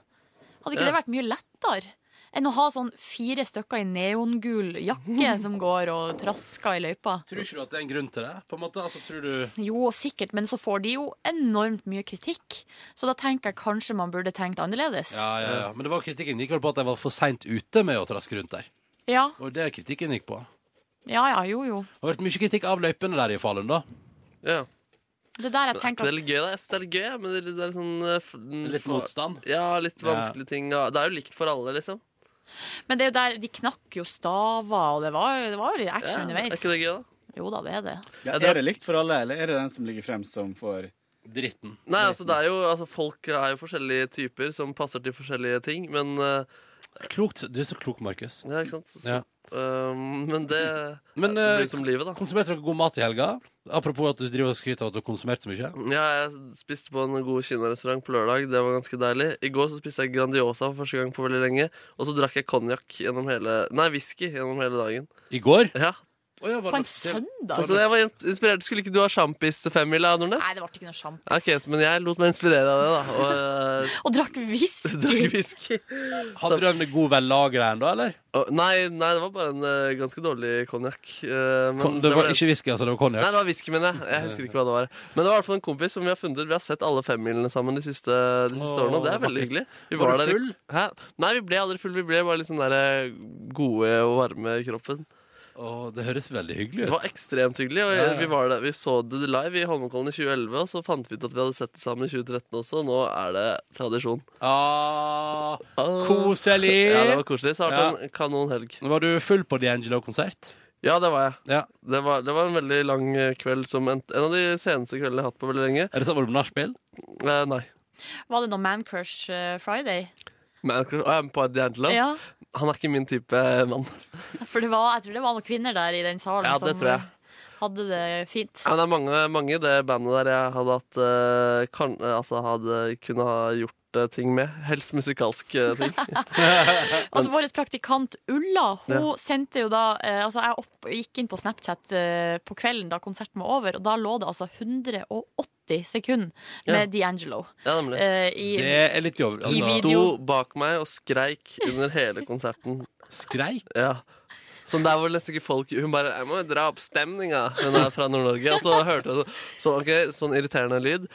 [SPEAKER 3] Hadde ikke
[SPEAKER 4] Ja.
[SPEAKER 3] det vært mye lettere? Enn å ha sånn fire stykker i neongul jakke som går og trasker i løypa.
[SPEAKER 2] Tror ikke du at det er en grunn til det? På en måte, altså, tror du
[SPEAKER 3] Jo, sikkert, men så får de jo enormt mye kritikk. Så da tenker jeg kanskje man burde tenkt annerledes.
[SPEAKER 2] Ja, ja, ja. Men det var kritikken gikk vel på at jeg var for seint ute med å traske rundt der.
[SPEAKER 3] ja,
[SPEAKER 2] Og det kritikken gikk på. Det
[SPEAKER 3] ja, ja, jo, jo.
[SPEAKER 2] har vært mye kritikk av løypene der i Falun, da.
[SPEAKER 4] Ja.
[SPEAKER 3] Det der jeg
[SPEAKER 4] Men er ikke
[SPEAKER 3] tenker
[SPEAKER 4] det litt
[SPEAKER 3] at
[SPEAKER 4] gøy, da? Jeg synes det er litt gøy, ja, men det, det er sånn eh, f- n-
[SPEAKER 2] Litt
[SPEAKER 4] fa-
[SPEAKER 2] motstand.
[SPEAKER 4] Ja, litt
[SPEAKER 2] Ja.
[SPEAKER 4] vanskelige ting. ja. Det er jo likt for alle, liksom.
[SPEAKER 3] Men det er jo der de knakk jo staver, og det var, jo- det var jo litt action
[SPEAKER 4] Ja,
[SPEAKER 3] underveis.
[SPEAKER 4] Er ikke det gøy, da?
[SPEAKER 3] Jo da, det er det.
[SPEAKER 9] Ja, er det likt for alle, eller er det den som ligger frem som får
[SPEAKER 2] Dritten.
[SPEAKER 4] Nei, altså, det er jo, altså Folk er jo forskjellige typer som passer til forskjellige ting, men eh,
[SPEAKER 2] Klokt. Du er så klok, Markus.
[SPEAKER 4] Ja, ikke sant? Så,
[SPEAKER 2] Ja.
[SPEAKER 4] eh, men det,
[SPEAKER 2] Men
[SPEAKER 4] det
[SPEAKER 2] eh,
[SPEAKER 4] blir som livet, da.
[SPEAKER 2] konsumerte dere god mat i helga? Apropos at du driver og skryter av at du har konsumert så mye.
[SPEAKER 4] Ja, jeg spiste på en god kinarestaurant på lørdag. Det var ganske deilig. I går så spiste jeg Grandiosa for første gang på veldig lenge. Og så drakk jeg konjakk gjennom hele Nei, whisky gjennom hele dagen.
[SPEAKER 2] I går?
[SPEAKER 4] Ja.
[SPEAKER 2] Å, ja, var
[SPEAKER 3] På en
[SPEAKER 2] det til-
[SPEAKER 3] søndag?
[SPEAKER 4] Altså, jeg var in- inspirert. Skulle ikke du ha sjampis-femmila, Nordnes?
[SPEAKER 3] Nei, det ble ikke noe sjampis.
[SPEAKER 4] Ok, så- Men jeg lot meg inspirere av det, da. Og eh,
[SPEAKER 3] Og drakk
[SPEAKER 4] drakk
[SPEAKER 3] whisky.
[SPEAKER 4] whisky.
[SPEAKER 2] Hadde du en god vellagra ennå, eller?
[SPEAKER 4] Og- Nei, nei, det var bare en eh, ganske dårlig konjakk. eh, men
[SPEAKER 2] Kon det
[SPEAKER 4] det
[SPEAKER 2] var
[SPEAKER 4] det-
[SPEAKER 2] ikke whisky, altså? Det var
[SPEAKER 4] Nei,
[SPEAKER 2] konjakk?
[SPEAKER 4] det var whisky, mener jeg. Jeg husker ikke hva det var. Men det var i hvert fall en kompis som vi har funnet. Vi har sett alle femmilene sammen de siste, de siste
[SPEAKER 2] Åh,
[SPEAKER 4] årene, og det er
[SPEAKER 2] vakkert.
[SPEAKER 4] veldig hyggelig. Vi
[SPEAKER 2] Var du
[SPEAKER 4] der i-
[SPEAKER 2] full?
[SPEAKER 4] Hæ? Nei, vi ble aldri full. Vi ble bare litt sånn der gode og varme i kroppen.
[SPEAKER 2] Å, det høres veldig hyggelig ut.
[SPEAKER 4] Det var ekstremt hyggelig. Og
[SPEAKER 2] Ja, ja.
[SPEAKER 4] vi, var der, vi så det live i Holmenkollen i 2011, og så fant vi ut at vi hadde sett det sammen i 2013 også, og nå er det tradisjon.
[SPEAKER 2] Ah,
[SPEAKER 4] Ah. Ja, det
[SPEAKER 2] koselig!
[SPEAKER 4] var koselig. Så har det vært en kanon helg.
[SPEAKER 2] Var du full på D'Angelo-konsert?
[SPEAKER 4] Ja, det var jeg.
[SPEAKER 2] Ja.
[SPEAKER 4] Det var, det var en veldig lang eh, kveld, som en, en av de seneste kveldene jeg har hatt på veldig lenge.
[SPEAKER 2] Er det sånn, Var du på nachspiel?
[SPEAKER 4] Eh, nei.
[SPEAKER 3] Var det noe Man Crush eh, Friday?
[SPEAKER 4] Men jeg er på D'Angelo.
[SPEAKER 3] Ja,
[SPEAKER 4] Han er ikke min type mann.
[SPEAKER 3] for det var, jeg tror det var noen kvinner der i den salen
[SPEAKER 4] Ja, det
[SPEAKER 3] som
[SPEAKER 4] tror jeg.
[SPEAKER 3] eh, hadde det fint.
[SPEAKER 4] Men det er mange, mange i det bandet der jeg hadde hatt eh, kan, eh, Altså hadde kunne ha gjort eh, ting med. Helst musikalske ting.
[SPEAKER 3] Altså Vår praktikant Ulla Hun
[SPEAKER 4] Ja.
[SPEAKER 3] sendte jo da eh, Altså Jeg opp, gikk inn på Snapchat eh, på kvelden da konserten var over, og da lå det altså 180 sekunder med D'Angelo.
[SPEAKER 4] Ja, nemlig.
[SPEAKER 3] eh, i-
[SPEAKER 2] Det er litt i over...
[SPEAKER 4] Han
[SPEAKER 2] Altså,
[SPEAKER 3] video.
[SPEAKER 4] sto bak meg og skreik under hele konserten.
[SPEAKER 2] skreik?
[SPEAKER 4] Ja. Sånn der hvor nesten ikke folk Hun bare 'Jeg må jo dra opp stemninga', hun er fra Nord-Norge. Og så hørte hun sånn, ok, sånn irriterende lyd.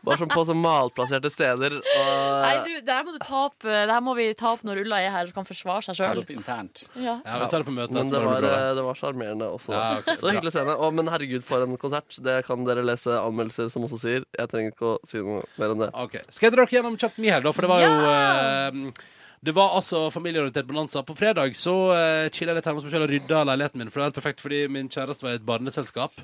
[SPEAKER 4] Bare sånn på sånn malplasserte steder. Og
[SPEAKER 3] Nei, du, det her må du ta opp eh, Det her må vi ta opp når Ulla er her og kan forsvare seg
[SPEAKER 9] tar
[SPEAKER 3] sjøl.
[SPEAKER 9] det opp internt?
[SPEAKER 3] Ja.
[SPEAKER 2] Ja, vi tar det på møtet.
[SPEAKER 4] Men det
[SPEAKER 2] etterpå,
[SPEAKER 4] var,
[SPEAKER 2] det blir bra.
[SPEAKER 4] eh, det var sjarmerende også. da.
[SPEAKER 2] Ja, ok,
[SPEAKER 4] det var hyggelig å se henne. Å, men herregud, for en konsert. Det kan dere lese anmeldelser som også sier. Jeg trenger ikke å si noe mer enn det.
[SPEAKER 2] Ok, Skal jeg dra dere gjennom kjapt min helg, da? For det var jo eh, Det var altså familieorientert bonanza. På fredag så uh, chilla jeg litt hjemme hos meg selv og rydda leiligheten min. For det var helt perfekt fordi min kjæreste var i et barneselskap.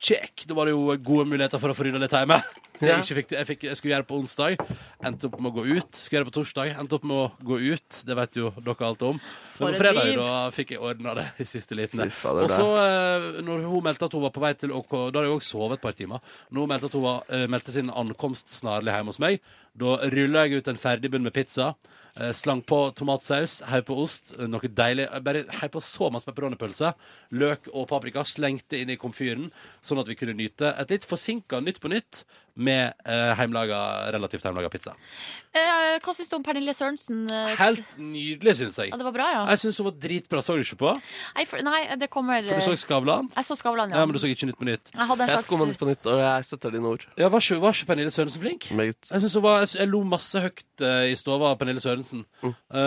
[SPEAKER 2] Check! Da var det jo gode muligheter for å få rydda litt hjemme. Så jeg,
[SPEAKER 4] Ja.
[SPEAKER 2] ikke fikk det. Jeg, fikk, jeg skulle gjøre det på onsdag. Endte opp med å gå ut. Skulle gjøre det på torsdag. Endte opp med å gå ut. Det vet jo dere alt om.
[SPEAKER 3] For
[SPEAKER 2] Men på
[SPEAKER 3] et
[SPEAKER 2] fredag
[SPEAKER 3] liv.
[SPEAKER 2] da fikk jeg ordna det i siste liten.
[SPEAKER 4] Fy fader,
[SPEAKER 2] Og
[SPEAKER 4] det
[SPEAKER 2] så eh, når hun meldte at hun var på vei til OK, da hadde jeg også sovet et par timer. Når hun meldte at hun var, eh, meldte sin ankomst snarlig hjemme hos meg, da rulla jeg ut en ferdig bunn med pizza. eh, Slang på tomatsaus, heiv på ost, eh, noe deilig eh, Bare heiv på så masse pepperonipølse, løk og paprika, slengte inn i komfyren, sånn at vi kunne nyte et litt forsinka Nytt på nytt med eh, heimlaga, relativt heimlaga pizza.
[SPEAKER 3] Eh, hva syns du om Pernille Sørensen? eh, s-
[SPEAKER 2] Helt nydelig, syns jeg.
[SPEAKER 3] Ja, det var bra, ja.
[SPEAKER 2] Jeg syns hun var dritbra. Så du ikke på?
[SPEAKER 3] Nei, for, nei det kommer
[SPEAKER 2] For du så
[SPEAKER 3] eh,
[SPEAKER 2] Skavlan?
[SPEAKER 3] Jeg så Skavlan, ja.
[SPEAKER 2] Ja, men du så ikke Nytt på Nytt.
[SPEAKER 3] Jeg hadde en
[SPEAKER 4] Jeg skumma
[SPEAKER 3] slags
[SPEAKER 4] Nytt på nytt, og jeg støtter dine ord.
[SPEAKER 2] Ja, var ikke, var ikke Pernille Sørensen flink?
[SPEAKER 4] Meget.
[SPEAKER 2] Jeg, synes hun var, jeg, jeg lo masse høyt eh, i stova av Pernille Sørensen.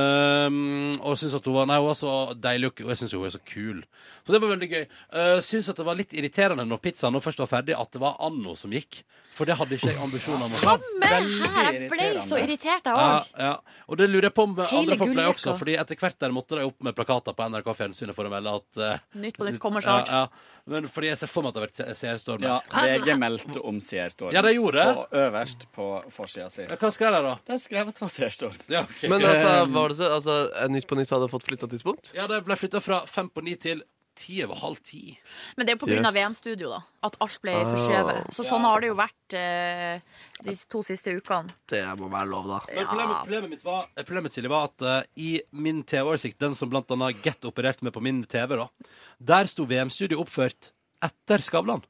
[SPEAKER 2] Um, og synes at hun var, nei, hun var så deilig, og- og jeg syns hun er så kul. Så det Eh, var veldig gøy. Uh, syns at det var litt irriterende når pizzaen nå først var ferdig, at det var Anno som gikk. For det
[SPEAKER 11] hadde ikke jeg ambisjoner om å
[SPEAKER 3] Samme
[SPEAKER 11] Veldig
[SPEAKER 3] her! Jeg ble så
[SPEAKER 11] irriterende.
[SPEAKER 3] irritert, jeg
[SPEAKER 2] Ja,
[SPEAKER 3] òg.
[SPEAKER 2] ja. Og det lurer jeg på om
[SPEAKER 3] Hele
[SPEAKER 2] andre folk ble
[SPEAKER 3] gullrekka.
[SPEAKER 2] også, fordi etter hvert der måtte de opp med plakater på NRK Fjernsynet for å melde at eh,
[SPEAKER 3] Nytt på nytt kommer snart.
[SPEAKER 2] Ja, ja. Men fordi jeg ser for meg at det har vært se- seerstorm.
[SPEAKER 9] Ja, VG meldte om seerstorm.
[SPEAKER 2] Ja, de gjorde det.
[SPEAKER 9] Og øverst på forsida si.
[SPEAKER 2] Hva skrev de, da?
[SPEAKER 9] De skrev at det var seerstorm.
[SPEAKER 2] Ja, ok.
[SPEAKER 4] Men altså, var det så, altså, Nytt på Nytt hadde fått flytta tidspunkt?
[SPEAKER 2] Ja, de ble flytta fra fem på ni til ti over halv ti.
[SPEAKER 3] Men det er jo pga.
[SPEAKER 4] Yes.
[SPEAKER 3] av VM-studio, da. At alt ble
[SPEAKER 4] Ah.
[SPEAKER 3] forskjøvet. Så sånn har det jo vært eh, de to siste ukene.
[SPEAKER 4] Det må være lov, da.
[SPEAKER 2] Men problemet, problemet mitt var, eh, problemet Silje, var at eh, i min TV-oversikt, den som blant annet Get opererte med på min TV, da, der sto VM-studio oppført etter Skavlan.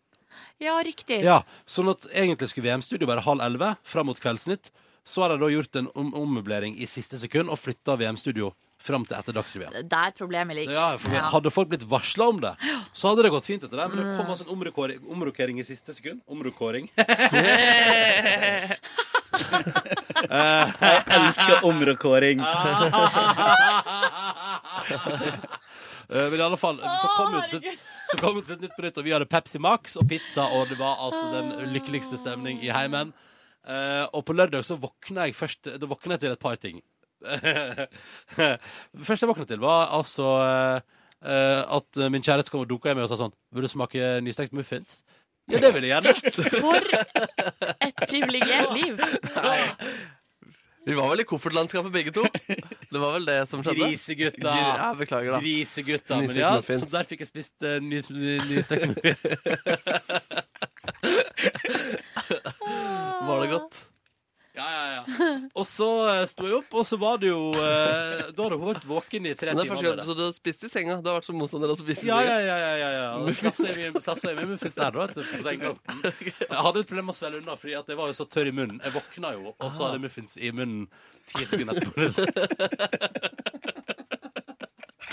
[SPEAKER 3] Ja, riktig.
[SPEAKER 2] Ja, sånn at egentlig skulle VM-studio være halv elleve fram mot Kveldsnytt. Så har de da gjort en om ommøblering i siste sekund og flytta VM-studio fram til etter Dagsrevyen.
[SPEAKER 3] Der problemet ligger.
[SPEAKER 2] Ja, for
[SPEAKER 3] Ja.
[SPEAKER 2] Hadde folk blitt varsla om det, så hadde det gått fint etter det. Men det kom
[SPEAKER 3] Mm.
[SPEAKER 2] altså en omrokering, omrokering i siste sekund. Omrokering.
[SPEAKER 9] Jeg elsker omrokering.
[SPEAKER 2] Eh, Men i alle fall, så kom jo til slutt, så kom jo til slutt Nytt på Nytt, og vi hadde Pepsi Max og pizza, og det var altså den lykkeligste stemning i heimen. Eh, og på lørdag så våkna jeg først Da våkna jeg til et par ting. det første jeg våkna til, var altså eh, eh, at min kjæreste kom og dunka i meg og sa sånn Vil du smake nystekt muffins? Ja, det vil jeg gjerne.
[SPEAKER 3] Et privilegert liv.
[SPEAKER 4] Vi var vel i koffertlandskapet begge to. Det var vel det som skjedde.
[SPEAKER 2] Grisegutta.
[SPEAKER 4] Gri- Ja, beklager, da.
[SPEAKER 2] Grisegutta. Men
[SPEAKER 4] Nystekt
[SPEAKER 2] ja,
[SPEAKER 4] muffins.
[SPEAKER 2] så der fikk jeg spist uh, nystekt muffins.
[SPEAKER 4] Var det godt?
[SPEAKER 2] Ja, ja, ja. Og så eh, sto jeg opp, og så var det jo eh, Da hadde hun vært våken i tre
[SPEAKER 4] Men det er
[SPEAKER 2] timer.
[SPEAKER 4] første gang, så du har spist i senga? Du har vært som motstander og spist i
[SPEAKER 2] Ja, ja,
[SPEAKER 4] senga?
[SPEAKER 2] ja. ja, ja, ja. Og Slafsa i min- slafsa i min muffins der, da. vet du, på sengekanten. Jeg hadde et problem med å svelge unna, fordi at jeg var jo så tørr i munnen. Jeg våkna jo, og så hadde jeg muffins i munnen ti sekunder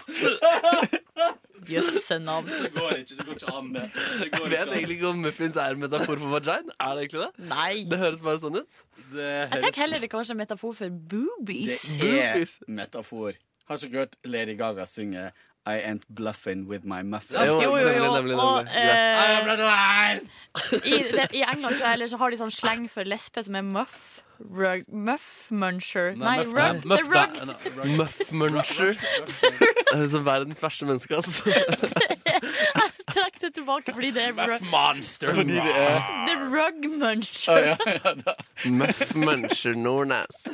[SPEAKER 2] etterpå.
[SPEAKER 3] Jøsse navn.
[SPEAKER 2] Det går ikke, det går ikke an. det. Det
[SPEAKER 4] Jeg
[SPEAKER 2] går
[SPEAKER 4] vet
[SPEAKER 2] ikke an.
[SPEAKER 4] egentlig ikke om muffins er en metafor for vagina. Er det egentlig det?
[SPEAKER 3] Nei.
[SPEAKER 4] Det høres bare sånn ut.
[SPEAKER 3] Jeg tenker heller det er kanskje en metafor for boobies.
[SPEAKER 9] Det er metafor. Har ikke hørt Lady Gaga synge I ain't bluffing with my muffin.
[SPEAKER 3] Jo, jo, jo. Og, eh, i, det, I England tror jeg, eller så har de sånn sleng for lesbe som er muff. Rug, muff muncher. Nei, rug. det er rug.
[SPEAKER 4] Muff muncher. Det er som verdens verste menneske, altså.
[SPEAKER 3] Jeg trakk det tilbake fordi det er rug.
[SPEAKER 2] monster.
[SPEAKER 4] Fordi det er
[SPEAKER 3] Det er rug muncher.
[SPEAKER 4] Muff muncher Nordnes.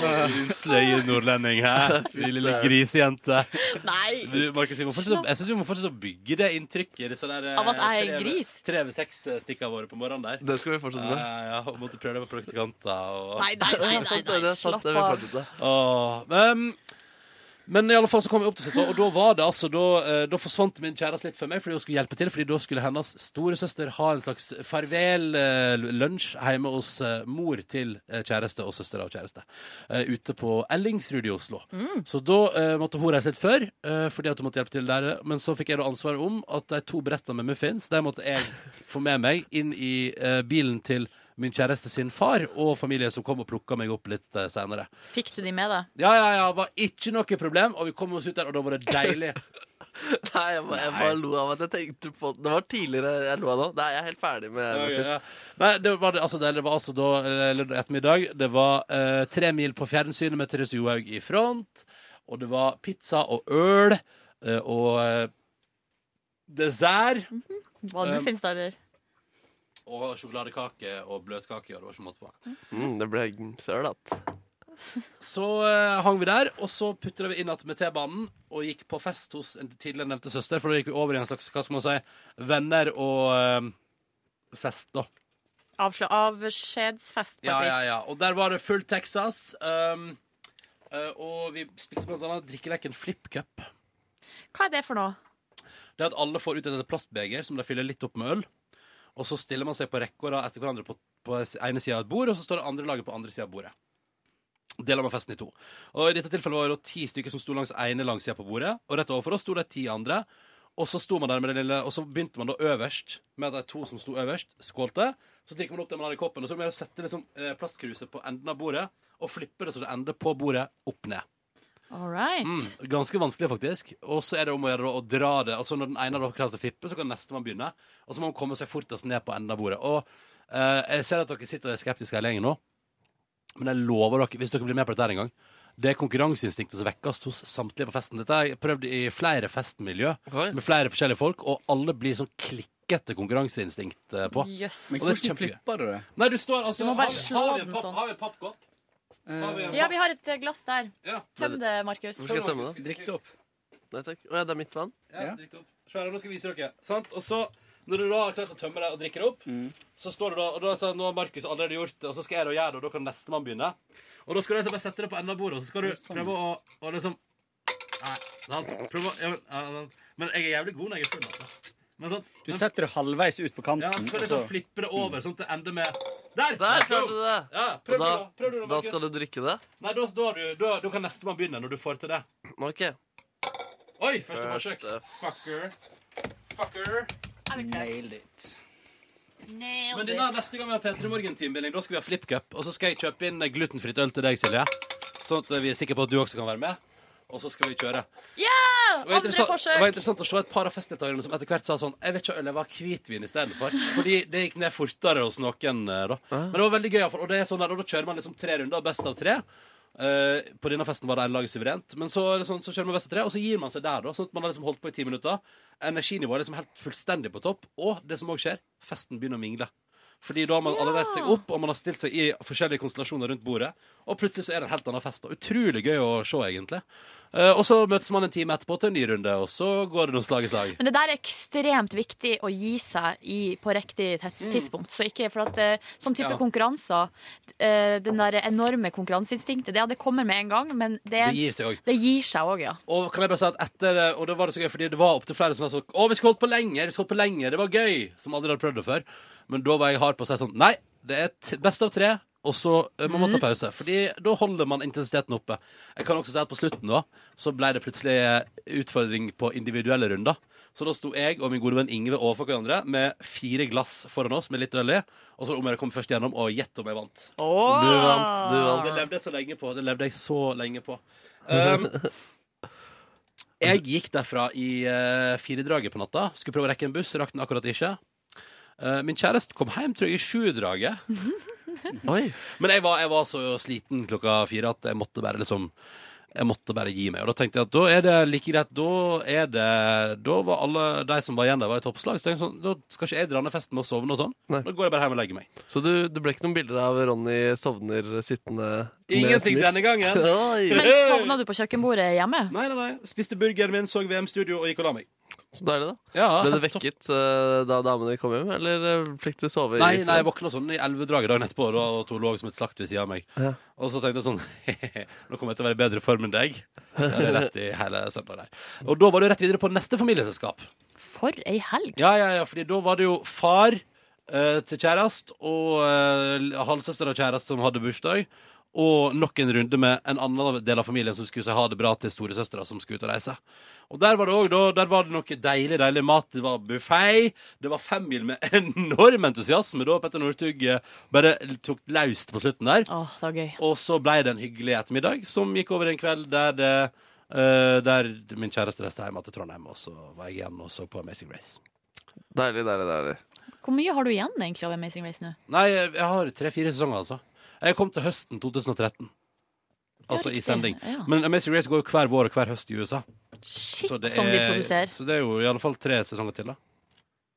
[SPEAKER 2] Din sløye nordlending, hæ? Din lille grisejente.
[SPEAKER 3] Nei.
[SPEAKER 2] Du, Markus, vi må fortsette å- jeg syns vi må fortsette å bygge det inntrykket. Disse der, eh,
[SPEAKER 3] Av at jeg er
[SPEAKER 2] tre-
[SPEAKER 3] en gris?
[SPEAKER 2] Tre ved seks-stikka våre på morgenen der.
[SPEAKER 4] Det skal vi fortsette med.
[SPEAKER 2] Ja, ja, og måtte prøve det på praktikanter og
[SPEAKER 3] Nei, nei, nei, nei,
[SPEAKER 4] Det
[SPEAKER 3] nei.
[SPEAKER 4] er sant,
[SPEAKER 3] slapp
[SPEAKER 4] det vil
[SPEAKER 3] av.
[SPEAKER 4] fortsette.
[SPEAKER 2] Åh, men, men i alle fall så kom jeg opp til slutt, og- og da var det altså Da, eh, da forsvant min kjæreste litt for meg, fordi hun skulle hjelpe til. Fordi da skulle hennes storesøster ha en slags farvel-lunsj hjemme hos eh, mor til eh, kjæreste og søster av kjæreste. eh, Ute på Ellingsrud i Oslo. Så da eh, måtte hun reise litt før, eh, fordi at hun måtte hjelpe til der. eh, Men så fikk jeg da ansvaret om at de to brettene med muffins, de måtte jeg få med meg inn i eh, bilen til min kjæreste sin far og familie, som kom og plukka meg opp litt eh, senere.
[SPEAKER 3] Fikk du de med deg?
[SPEAKER 2] Ja, ja, ja, var ikke noe problem, og vi kom oss ut der, og da var det deilig.
[SPEAKER 4] Nei, jeg bare, jeg bare lo av at jeg tenkte på Det var tidligere jeg lo av nå. Nei, jeg er helt ferdig med
[SPEAKER 2] Ja, ja,
[SPEAKER 4] muffins.
[SPEAKER 2] ja. Nei, det var, det- altså, det, det var altså da eller, ettermiddag. Det var eh, tre mil på fjernsynet med Therese Johaug i front, og det var pizza og øl eh, og eh, dessert.
[SPEAKER 3] Hva
[SPEAKER 2] Um,
[SPEAKER 3] nå finnes det, eller?
[SPEAKER 2] Og sjokoladekake og bløtkake, og det var ikke måte på.
[SPEAKER 4] Mm, det ble søl, at.
[SPEAKER 2] Så eh, hang vi der, og så putra vi inn igjen med T-banen og gikk på fest hos en tidligere nevnte søster, for da gikk vi over i en slags hva skal man si, venner og eh, fest, da.
[SPEAKER 3] Avsla avskjedsfest, på
[SPEAKER 2] Ja,
[SPEAKER 3] et vis.
[SPEAKER 2] ja, ja. Og der var det full Texas. Um, eh, og vi spilte blant annet drikkeleken Flip Cup.
[SPEAKER 3] Hva er det for noe?
[SPEAKER 2] Det er at alle får ut et plastbeger som de fyller litt opp med øl. Og så stiller man seg på rekke og rad etter hverandre på, på ene sida av et bord, og så står det andre laget på andre sida av bordet. Deler man festen i to. Og I dette tilfellet var det da ti stykker som sto langs ene langsida på bordet, og rett overfor oss sto de ti andre. Og så sto man der med det lille Og så begynte man da øverst med at de to som sto øverst, skålte. Så drikker man opp det man har i koppen, og så er det med å sette liksom, eh, plastkruset på enden av bordet og flipper det så det ender på bordet, opp ned.
[SPEAKER 3] All right.
[SPEAKER 2] Mm, ganske vanskelig, faktisk. Og så er det om å gjøre da å dra det. Altså Når den ene av dere klarer å fippe, så kan nestemann begynne. Og så må man komme seg fortest ned på enden av bordet. Og eh, Jeg ser at dere sitter og er skeptiske hele gjengen nå, men jeg lover dere, hvis dere blir med på dette her en gang det er konkurranseinstinktet som vekkes hos samtlige på festen. Dette har jeg prøvd i flere festmiljø med flere forskjellige folk, og alle blir sånn klikkete konkurranseinstinkt eh, på.
[SPEAKER 3] Jøss.
[SPEAKER 9] Men
[SPEAKER 2] Og det er
[SPEAKER 9] hvordan
[SPEAKER 2] kjempegøy.
[SPEAKER 9] flipper du det?
[SPEAKER 2] Nei, du står altså
[SPEAKER 3] Du må bare slå
[SPEAKER 2] har, vi- har vi en
[SPEAKER 3] den
[SPEAKER 2] papp-
[SPEAKER 3] sånn.
[SPEAKER 2] Har vi en pappkopp? Har vi en
[SPEAKER 3] Ja,
[SPEAKER 2] papp-
[SPEAKER 3] vi har et eh, glass der.
[SPEAKER 2] Ja.
[SPEAKER 3] Tøm det, Markus.
[SPEAKER 4] Hvor skal jeg tømme det?
[SPEAKER 9] Drikk det opp.
[SPEAKER 4] Nei takk. Å ja, det er mitt vann.
[SPEAKER 2] Ja, drikk det opp. Se her, nå skal jeg vise dere. Sant? Og så, når du da har klart å tømme deg og drikke det opp,
[SPEAKER 9] Mm.
[SPEAKER 2] så står du da, og da sier jeg, nå har Markus allerede gjort det, og så skal jeg da gjøre det, og da kan nestemann begynne. Og da skal du altså bare sette det på enden av bordet, og så skal
[SPEAKER 9] sånn.
[SPEAKER 2] du prøve å, å liksom Nei, sant? Prøve å ja, men, ja, sant. Men jeg er jævlig god når jeg er full, altså. Men sant?
[SPEAKER 9] Du
[SPEAKER 2] Men-
[SPEAKER 9] setter det halvveis ut på kanten.
[SPEAKER 2] ja, så skal du
[SPEAKER 9] og så- Mm.
[SPEAKER 2] liksom flippe det over, sånn at det ender med Der!
[SPEAKER 4] Der
[SPEAKER 2] Boom!
[SPEAKER 4] klarte du det!
[SPEAKER 2] Ja,
[SPEAKER 4] Og
[SPEAKER 2] prøv
[SPEAKER 4] da,
[SPEAKER 2] da, prøv du da,
[SPEAKER 4] da
[SPEAKER 2] Markus.
[SPEAKER 4] skal du drikke det?
[SPEAKER 2] Nei, da, da, har du, da, da kan nestemann begynne, når du får til det.
[SPEAKER 4] OK.
[SPEAKER 2] Oi, første forsøk.
[SPEAKER 4] Første.
[SPEAKER 2] Fucker. Fucker.
[SPEAKER 9] Nailed it.
[SPEAKER 2] Men denne neste gang vi har P3 Morgen-teambuilding, da skal vi ha FlippCup. Og så skal jeg kjøpe inn glutenfritt øl til deg, Silje. Sånn at vi er sikre på at du også kan være med. Og så skal vi kjøre. Det var
[SPEAKER 3] Andre
[SPEAKER 2] interessant- Det var
[SPEAKER 3] forsøk.
[SPEAKER 2] interessant å se et par av festdeltakerne som etter hvert sa sånn Jeg vil ikke ha øl, jeg vil ha hvitvin istedenfor. Fordi det gikk ned fortere hos noen eh, da. Men det var veldig gøy, i hvert fall. og det er sånn der, og da kjører man liksom tre runder, best av tre. Eh, på denne festen var det en lag suverent, men så, er det sånn, så kjører man best av tre, og så gir man seg der, da. Sånn at man har liksom holdt på i ti minutter. Energinivået er liksom helt fullstendig på topp. Og det som òg skjer, festen begynner å mingle. Fordi da har man alle reist seg opp, og man har stilt seg i forskjellige konstellasjoner rundt bordet. Og plutselig så er det en helt annen fest. da. Utrolig gøy å se, egentlig. Eh, og så møtes man en time etterpå til en ny runde, og så går det noe slag i slag.
[SPEAKER 3] Men det der er ekstremt viktig å gi seg i på riktig tids- tidspunkt. Så ikke, for at eh, sånn type
[SPEAKER 2] Ja.
[SPEAKER 3] konkurranser, eh, den der enorme konkurranseinstinktet, det, ja, det kommer med en gang, men det,
[SPEAKER 2] Det gir seg òg.
[SPEAKER 3] det gir seg òg, ja.
[SPEAKER 2] Og kan jeg bare si at etter eh, Og det var det så gøy, fordi det var opptil flere som sa sånn Å, vi skulle holdt på lenge, vi skulle holdt på lenge, det var gøy. Som aldri hadde prøvd det før. Men da var jeg hard på å si sånn Nei, det er t best av tre. Og så eh, må man ta pause, Fordi da holder man intensiteten oppe. Jeg kan også si at på slutten da Så ble det plutselig eh, utfordring på individuelle runder. Så da sto jeg og min gode venn Ingve overfor hverandre med fire glass foran oss med litt øl i. Og så om jeg kom først gjennom, og gjett om jeg vant.
[SPEAKER 4] Du vant. Du
[SPEAKER 2] Og det
[SPEAKER 4] vant.
[SPEAKER 2] levde jeg så lenge på. Det levde jeg så lenge på. Um, jeg gikk derfra i uh, firedraget på natta. Skulle prøve å rekke en buss, rakk den akkurat ikke. Eh, min kjæreste kom hjem, tror jeg, i sjudraget.
[SPEAKER 4] Oi.
[SPEAKER 2] Men jeg var, jeg var så sliten klokka fire at jeg måtte bare liksom jeg måtte bare gi meg. Og da tenkte jeg at da er det like greit. Da er det Da var alle de som var igjen der, var i toppslag. Så tenkte jeg sånn, da skal ikke jeg dra ned festen med å sovne og sånn.
[SPEAKER 4] Nei.
[SPEAKER 2] Da går jeg bare hjem og legger meg.
[SPEAKER 4] Så du, det ble ikke noen bilder av Ronny sovner sittende med
[SPEAKER 2] Ingenting
[SPEAKER 4] smil?
[SPEAKER 2] denne gangen.
[SPEAKER 4] Oi.
[SPEAKER 3] Men sovna du på kjøkkenbordet hjemme?
[SPEAKER 2] Nei, nei, nei. Spiste burgeren min, så VM-studio og gikk og la meg.
[SPEAKER 4] Så deilig, da.
[SPEAKER 3] Ah,
[SPEAKER 2] Ja,
[SPEAKER 4] Ble du vekket eh, da damene kom hjem, eller eh, fikk du sove i
[SPEAKER 2] Nei, nei, jeg våkna sånn i elvedraget dagen etterpå, da, og hun lå som et slakt ved siden av meg.
[SPEAKER 4] Ja.
[SPEAKER 2] Og så tenkte jeg sånn Nå kommer jeg til å være i bedre form enn deg. Det er rett i hele søndag der. Og da var det jo rett videre på neste familieselskap.
[SPEAKER 3] For ei helg!
[SPEAKER 2] Ja, ja, ja, fordi da var det jo far eh, til kjærest og eh, halvsøster av kjærest som hadde bursdag. Og nok en runde med en annen del av familien som skulle si ha det bra til storesøstera som skulle ut og reise. Og der var det òg, da. Der var det noe deilig, deilig mat. Det var buffé. Det var femmil med enorm entusiasme da Petter Northug eh, bare tok løst på slutten der.
[SPEAKER 3] Åh, det var gøy.
[SPEAKER 2] Og så ble det en hyggelig ettermiddag som gikk over i en kveld der det eh, der min kjæreste reiste hjem til Trondheim, og så var jeg igjen og så på Amazing Race.
[SPEAKER 4] Deilig, deilig, deilig.
[SPEAKER 3] Hvor mye har du igjen egentlig av Amazing Race nå?
[SPEAKER 2] Nei, jeg jeg har tre-fire sesonger, altså. Jeg kom til høsten 2013. Altså i
[SPEAKER 3] riktig.
[SPEAKER 2] sending.
[SPEAKER 3] Ja.
[SPEAKER 2] Men Amazing Race går jo hver vår og hver høst i USA.
[SPEAKER 3] Shit,
[SPEAKER 2] det
[SPEAKER 3] som de
[SPEAKER 2] er-
[SPEAKER 3] produserer.
[SPEAKER 2] Så det er jo i alle fall tre sesonger til, da.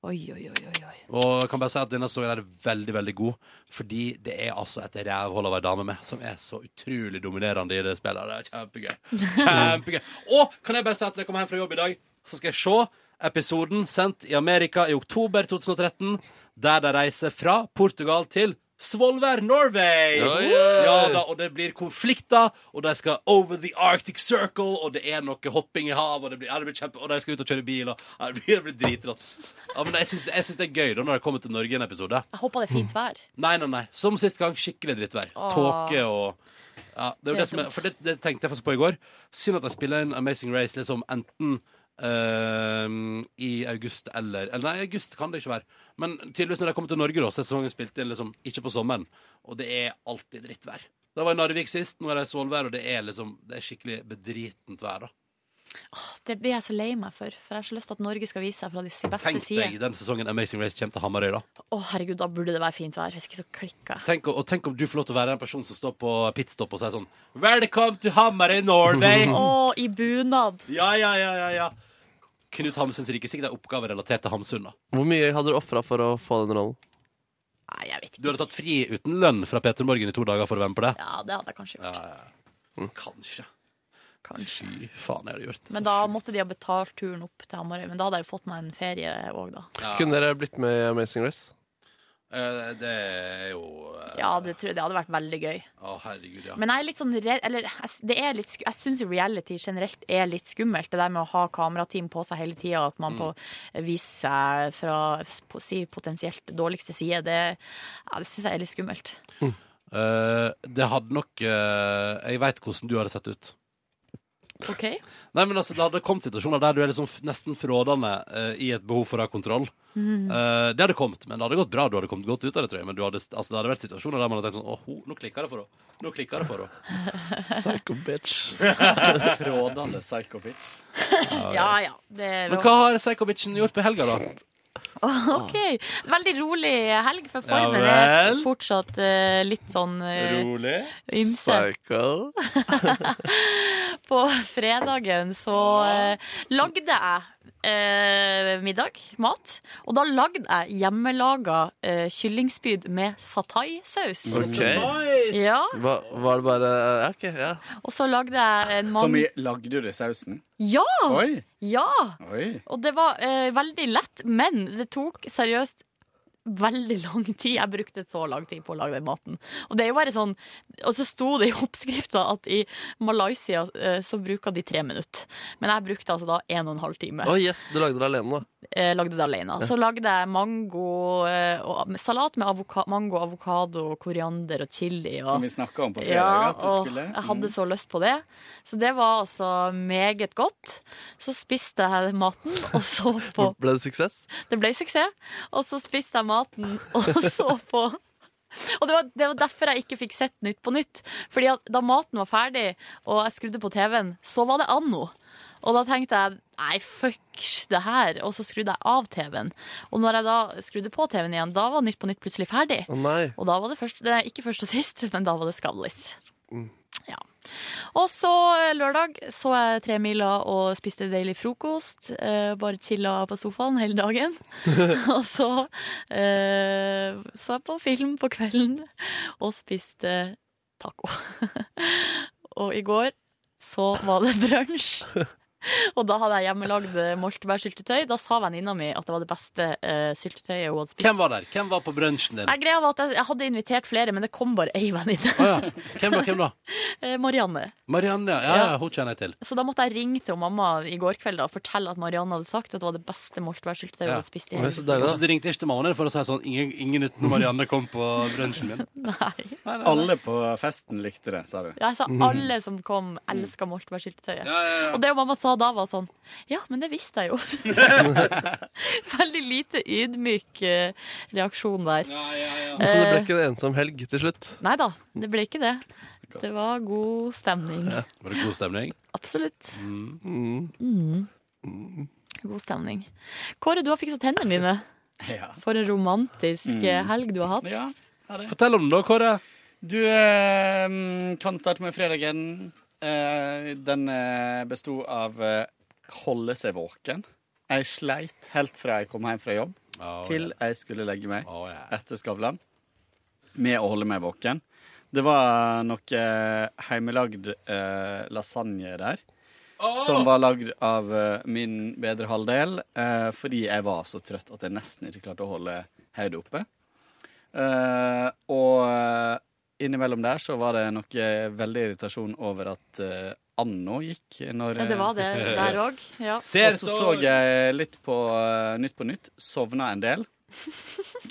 [SPEAKER 3] Oi, oi, oi, oi, oi.
[SPEAKER 2] Og jeg kan bare si at denne sesongen er veldig, veldig god, fordi det er altså et rævhold av ei dame med som er så utrolig dominerende i det spillet. Det er kjempegøy. Kjempegøy. Og kan jeg bare si at når jeg kommer hjem fra jobb i dag, så skal jeg se episoden sendt i Amerika i oktober 2013, der de reiser fra Portugal til Svolvær, Norway!
[SPEAKER 4] Oi, oi.
[SPEAKER 2] Ja da, og det blir konflikter, og de skal over the Arctic Circle, og det er noe hopping i hav, og det blir, ja, det blir kjempe, og de skal ut og kjøre bil, og ja, det blir, det blir dritrått. Ja, men jeg syns, jeg syns det er gøy da, når det kommer til Norge i en episode.
[SPEAKER 3] Jeg håper det er
[SPEAKER 2] Mm.
[SPEAKER 3] fint vær.
[SPEAKER 2] Nei, nei, nei. Som sist gang, skikkelig drittvær.
[SPEAKER 3] Åh.
[SPEAKER 2] Tåke og ja, det, er jo
[SPEAKER 3] Det er
[SPEAKER 2] det, som er,
[SPEAKER 3] dumt.
[SPEAKER 2] for det, det tenkte jeg faktisk på i går. Synd at de spiller inn Amazing Race liksom enten eh, i august eller Eller nei, august kan det ikke være. Men tydeligvis når de kommer til Norge, da, så er sesongen spilt inn liksom ikke på sommeren. Og det er alltid drittvær. Da var jeg i Narvik sist, nå er det solvær, og det er liksom Det er skikkelig bedritent vær, da.
[SPEAKER 3] Det blir jeg så lei meg for, for jeg har så lyst til at Norge skal vise seg fra de sin beste
[SPEAKER 2] Tenk
[SPEAKER 3] side.
[SPEAKER 2] deg den sesongen Amazing Race kommer til Hamarøy, da.
[SPEAKER 3] Å, herregud, da burde det være fint vær. Hvis ikke så klikker jeg.
[SPEAKER 2] Tenk, og tenk om du får lov til å være den personen som står på pitstop og sier sånn Welcome to Hamarøy, Norway!
[SPEAKER 3] Å, i bunad.
[SPEAKER 2] Ja, ja, ja, ja, ja. Knut Hamsuns rike. Sikkert en oppgave relatert til Hamsun, da.
[SPEAKER 4] Hvor mye hadde du ofra for å få den rollen?
[SPEAKER 3] Nei, jeg vet ikke.
[SPEAKER 2] Du hadde tatt fri uten lønn fra Peter Morgen i to dager for å være med på det?
[SPEAKER 3] Ja, det hadde jeg kanskje gjort.
[SPEAKER 2] Kanskje. Fy faen, jeg hadde gjort det.
[SPEAKER 3] Men da måtte de ha betalt turen opp til Hamarøy. Men da hadde jeg jo fått meg en ferie òg, da.
[SPEAKER 2] Ja.
[SPEAKER 4] Kunne dere blitt med i Amazing Race?
[SPEAKER 2] Eh, Det er jo eh,
[SPEAKER 3] Ja, det, tror jeg, det hadde vært veldig gøy.
[SPEAKER 2] Å, herregud, ja.
[SPEAKER 3] Men jeg er litt sånn redd Eller jeg, s- det er litt, sku- jeg syns jo reality generelt er litt skummelt. Det der med å ha kamerateam på seg hele tida, at
[SPEAKER 2] Mm.
[SPEAKER 3] man på, viser seg fra s- på, si, potensielt dårligste side, det, ja, det syns jeg er litt skummelt.
[SPEAKER 2] Eh, det hadde nok eh, Jeg veit hvordan du hadde sett ut.
[SPEAKER 3] OK?
[SPEAKER 2] Nei, men altså, Det hadde kommet situasjoner der du er liksom f- nesten frådende eh, i et behov for å ha kontroll.
[SPEAKER 3] Mhm.
[SPEAKER 2] Eh, det hadde kommet, men det hadde gått bra. Du hadde kommet godt ut av det, tror jeg. Men du hadde, altså, det hadde vært situasjoner der man hadde tenkt sånn Å, ho, nå klikker det for henne. Nå klikker det for henne.
[SPEAKER 4] Psycho bitch.
[SPEAKER 9] Frådende psycho bitch.
[SPEAKER 3] Ja ja. Det,
[SPEAKER 2] Men hva har Psycho-bitchen gjort på helga, da?
[SPEAKER 3] OK. Veldig rolig helg, for
[SPEAKER 2] Ja
[SPEAKER 3] formen er
[SPEAKER 2] vel.
[SPEAKER 3] fortsatt eh, litt sånn eh,
[SPEAKER 2] Rolig.
[SPEAKER 3] ymse.
[SPEAKER 4] Psycho.
[SPEAKER 3] På fredagen så eh, lagde jeg eh, middag, mat. Og da lagde jeg hjemmelaga eh, kyllingspyd med satay-saus.
[SPEAKER 4] Ok.
[SPEAKER 3] Ja,
[SPEAKER 4] Hva, var det bare Ja, OK. Ja.
[SPEAKER 3] og så lagde jeg en
[SPEAKER 9] Som
[SPEAKER 3] mann...
[SPEAKER 9] i lagde du det i sausen?
[SPEAKER 3] Ja!
[SPEAKER 9] Oi!
[SPEAKER 3] Ja!
[SPEAKER 9] Oi.
[SPEAKER 3] Og det var eh, veldig lett, men det tok seriøst veldig lang tid. Jeg brukte så lang tid på å lage den maten. Og det er jo bare sånn Og så sto det i oppskrifta at i Malaysia eh, så bruker de tre minutter. Men jeg brukte altså da en og en halv time.
[SPEAKER 4] Å, yes, du lagde det alene, da.
[SPEAKER 3] eh, lagde det alene. Så lagde jeg mango eh, og med salat med avoka mango, avokado, koriander og chili. Og,
[SPEAKER 9] Som vi snakka om på fredag.
[SPEAKER 3] ja,
[SPEAKER 9] at du
[SPEAKER 3] og
[SPEAKER 9] skulle. Mm.
[SPEAKER 3] jeg hadde så lyst på det. Så det var altså meget godt. Så spiste jeg maten, og så på
[SPEAKER 4] Ble det suksess?
[SPEAKER 3] Det ble suksess. Og så spiste jeg maten, og så på og det var, det var derfor jeg ikke fikk sett Nytt på nytt. Fordi at da maten var ferdig, og jeg skrudde på TV-en, så var det anno. Og da tenkte jeg nei, fuck det her. Og så skrudde jeg av TV-en. Og når jeg da skrudde på TV-en igjen, da var Nytt på nytt plutselig ferdig.
[SPEAKER 4] Å nei.
[SPEAKER 3] Og da var det først, nei, ikke først og sist, men da var det Skavlis.
[SPEAKER 4] Mm.
[SPEAKER 3] Ja. Og så eh, lørdag så jeg tre miler og spiste deilig frokost. Eh, bare chilla på sofaen hele dagen. og så eh, så jeg på film på kvelden og spiste taco. og i går så var det brunsj. Og da hadde jeg hjemmelagd moltebærsyltetøy. Da sa venninna mi at det var det beste eh, syltetøyet hun hadde spist.
[SPEAKER 2] Hvem var der? Hvem var på brunsjen din?
[SPEAKER 3] Nei, greia var at jeg, jeg hadde invitert flere, men det kom bare ei venninne.
[SPEAKER 2] Å, ja. Hvem da? Hvem da?
[SPEAKER 3] Eh, Marianne.
[SPEAKER 2] Marianne, ja. ja, ja. Hun kjenner jeg til.
[SPEAKER 3] Så da måtte jeg ringe til mamma i går kveld da, og fortelle at Marianne hadde sagt at det var det beste moltebærsyltetøyet hun
[SPEAKER 2] Ja.
[SPEAKER 3] hadde spist i
[SPEAKER 4] Det
[SPEAKER 3] hele
[SPEAKER 4] er så deilig,
[SPEAKER 2] Så du ringte ikke til mammaen din for å si sånn Ingen, ingen uten Marianne kom på brunsjen min?
[SPEAKER 3] Nei.
[SPEAKER 2] Nei, nei, nei.
[SPEAKER 9] Alle på festen likte det, sa du.
[SPEAKER 3] Ja, jeg sa alle som kom, elska moltebærsyltetøyet.
[SPEAKER 2] Mhm. Ja, ja, ja.
[SPEAKER 3] Og det mamma sa da, var sånn Ja, men det visste jeg jo. Veldig lite ydmyk eh, reaksjon der.
[SPEAKER 2] Ja, ja, ja.
[SPEAKER 4] Så Altså, det ble
[SPEAKER 3] Eh.
[SPEAKER 4] ikke en ensom helg til slutt?
[SPEAKER 3] Nei da, det ble ikke det. Det var god stemning.
[SPEAKER 2] Var det god stemning?
[SPEAKER 3] Absolutt.
[SPEAKER 4] Mm.
[SPEAKER 3] Mm. God stemning. Kåre, du har fiksa tennene dine.
[SPEAKER 9] Ja. Mm.
[SPEAKER 3] For en romantisk eh, helg du har hatt.
[SPEAKER 9] ja.
[SPEAKER 2] Fortell om det, da, Kåre.
[SPEAKER 9] Du eh, kan starte med fredagen. Eh, den eh, besto av eh, holde seg våken. Jeg sleit helt fra jeg kom hjem fra jobb,
[SPEAKER 2] Å,
[SPEAKER 9] til jeg skulle legge meg.
[SPEAKER 2] Å, ja.
[SPEAKER 9] etter Skavlan med å holde meg våken. Det var noe hjemmelagd eh, lasagne der. Som var lagd av eh, min bedre halvdel eh, fordi jeg var så trøtt at jeg nesten ikke klarte å holde hodet oppe. Eh, og eh, innimellom der så var det noe veldig irritasjon over at eh, Anno gikk når eh,
[SPEAKER 3] Ja, det var det der òg. Ja.
[SPEAKER 2] Ser
[SPEAKER 9] og så så jeg litt på eh, Nytt på nytt. Sovna en del.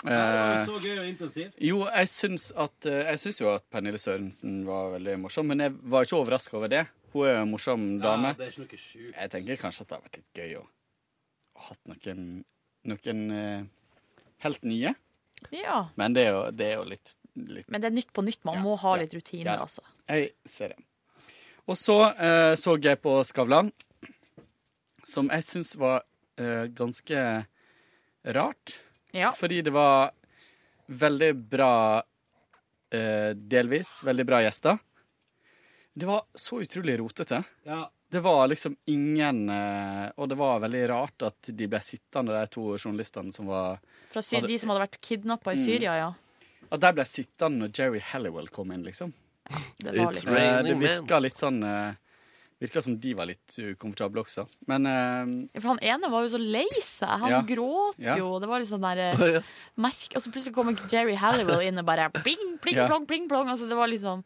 [SPEAKER 9] Eh,
[SPEAKER 2] så gøy og intensivt.
[SPEAKER 9] jo, jeg syns, at, eh, jeg syns jo at Pernille Sørensen var veldig morsom, men jeg var ikke overraska over det. Hun er jo en morsom dame.
[SPEAKER 2] det er ikke noe sjukt.
[SPEAKER 9] Jeg tenker kanskje at det har vært litt gøy å å hatt noen, noen eh, helt nye.
[SPEAKER 3] ja.
[SPEAKER 9] Men det er jo, det er jo litt litt
[SPEAKER 3] Men det er nytt på nytt. Man må ha litt rutine,
[SPEAKER 9] Ja.
[SPEAKER 3] altså.
[SPEAKER 9] Jeg ser det. Og så eh, så jeg på Skavlan, som jeg syns var eh, ganske rart. Fordi det var veldig bra eh, Delvis veldig bra gjester. Det var så utrolig rotete.
[SPEAKER 2] Ja.
[SPEAKER 9] Det var liksom ingen eh, Og det var veldig rart at de ble sittende, de to journalistene som var
[SPEAKER 3] Fra Sy
[SPEAKER 9] hadde-
[SPEAKER 3] de som hadde vært kidnappa i
[SPEAKER 9] Mm.
[SPEAKER 3] Syria, ja.
[SPEAKER 9] at de ble sittende når Jerry Halliwell kom inn, liksom.
[SPEAKER 3] det var It's litt-
[SPEAKER 9] Eh, det
[SPEAKER 3] raining
[SPEAKER 9] virka litt sånn eh, Virka som de var litt ukomfortable også. Men eh,
[SPEAKER 3] Ja, For han ene var jo så lei seg. Han
[SPEAKER 9] Ja.
[SPEAKER 3] gråt
[SPEAKER 9] Ja.
[SPEAKER 3] jo. Det var litt sånn der eh,
[SPEAKER 9] Å, yes.
[SPEAKER 3] merk, Og så plutselig kommer Jerry Halliwell inn og bare pling, pling,
[SPEAKER 9] Ja.
[SPEAKER 3] plong, pling, plong. Altså, det var litt sånn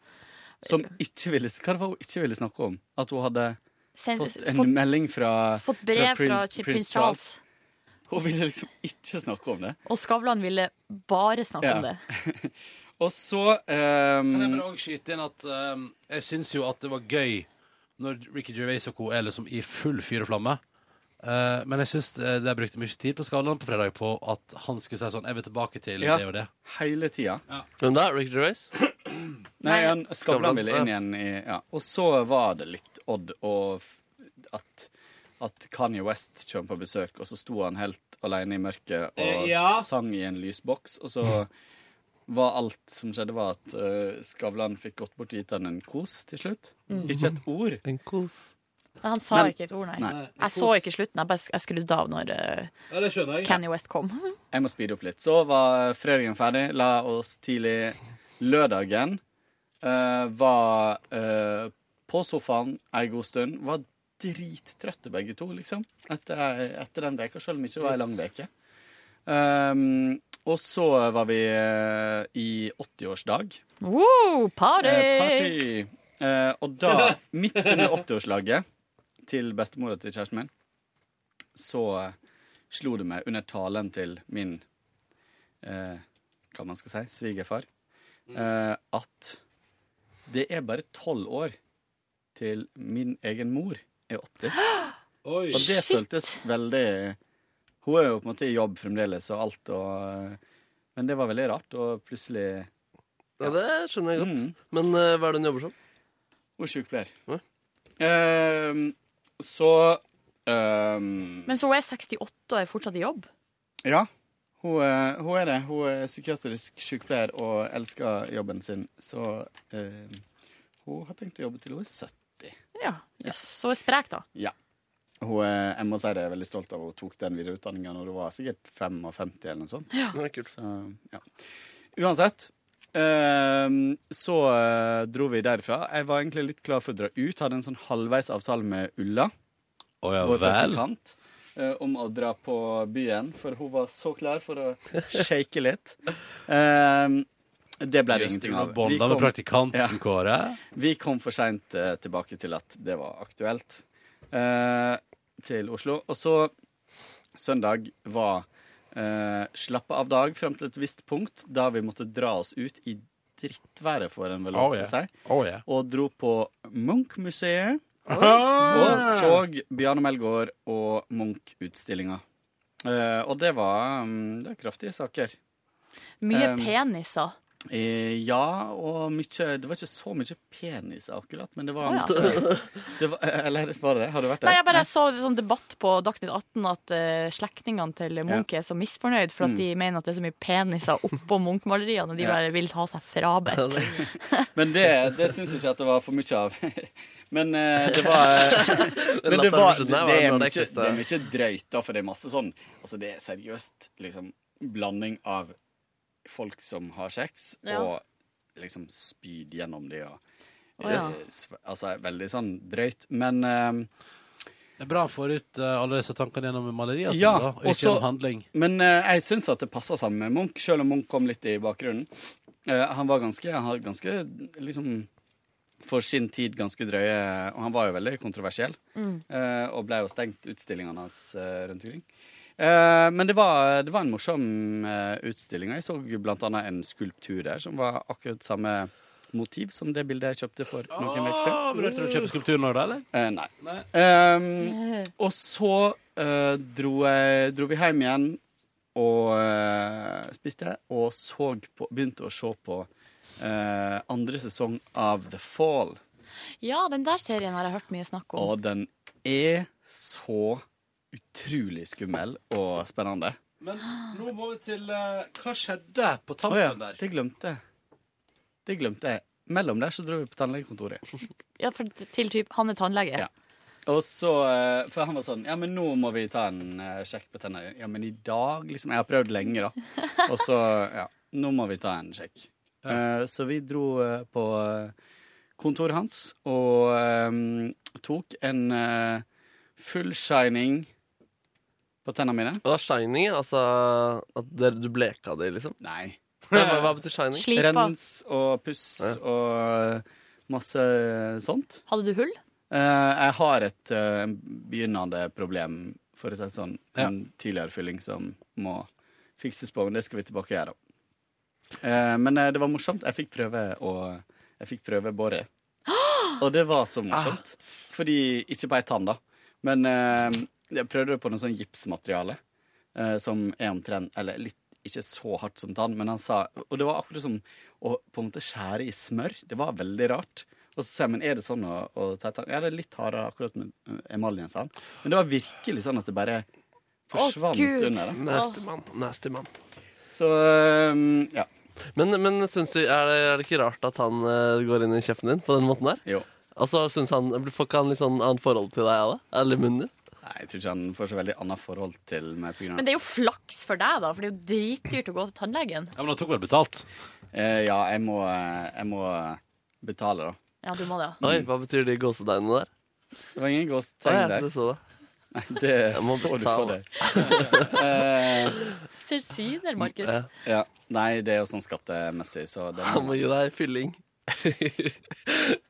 [SPEAKER 9] som ikke ville Hva var det hun ikke ville snakke om? At hun hadde
[SPEAKER 3] Send-
[SPEAKER 9] fått en
[SPEAKER 3] fått-
[SPEAKER 9] melding fra
[SPEAKER 3] Fått brev fra Ch- prins Charles.
[SPEAKER 9] Hun ville liksom ikke snakke om det.
[SPEAKER 3] Og Skavlan ville bare snakke om
[SPEAKER 9] Ja.
[SPEAKER 3] det.
[SPEAKER 9] Og så ehm,
[SPEAKER 2] Kan jeg bare også skyte inn at ehm, jeg syns jo at det var gøy når Ricky Gervais og co. er liksom i full fyr og flamme. Eh, men jeg syns eh, de brukte mye tid på Skavlan på fredag på at han skulle si sånn Jeg vil tilbake til
[SPEAKER 9] Ja.
[SPEAKER 2] det og det.
[SPEAKER 9] Hele tida.
[SPEAKER 4] Hvem da? Rick Gervais?
[SPEAKER 9] Nei, han,
[SPEAKER 4] Skavlan,
[SPEAKER 9] Skavlan ville inn igjen i ja. Og så var det litt odd og f- at, at Kanye West kommer på besøk, og så sto han helt alene i mørket og
[SPEAKER 2] Eh, ja.
[SPEAKER 9] sang i en lysboks, og så var alt som skjedde, var at eh, Skavlan fikk gått bort og gitt han en kos til slutt.
[SPEAKER 3] Mm.
[SPEAKER 9] Ikke et ord.
[SPEAKER 4] En kos.
[SPEAKER 3] Men han sa
[SPEAKER 9] Men-
[SPEAKER 3] ikke et ord, nei.
[SPEAKER 9] Nei.
[SPEAKER 3] Jeg så ikke slutten. Jeg, bare, jeg skrudde av når uh,
[SPEAKER 2] Ja, det skjønner jeg.
[SPEAKER 3] Kanye West kom.
[SPEAKER 9] Jeg må speede opp litt. Så var fredagen ferdig. La oss tidlig lørdagen. eh, var eh, på sofaen ei god stund. Var drittrøtte begge to, liksom. Etter, etter den veka, selv om ikke det var ei lang veke. Ehm, og så var vi eh, i 80-årsdag.
[SPEAKER 3] Wow, party!
[SPEAKER 9] Eh, party! Eh, og da, midt under 80-årslaget til bestemora til kjæresten min, så eh, slo det meg under talen til min eh, Hva man skal si svigerfar, eh, at det er bare tolv år til min egen mor er 80.
[SPEAKER 2] Oi.
[SPEAKER 9] Og det føltes veldig Hun er jo på en måte i jobb fremdeles og alt, og, eh, men det var veldig rart å plutselig
[SPEAKER 4] Ja, det skjønner jeg godt. Men eh, hva er det hun jobber som?
[SPEAKER 9] Hun er sykepleier. Ehm, så ehm,
[SPEAKER 3] Men så hun er 68 og er fortsatt i jobb.
[SPEAKER 9] Ja, hun, er- hun er det. Hun er psykiatrisk sykepleier og elsker jobben sin. Så ehm, hun har tenkt å jobbe til hun er 70.
[SPEAKER 3] Ja, jøss. Så sprek, da.
[SPEAKER 9] Ja. Hun er, jeg må si det, jeg er veldig stolt av at hun tok den videreutdanninga når hun var sikkert 55 eller noe sånt.
[SPEAKER 3] Ja.
[SPEAKER 9] Så, ja. Uansett. ehm, så eh, dro vi derfra. Jeg var egentlig litt klar for å dra ut. Hadde en sånn halvveis avtale med Ulla.
[SPEAKER 2] Å ja
[SPEAKER 9] vår
[SPEAKER 2] vel.
[SPEAKER 9] praktikant, eh, om å dra på byen, for hun var så klar for å shake litt. Ehm, det ble det
[SPEAKER 2] Just
[SPEAKER 9] ingenting
[SPEAKER 2] under
[SPEAKER 9] av.
[SPEAKER 2] bånda med praktikanten, Kåre.
[SPEAKER 9] Vi kom for seint eh, tilbake til at det var aktuelt eh, til Oslo. Og så søndag var eh, slappe av dag fram til et visst punkt, da vi måtte dra oss ut i drittværet, får en vel lov
[SPEAKER 2] Oh,
[SPEAKER 9] til
[SPEAKER 2] yeah.
[SPEAKER 9] å si
[SPEAKER 2] Oh, yeah.
[SPEAKER 9] og dro på Munch-museet.
[SPEAKER 2] Oi.
[SPEAKER 9] Og så Bjarne Melgaard og Munch-utstillinga. Eh, og det var, mm, det var kraftige saker.
[SPEAKER 3] Mye
[SPEAKER 9] Um,
[SPEAKER 3] peniser.
[SPEAKER 9] Eh, ja, og mye Det var ikke så mye penis akkurat, men det var,
[SPEAKER 3] Å, ja.
[SPEAKER 9] mye- det var Eller var det det? Har du vært der?
[SPEAKER 3] Nei, jeg bare så en sånn debatt på Dagsnytt 18 at eh, slektningene til Munch er så misfornøyd for at
[SPEAKER 9] Mm.
[SPEAKER 3] de mener at det er så mye peniser oppå Munch-maleriene, og de
[SPEAKER 9] Ja.
[SPEAKER 3] bare vil ha seg frabedt.
[SPEAKER 9] Men det, det syns jeg ikke at det var for mye av. Men eh, det var Men det, var, det, er mye, det er mye drøyt, da, for det er masse sånn Altså, det er seriøst liksom blanding av folk som har sex,
[SPEAKER 3] Ja.
[SPEAKER 9] og liksom spyd gjennom de og
[SPEAKER 2] Å, ja.
[SPEAKER 9] eh, sv- Altså veldig sånn drøyt. Men eh,
[SPEAKER 2] Det er bra han får ut eh, alle disse tankene gjennom maleriet.
[SPEAKER 9] Ja,
[SPEAKER 2] da, og ikke
[SPEAKER 9] også-
[SPEAKER 2] gjennom handling.
[SPEAKER 9] Men eh, jeg syns at det passer sammen med Munch, selv om Munch kom litt i bakgrunnen. Eh, han var ganske, han hadde ganske liksom for sin tid ganske drøye Og han var jo veldig kontroversiell.
[SPEAKER 11] Mm.
[SPEAKER 9] eh, og ble jo stengt utstillingene hans eh, rundt omkring. Eh, men det var, det var en morsom eh, utstilling. og Jeg så blant annet en skulptur der som var akkurat samme motiv som det bildet jeg kjøpte for noen uker
[SPEAKER 2] Ah,
[SPEAKER 9] siden.
[SPEAKER 2] Vurderte du å kjøpe skulpturen nå, da? eller?
[SPEAKER 9] Eh, nei. Ehm, og så eh, dro, jeg, dro vi hjem igjen og eh, spiste, og så på, begynte å se på eh, andre sesong av The Fall.
[SPEAKER 3] Ja, den der serien har jeg hørt mye snakk om.
[SPEAKER 9] Og den er så utrolig skummel og spennende.
[SPEAKER 2] Men nå må vi til eh, Hva skjedde på
[SPEAKER 9] Å
[SPEAKER 2] tampen
[SPEAKER 9] ja,
[SPEAKER 2] der?
[SPEAKER 9] det glemte jeg. Det glemte jeg. Mellom der så dro vi på tannlegekontoret.
[SPEAKER 3] Ja, for til typ, Han er tannlege.
[SPEAKER 9] Ja. Og så, eh, For han var sånn Ja, men nå må vi ta en eh, sjekk på tennene. Ja, men i dag, liksom. Jeg har prøvd lenge, da. Og så Ja, nå må vi ta en sjekk. Eh, så vi dro eh, på eh, kontoret hans og eh, tok en eh, full shining på tennene mine.
[SPEAKER 4] Og da shining, altså at dere- du bleka de, liksom?
[SPEAKER 9] Nei.
[SPEAKER 4] Hva, hva betyr shining?
[SPEAKER 9] Rens og puss og eh, masse sånt.
[SPEAKER 3] Hadde du hull?
[SPEAKER 9] Eh, jeg har et eh, begynnende problem, for å si det sånn. En tidligere fylling som må fikses på, men det skal vi tilbake og gjøre. Eh, men eh, det var morsomt. Jeg fikk prøve å Jeg fikk prøve Båre. Og det var så morsomt. Fordi Ikke på ei tann, da, men eh, jeg prøvde det på noe sånn gipsmateriale. eh, som er omtrent Eller litt ikke så hardt som tann, men han sa Og det var akkurat som å på en måte skjære i smør. Det var veldig rart. Og så sier jeg, men er det sånn å, å ta i tann? Ja, det er litt hardere akkurat med eh, emaljen, sa han. Men det var virkelig sånn at det bare forsvant
[SPEAKER 4] Gud.
[SPEAKER 9] under. det.
[SPEAKER 4] Nasty mann. Nasty mann.
[SPEAKER 9] Så um, ja.
[SPEAKER 4] Men, men syns du, er, det, er det ikke rart at han eh, går inn i kjeften din på den måten der?
[SPEAKER 9] Jo.
[SPEAKER 4] Altså, synes han, Får ikke han litt sånn annet forhold til deg av det? Eller munnen din?
[SPEAKER 9] Nei, jeg tror ikke han får så veldig annet forhold til meg. På grunn av
[SPEAKER 3] Men det er jo flaks for deg, da, for det er jo dritdyrt å gå til tannlegen.
[SPEAKER 9] Ja, Men han tok vel betalt? Eh, ja, jeg må, eh, jeg må betale, da.
[SPEAKER 3] Ja, du må det. ja.
[SPEAKER 4] Oi, hva betyr de gåsetegnene der?
[SPEAKER 9] Det var ingen
[SPEAKER 4] Oi,
[SPEAKER 9] gåstegn
[SPEAKER 4] jeg
[SPEAKER 9] der.
[SPEAKER 4] synes jeg så det.
[SPEAKER 9] Nei, det
[SPEAKER 4] Jeg må
[SPEAKER 9] så du for
[SPEAKER 4] betale.
[SPEAKER 9] deg. Eh,
[SPEAKER 3] Ser sider, Markus.
[SPEAKER 9] ja. ja. Nei, det er jo sånn skattemessig, så det
[SPEAKER 4] Han må gi deg fylling.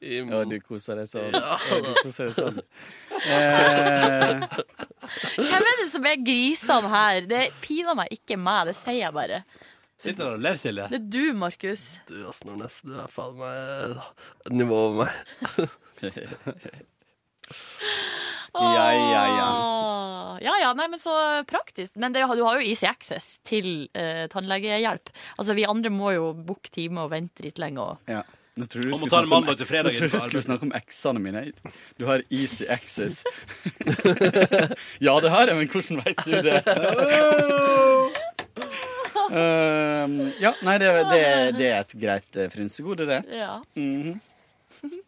[SPEAKER 9] Ja, du koser deg sånn.
[SPEAKER 4] Ja.
[SPEAKER 9] Ja, du koser deg sånn. Eh,
[SPEAKER 3] Hvem er det som er grisene her? Det piner meg ikke meg, det sier jeg bare.
[SPEAKER 2] Sitter der og ler, Silje.
[SPEAKER 3] Det er du, Markus.
[SPEAKER 4] Du, ass, Nordnes, du er faen meg et nivå over meg.
[SPEAKER 9] Eh, Ja, ja, ja.
[SPEAKER 3] Åh. Ja, ja, nei, men så praktisk. Men det, du har jo easy access til eh, tannlegehjelp. Altså, vi andre må jo booke time og vente litt lenge. Og...
[SPEAKER 9] ja. Nå tror du
[SPEAKER 2] Man må
[SPEAKER 9] skulle
[SPEAKER 2] ta det
[SPEAKER 9] snakke om-
[SPEAKER 2] mandag til fredag
[SPEAKER 9] Nå tror du
[SPEAKER 2] innenfor
[SPEAKER 9] skulle snakke om eksene mine. Du har easy access. ja, det har jeg, men hvordan veit du det? Eh, ja, nei, det, det, det er et greit eh, frynsegode, det.
[SPEAKER 3] Ja.
[SPEAKER 9] Mhm.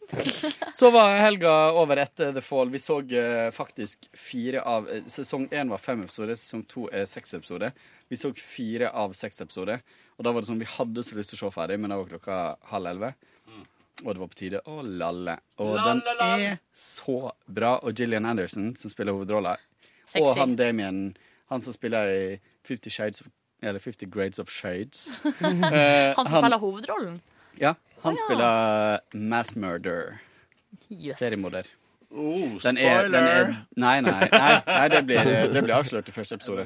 [SPEAKER 9] Så var helga over etter The Fall. Vi så eh, faktisk fire av eh, Sesong én var fem episoder, sesong to er seks episoder. Vi så fire av seks episoder. Og da var det sånn, vi hadde så lyst til å se ferdig, men da var klokka halv elleve. Og det var på tide å lalle. Og den er så bra. Og Gillian Anderson, som spiller hovedrolla, og
[SPEAKER 3] Sexy.
[SPEAKER 9] han Damien, han som spiller i Fifty Shades of eller 50 Grades of Shades. Eh,
[SPEAKER 3] Han som spiller hovedrollen?
[SPEAKER 9] ja, han
[SPEAKER 3] Å, ja.
[SPEAKER 9] spiller eh, Mass Murder.
[SPEAKER 3] Yes.
[SPEAKER 9] Seriemorder.
[SPEAKER 2] Oh,
[SPEAKER 9] Den er, den er, nei, nei, nei, nei det, blir, det blir avslørt i første episode.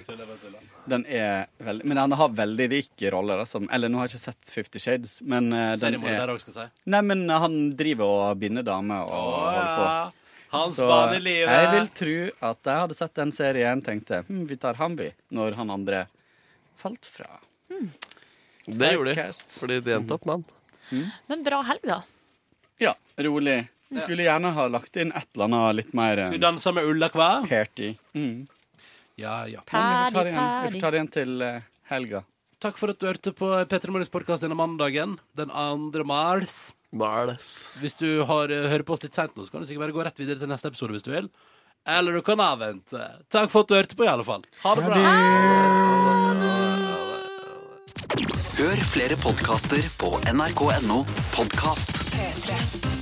[SPEAKER 9] Den er veldig, men han har veldig rik rolle. Da, som, eller nå har jeg ikke sett Fifty Shades, men eh, den
[SPEAKER 2] Seriemorder
[SPEAKER 9] er
[SPEAKER 2] der også, skal jeg si.
[SPEAKER 9] Nei, men han driver og binder damer og holder på.
[SPEAKER 2] Hans
[SPEAKER 9] Så
[SPEAKER 2] bane i livet.
[SPEAKER 9] Jeg vil tro at jeg hadde sett den serien, tenkte hm, vi tar han, vi, når han andre falt fra.
[SPEAKER 4] Det gjorde de,
[SPEAKER 9] Typecast.
[SPEAKER 4] fordi de endte opp med han.
[SPEAKER 3] Men bra helg, da.
[SPEAKER 9] Ja, rolig. Skulle gjerne ha lagt inn et eller annet litt mer
[SPEAKER 2] Skal vi
[SPEAKER 9] eh,
[SPEAKER 2] danse med Ulla Kva?
[SPEAKER 9] party. Mm.
[SPEAKER 2] Ja, ja.
[SPEAKER 9] Men vi får ta det
[SPEAKER 3] Party,
[SPEAKER 9] igjen, vi får
[SPEAKER 3] party.
[SPEAKER 9] ta det igjen til eh, helga.
[SPEAKER 2] Takk for at du hørte på P3 Morgens podkast denne mandagen, den 2. mars.
[SPEAKER 4] Marles.
[SPEAKER 2] Hvis du har, eh, hører på oss litt seint nå, så kan du sikkert bare gå rett videre til neste episode hvis du vil. Eller du kan avvente. Takk for at du hørte på, i alle fall. Ha det bra.
[SPEAKER 1] Hør flere podkaster på nrk.no podkast.